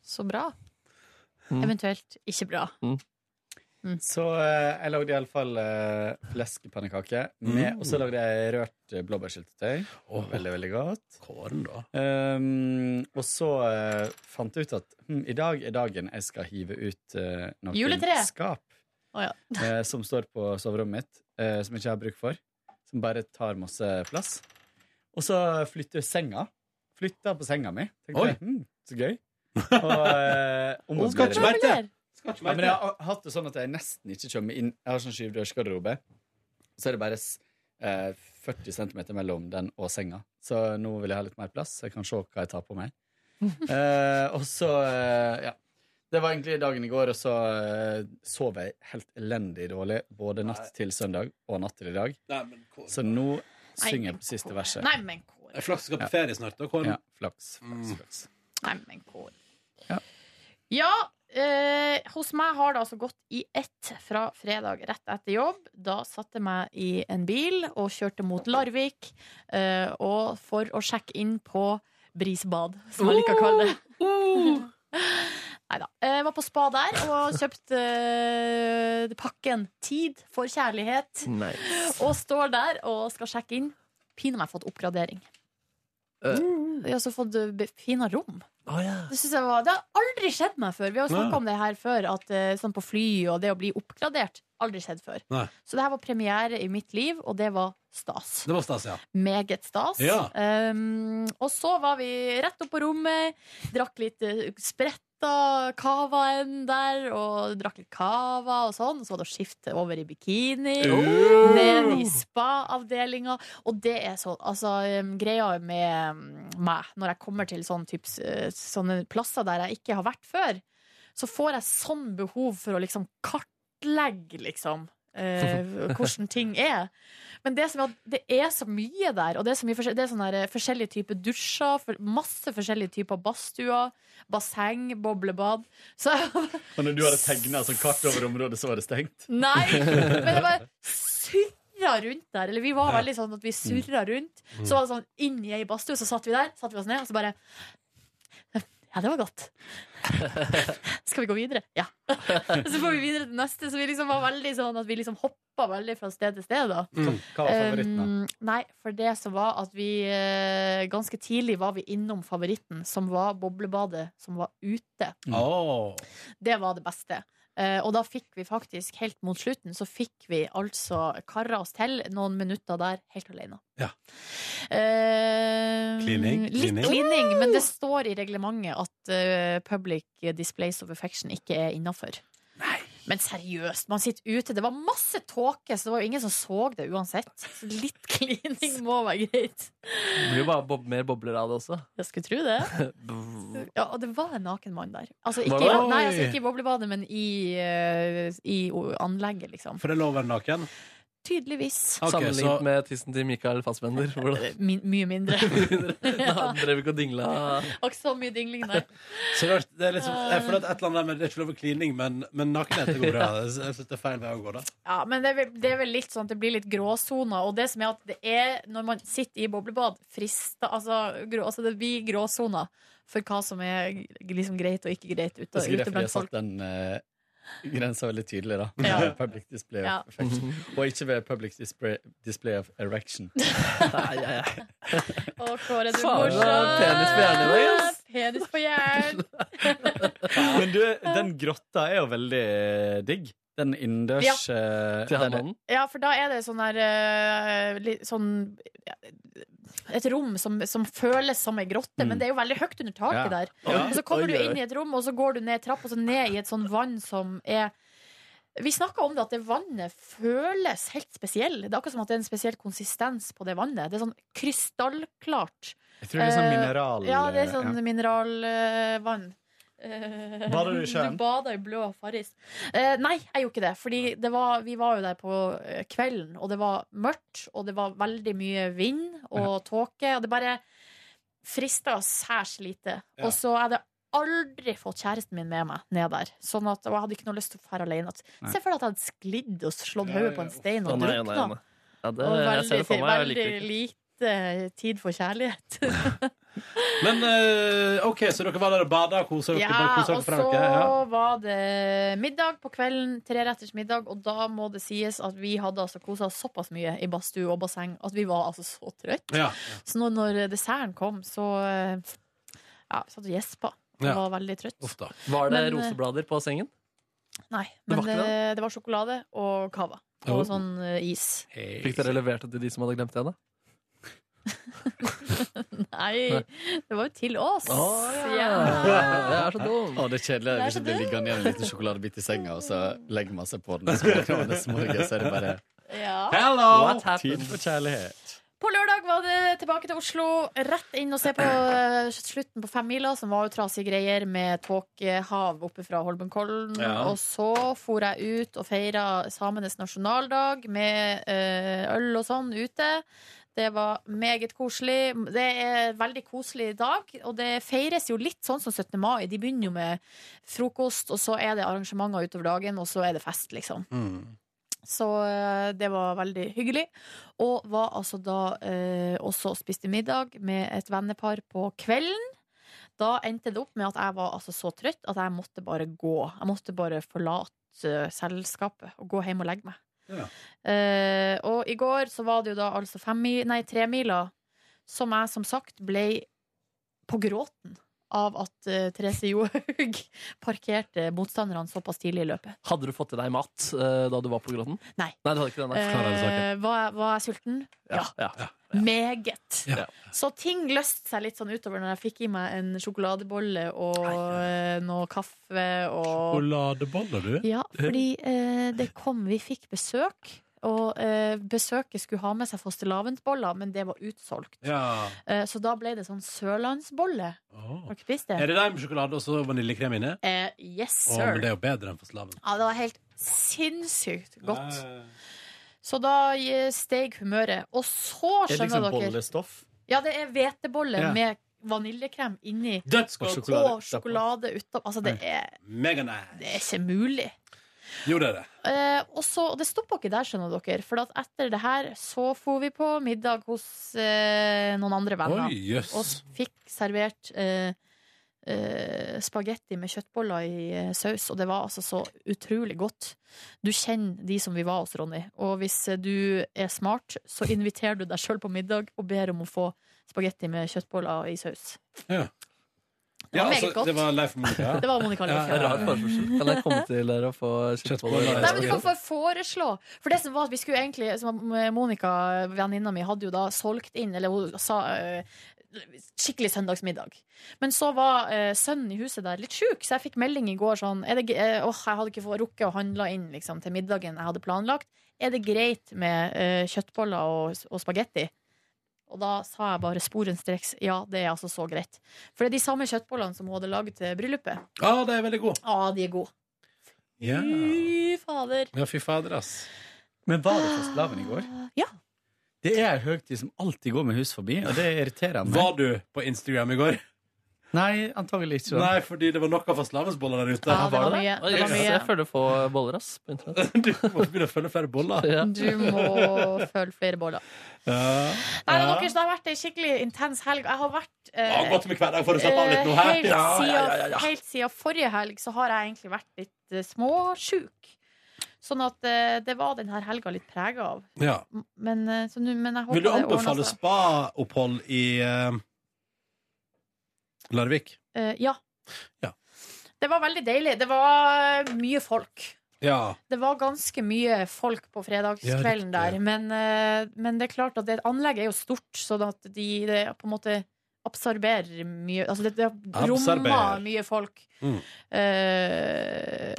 B: Så bra.
C: Mm.
B: Eventuelt ikke bra.
J: Så eh, jeg lagde iallfall uh, fleskepannekaker. med- Og så lagde jeg rørt eh, blåbærsyltetøy.
A: Åh.
J: Veldig, veldig godt.
A: Kåren, da.
J: Ehm, og så eh, fant jeg ut at hm, i dag er dagen jeg skal hive ut eh, noen
B: Juletre!
J: skap
B: Å ja.
J: eh, som står på soverommet mitt, eh, som jeg ikke har bruk for. Som bare tar masse plass. Og så flytter jeg senga. Flytter på senga mi. Tenkte
A: Oi.
J: jeg, hm, så gøy. Og eh,
A: Hun skal ikke
J: ommøblerer.
A: merke det! Skal ikke
J: Ja, men
A: merke
J: jeg
A: det.
J: har hatt det sånn at jeg nesten ikke kommer inn. Jeg har sånn skyvdørsgarderobe. Så er det bare s- eh, 40 cm mellom den og senga. Så nå vil jeg ha litt mer plass, så jeg kan se hva jeg tar på meg. Eh, og så, eh, ja. Det var egentlig dagen i går, og så eh, sov jeg helt elendig dårlig både natt til søndag og natt til i dag.
A: Nei, men Kåren.
J: Så nå
B: Nei,
J: synger jeg
B: men
J: på siste
B: Kåre.
J: verset.
B: Nei, men Kåre.
A: Det er Flaks du skal på ferie snart, da, Kåren.
J: Ja, flaks, flaks,
A: Mm.
J: flaks.
B: Nei, men Kåre.
J: Ja.
B: Ja, eh, hos meg har det altså gått i ett fra fredag rett etter jobb. Da satte jeg meg i en bil og kjørte mot Larvik eh, og for å sjekke inn på brisbad, som jeg liker å kalle det.
A: Oh,
B: Nei da. Jeg var på spa der og kjøpte eh, pakken Tid for kjærlighet.
C: Nei.
B: Og står der og skal sjekke inn. Pinadø meg fått oppgradering. Mm,
C: Eh.
B: Jeg har også fått eh, be- fina rom. Det, synes jeg var, det har aldri skjedd meg før. Vi har snakka
A: Nei.
B: om det her før, at, eh, sånn på fly og det å bli oppgradert. Aldri skjedd før.
A: Nei.
B: Så det her var premiere i mitt liv, og det var stas.
A: Det var stas, ja.
B: Meget stas.
A: Ja.
B: Um, og så var vi rett opp på rommet, drakk litt eh, spretta cavaen der, og drakk litt cava og sånn. Så var det å skifte over i bikini,
A: Oh.
B: ned i spa-avdelinga. Og det er sånn Altså, um, greia med um, meg, når jeg kommer til sånne, types, eh, sånne plasser der jeg ikke har vært før, så får jeg sånn behov for å liksom kartlegge, liksom. eh, hvordan ting er. Men det, som er, at det er så mye der, og det er, så mye forskjell, det er sånne der, eh, forskjellige typer dusjer, for, masse forskjellige typer badstuer, basseng, boblebad. Så
J: Og når du hadde tegna sånn kart over området, så var det stengt?
B: nei! Men det bare surra rundt der. Eller vi var veldig sånn at vi
J: Mm.
B: surra rundt. Så var det sånn inn i ei badstue, så satt vi der, satte vi oss ned, og så bare ja, det var godt. Skal vi gå videre? Ja. Så får vi videre til neste. Så vi liksom var veldig sånn at vi liksom hoppa veldig fra sted til sted, da.
J: Hva var favoritten, da?
B: Um, nei, for det som var at vi eh, ganske tidlig var vi innom favoritten, som var boblebadet som var ute.
J: Mm.
A: Åh.
B: Det var det beste. Eh, og da fikk vi faktisk, helt mot slutten, så fikk vi altså karra oss til noen minutter der helt alene.
A: Ja.
B: Eh,
A: Klining,
B: Litt
A: klining.
B: klining, men det står i reglementet at eh, public displays of affection ikke er innafor. Men seriøst, man sitter ute. Det var masse tåke, så det var jo ingen som så det uansett. Så litt klining må være greit.
C: Det blir jo bare bob mer bobler av det også.
B: Jeg skulle tro det. Ja, og det var en naken mann der. Altså ikke,
C: Var
B: i,
C: det?
B: nei, altså, ikke i boblebadet, men i, eh, i o- anlegget, liksom.
A: For det er lov å være naken?
B: Tydeligvis.
A: Ok,
C: Sammenlignet
A: så-
C: med tissen til Mikael Fassbender. Hvor det,
B: Min, mye mindre.
C: da han drev ikke og dingla.
B: Ikke så mye dingling der.
A: Så det er, det er liksom, jeg føler at et eller annet der, men Det er ikke lov å klining, men, men nakenhet det går bra. Jeg synes det er feil vei å gå, da.
B: Ja, men det er, vel, det er vel litt sånn at det blir litt gråsoner. Og det som er at det er, når man sitter i boblebad, frister Altså, grå, altså det blir gråsoner for hva som er g- liksom greit og ikke greit ute,
J: Det er sikkert
B: ute
J: derfor de
B: blant
J: har satt
B: folk.
J: den eh, grensa veldig tydelig, da.
B: Ja.
J: Public display
B: Ja.
J: of affection. Og ikke ved public display, display of erection.
B: Å, Kåre, du er
C: Faen, det var
B: morsom!
C: penis på hjernen i dag, ass.
B: Penis på hjernen.
J: Men du, den grotta er jo veldig eh, digg. Den innendørs eh,
C: Til han
J: der-
C: mannen.
B: Ja, for da er det sånn her eh, litt sånn ja, Et rom som, som føles som ei grotte, men det er jo veldig høyt under taket
J: Mm. Ja.
B: der.
J: Ja.
B: Og så kommer
J: Oi,
B: du
J: oi,
B: inn i et rom, og så går du ned trapp, og så ned i et sånn vann som er vi snakka om det at det vannet føles helt spesiell. Det er akkurat som at det er en spesiell konsistens på det vannet. Det er sånn krystallklart.
J: Jeg tror det er sånn
B: Eh,
J: mineral...
B: Ja, det er
J: ja.
B: sånn mineralvann. Eh,
J: Bader du i sjøen?
B: Du bader i blå farris. Eh, nei, jeg gjorde ikke det. Fordi det var, vi var jo der på eh, kvelden, og det var mørkt, og det var veldig mye vind og tåke. Og det bare frista særs lite.
A: Ja.
B: Og så hadde jeg aldri fått kjæresten min med meg ned der. Sånn at, og jeg hadde ikke noe lyst til å dra alene. At,
J: Nei.
B: se for deg at jeg hadde sklidd og slått
A: Ja,
B: hodet
A: ja,
B: på en
A: uff,
B: stein
C: Å,
B: og
C: nei, nei,
B: drukna.
C: nei. Ja, det,
B: Og
C: jeg ser
B: veldig,
C: det for meg. Jeg liker det
B: veldig
C: ikke.
B: lite tid for kjærlighet.
A: Men eh, OK, så dere var der og bada og kosa dere? bare
B: Ja,
A: koset
B: og
A: dere
B: så
A: fra dere, ja.
B: var det middag på kvelden, tre retters middag, og da må det sies at vi hadde altså kosa oss såpass mye i badstue og basseng at vi var altså så trøtte.
A: Ja.
B: Så når, når desserten kom, så eh, ja, vi satt og gjespa. og
A: Ja.
B: var veldig trøtt.
A: Uff da.
C: Var det
B: Men, eh,
C: roseblader på sengen?
B: Nei, men
C: var
B: det
C: ikke
B: det, var sjokolade og cava. Og
A: Oh.
B: sånn eh, is.
C: Fikk dere levert det til de som hadde glemt det? da?
B: Nei, det var jo til oss!
C: Jeg
B: Ja.
C: er så dum!
J: Å, det er kjedelig.
B: Det
J: Det
B: er så
J: er ikke det
B: dumt.
J: liggende igjen en liten sjokoladebit i senga, og så legger man seg på den. Og så våkner man neste morgen, så er det bare
B: Ja.
C: What
J: tid
C: happened?
J: for kjærlighet.
B: På lørdag var det tilbake til Oslo, rett inn og se på eh, slutten på femmila, som var jo trasige greier med tåkehav oppe fra Holmenkollen.
A: Ja.
B: Og så for jeg ut og feira samenes nasjonaldag med eh, øl og sånn ute. Det var meget koselig. Det er en veldig koselig dag, og det feires jo litt sånn som 17. mai. De begynner jo med frokost, og så er det arrangementer utover dagen, og så er det fest, liksom.
A: Mm.
B: Så eh, det var veldig hyggelig. Og var altså da eh, også og spiste middag med et vennepar på kvelden. Da endte det opp med at jeg var altså så trøtt at jeg måtte bare gå. Jeg måtte bare forlate eh, selskapet og gå hjem og legge meg.
A: Ja.
B: Eh, og i går så var det jo da altså femmil- nei, tremila som jeg som sagt ble på gråten av at eh, Therese Johaug parkerte motstanderne såpass tidlig i løpet.
C: Hadde du fått i deg mat eh, da du var på Grotten?
B: Nei.
C: Nei, du hadde ikke det, nei. Klar, er det saken.
B: Eh, var, var jeg sulten?
C: Ja, ja.
B: Meget.
C: Ja.
B: Så ting løste seg litt sånn utover når jeg fikk i meg en sjokoladebolle og eh, noe kaffe og
A: Sjokoladeboller, du?
B: Ja, fordi eh, det kom Vi fikk besøk. Og eh, besøket skulle ha med seg fastelavnsboller, men det var utsolgt.
A: Ja.
B: Eh, så da ble det sånn sørlandsbolle.
A: Åh.
B: Har dere spist det?
A: Er det deg med sjokolade og så vaniljekrem inni?
B: Eh, yes,
A: Å,
B: sir.
A: men det er jo bedre enn fastelavn.
B: Ja, det var helt sinnssykt godt.
A: Ja, ja, ja.
B: Så da eh, steg humøret. Og så
J: Er det
B: skjønner
J: liksom
B: dere
J: bollestoff?
B: Ja, det er hvetebolle
J: Ja.
B: med vaniljekrem inni.
A: Dødsgodt!
J: Og sjokolade.
B: Og sjokolade utapå. Altså, det er,
A: Meganice.
B: det er ikke mulig.
A: Jo, det er det.
B: Eh, og så, og det stoppa ikke der, skjønner dere. For at etter det her så for vi på middag hos eh, noen andre venner.
A: Oi, jøss.
B: Og fikk servert eh, eh, spagetti med kjøttboller i eh, saus, og det var altså så utrolig godt. Du kjenner de som vi var hos, Ronny, og hvis eh, du er smart, så inviterer du deg sjøl på middag og ber om å få spagetti med kjøttboller i saus. var
A: Ja, altså,
B: meget godt.
A: det var Leif Monica.
B: Det var Monica
A: Ja,
B: Leif.
A: ja, ja.
C: Rar forførsel. Kan jeg komme til dere og få
A: Kjøttboller.
C: kjøttboller?
B: Nei, men du kan få foreslå. For det som var at vi skulle egentlig som Monica, venninna mi, hadde jo da solgt inn Eller hun sa eh, skikkelig søndagsmiddag. Men så var eh, sønnen i huset der litt sjuk, så jeg fikk melding i går sånn er det, ge- eh, Åh, jeg hadde ikke fått rukket å handle inn liksom, til middagen jeg hadde planlagt. Er det greit med eh, kjøttboller og, og spagetti? Og da sa jeg bare sporenstreks ja, det er altså så greit. For det er de samme kjøttbollene som hun hadde lagd til bryllupet.
A: Ja, det er veldig god.
B: Ja, de er gode.
A: Ja,
B: Fy fader.
A: ja fy fader, ass.
J: Men var det fastelavn i går?
B: Ja.
J: Det er en høytid som alltid går med hus forbi, og det irriterer meg.
A: Var du på Instagram i går?
J: Nei, antagelig ikke.
A: Nei, fordi det var nok av fastelavnsboller der ute.
B: Ja, det var mye.
C: Oi,
B: Det var
C: jøss, Jeg
B: mye.
C: føler få boller, ass, på internett.
A: Du må begynne å følge flere boller.
C: Ja.
B: Du må følge flere boller.
A: Ja.
B: Nei, men dere, det har vært ei skikkelig intens helg. Jeg har vært eh,
A: Ja, godt med hverdag for å slappe av
B: eh,
A: litt nå her.
B: helt, siden, helt siden forrige helg så har jeg egentlig vært litt eh, småsjuk. Sånn at eh, det var denne helga litt prega av.
A: Ja.
B: M- Men, eh, så nå- men jeg håper
A: Vil du
B: det ordner
A: anbefale
B: seg.
A: spa-opphold i eh, Larvik?
B: Eh, ja.
A: Ja.
B: Det var veldig deilig. Det var eh, mye folk.
A: Ja.
B: Det var ganske mye folk på fredagskvelden
A: Ja, riktig.
B: der, men, eh, men det er klart at det, anlegget er jo stort, sånn at de det på en måte absorberer mye Altså det, det
A: Absorber.
B: rommer mye folk.
A: Mm.
B: Eh,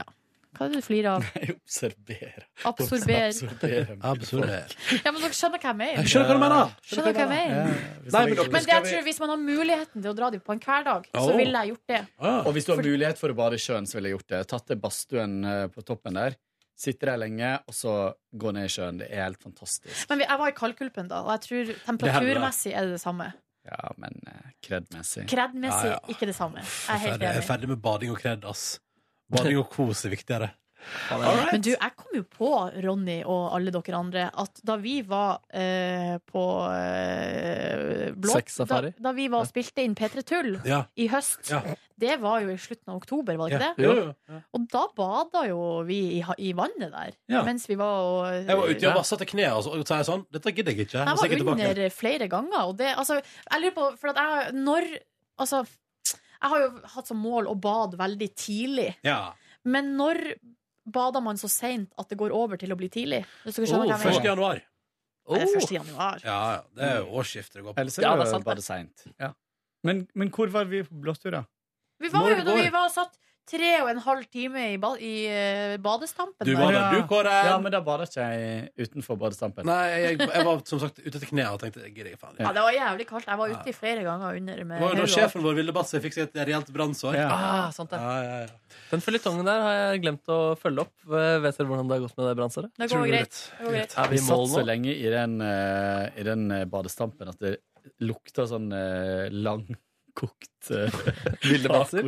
B: ja. Hva er det du flirer av?
J: Jeg observerer.
B: Absorber.
J: Observerer.
A: Absolutt.
B: Ja, men dere skjønner hva jeg mener.
A: Jeg skjønner hva du mener.
B: Skjønner dere hva jeg
J: Ja,
B: mener?
J: hvis
A: Nei,
J: jeg
A: men
J: vil-
A: dere-
B: Men det,
A: Skal
B: jeg
A: vi-
B: tror hvis man har muligheten til å dra dit på en hverdag, så
A: Åh.
B: ville jeg gjort det.
A: Ah.
J: Og hvis du har mulighet for å bade i sjøen, så ville jeg gjort det. Tatt det badstuen eh, på toppen der, sitter der lenge, og så gå ned i sjøen. Det er helt fantastisk.
B: Men vi- jeg var i kaldkulpen da, og jeg tror temperaturmessig er det det samme.
J: Ja, men eh, kredmessig.
B: Kredmessig
A: Ja, ja.
B: ikke det samme. Jeg er
A: Jeg
B: helt
A: ferdig- jeg
B: enig.
A: er ferdig med bading og kred, ass. Bading og kos er viktigere.
B: Men du, jeg kom jo på, Ronny og alle dere andre, at da vi var eh, på eh, blå, da,
C: Sexsafari?
B: da vi var og spilte inn P3 Tull
A: Ja.
B: i høst,
A: Ja.
B: det var jo i slutten av oktober, var det ikke
A: Ja.
B: det?
A: Jo, jo.
B: Og da bada jo vi i, ha- i vannet der,
A: Ja.
B: mens vi var og
A: Jeg var ute og vassa til kneet, og så og så er jeg sånn Dette gidder jeg ikke.
B: Jeg
A: Og så gikk
B: var
A: jeg tilbake.
B: under flere ganger, og det Altså, jeg lurer på, for at jeg Når Altså, jeg har jo hatt som mål å bade veldig tidlig,
A: Ja.
B: men når bader man så seint at det går over til å bli tidlig? Hvis dere skjønner
C: Oh,
B: hva jeg mener?
A: 1. januar.
B: Det er første januar.
C: Oh,
A: Ja, ja. Det er jo årsskiftet det går på.
J: Ellers er
C: Ja, det
J: det
C: er
J: jo
C: sant, det.
J: bare seint. Ja. Men, men hvor var vi på blåtur, da?
B: Vi var
A: Når
B: jo da
A: går?
B: vi var satt tre og en halv time i, ba i eh, badestampen.
A: Du
B: der.
A: var
J: Ja.
A: der, du, Kåre.
J: Ja, men da bader ikke jeg utenfor badestampen.
A: Nei, jeg, jeg var som sagt ute til kneet og tenkte jeg gidder ikke faen.
B: ja, det var jævlig kaldt. Jeg var ute i flere ganger under
A: Det
B: med
A: var jo da
B: hodet.
A: sjefen vår ville basse fikk seg et reelt brannsår.
J: Ja.
C: ah, sant det.
A: Ja, ja, ja.
C: Den føljetongen der har jeg glemt å følge opp. Eh, Vet dere hvordan det har gått med det brannsåret?
B: Det
A: Tror
B: går
A: du
B: greit.
A: litt.
B: Det går greit.
C: Er
J: Vi
C: vi i
J: satt
C: mål
J: så
C: nå?
J: lenge i den, eh, i den eh, badestampen at det lukta sånn eh, langkokt uh,
C: Ville baser?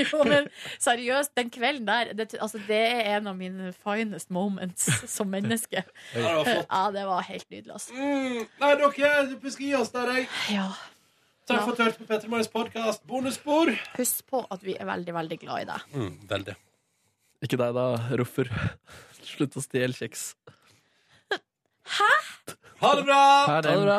B: Jo, men seriøst, den kvelden der det, altså, det er en av mine finest moments som menneske.
A: Ja, det var flott.
B: Ja, det var helt nydelig, altså.
A: Mm, nei, dere, vi skal gi oss der, jeg.
B: Ja.
A: Takk for at du hørte på Petter Morgens podkast Bonusspor.
B: Husk på at vi er veldig, veldig glad i deg.
A: Mm, veldig.
C: Ikke deg da, Roffer. Slutt å stjele kjeks.
A: Ha det bra!
C: Ha det bra.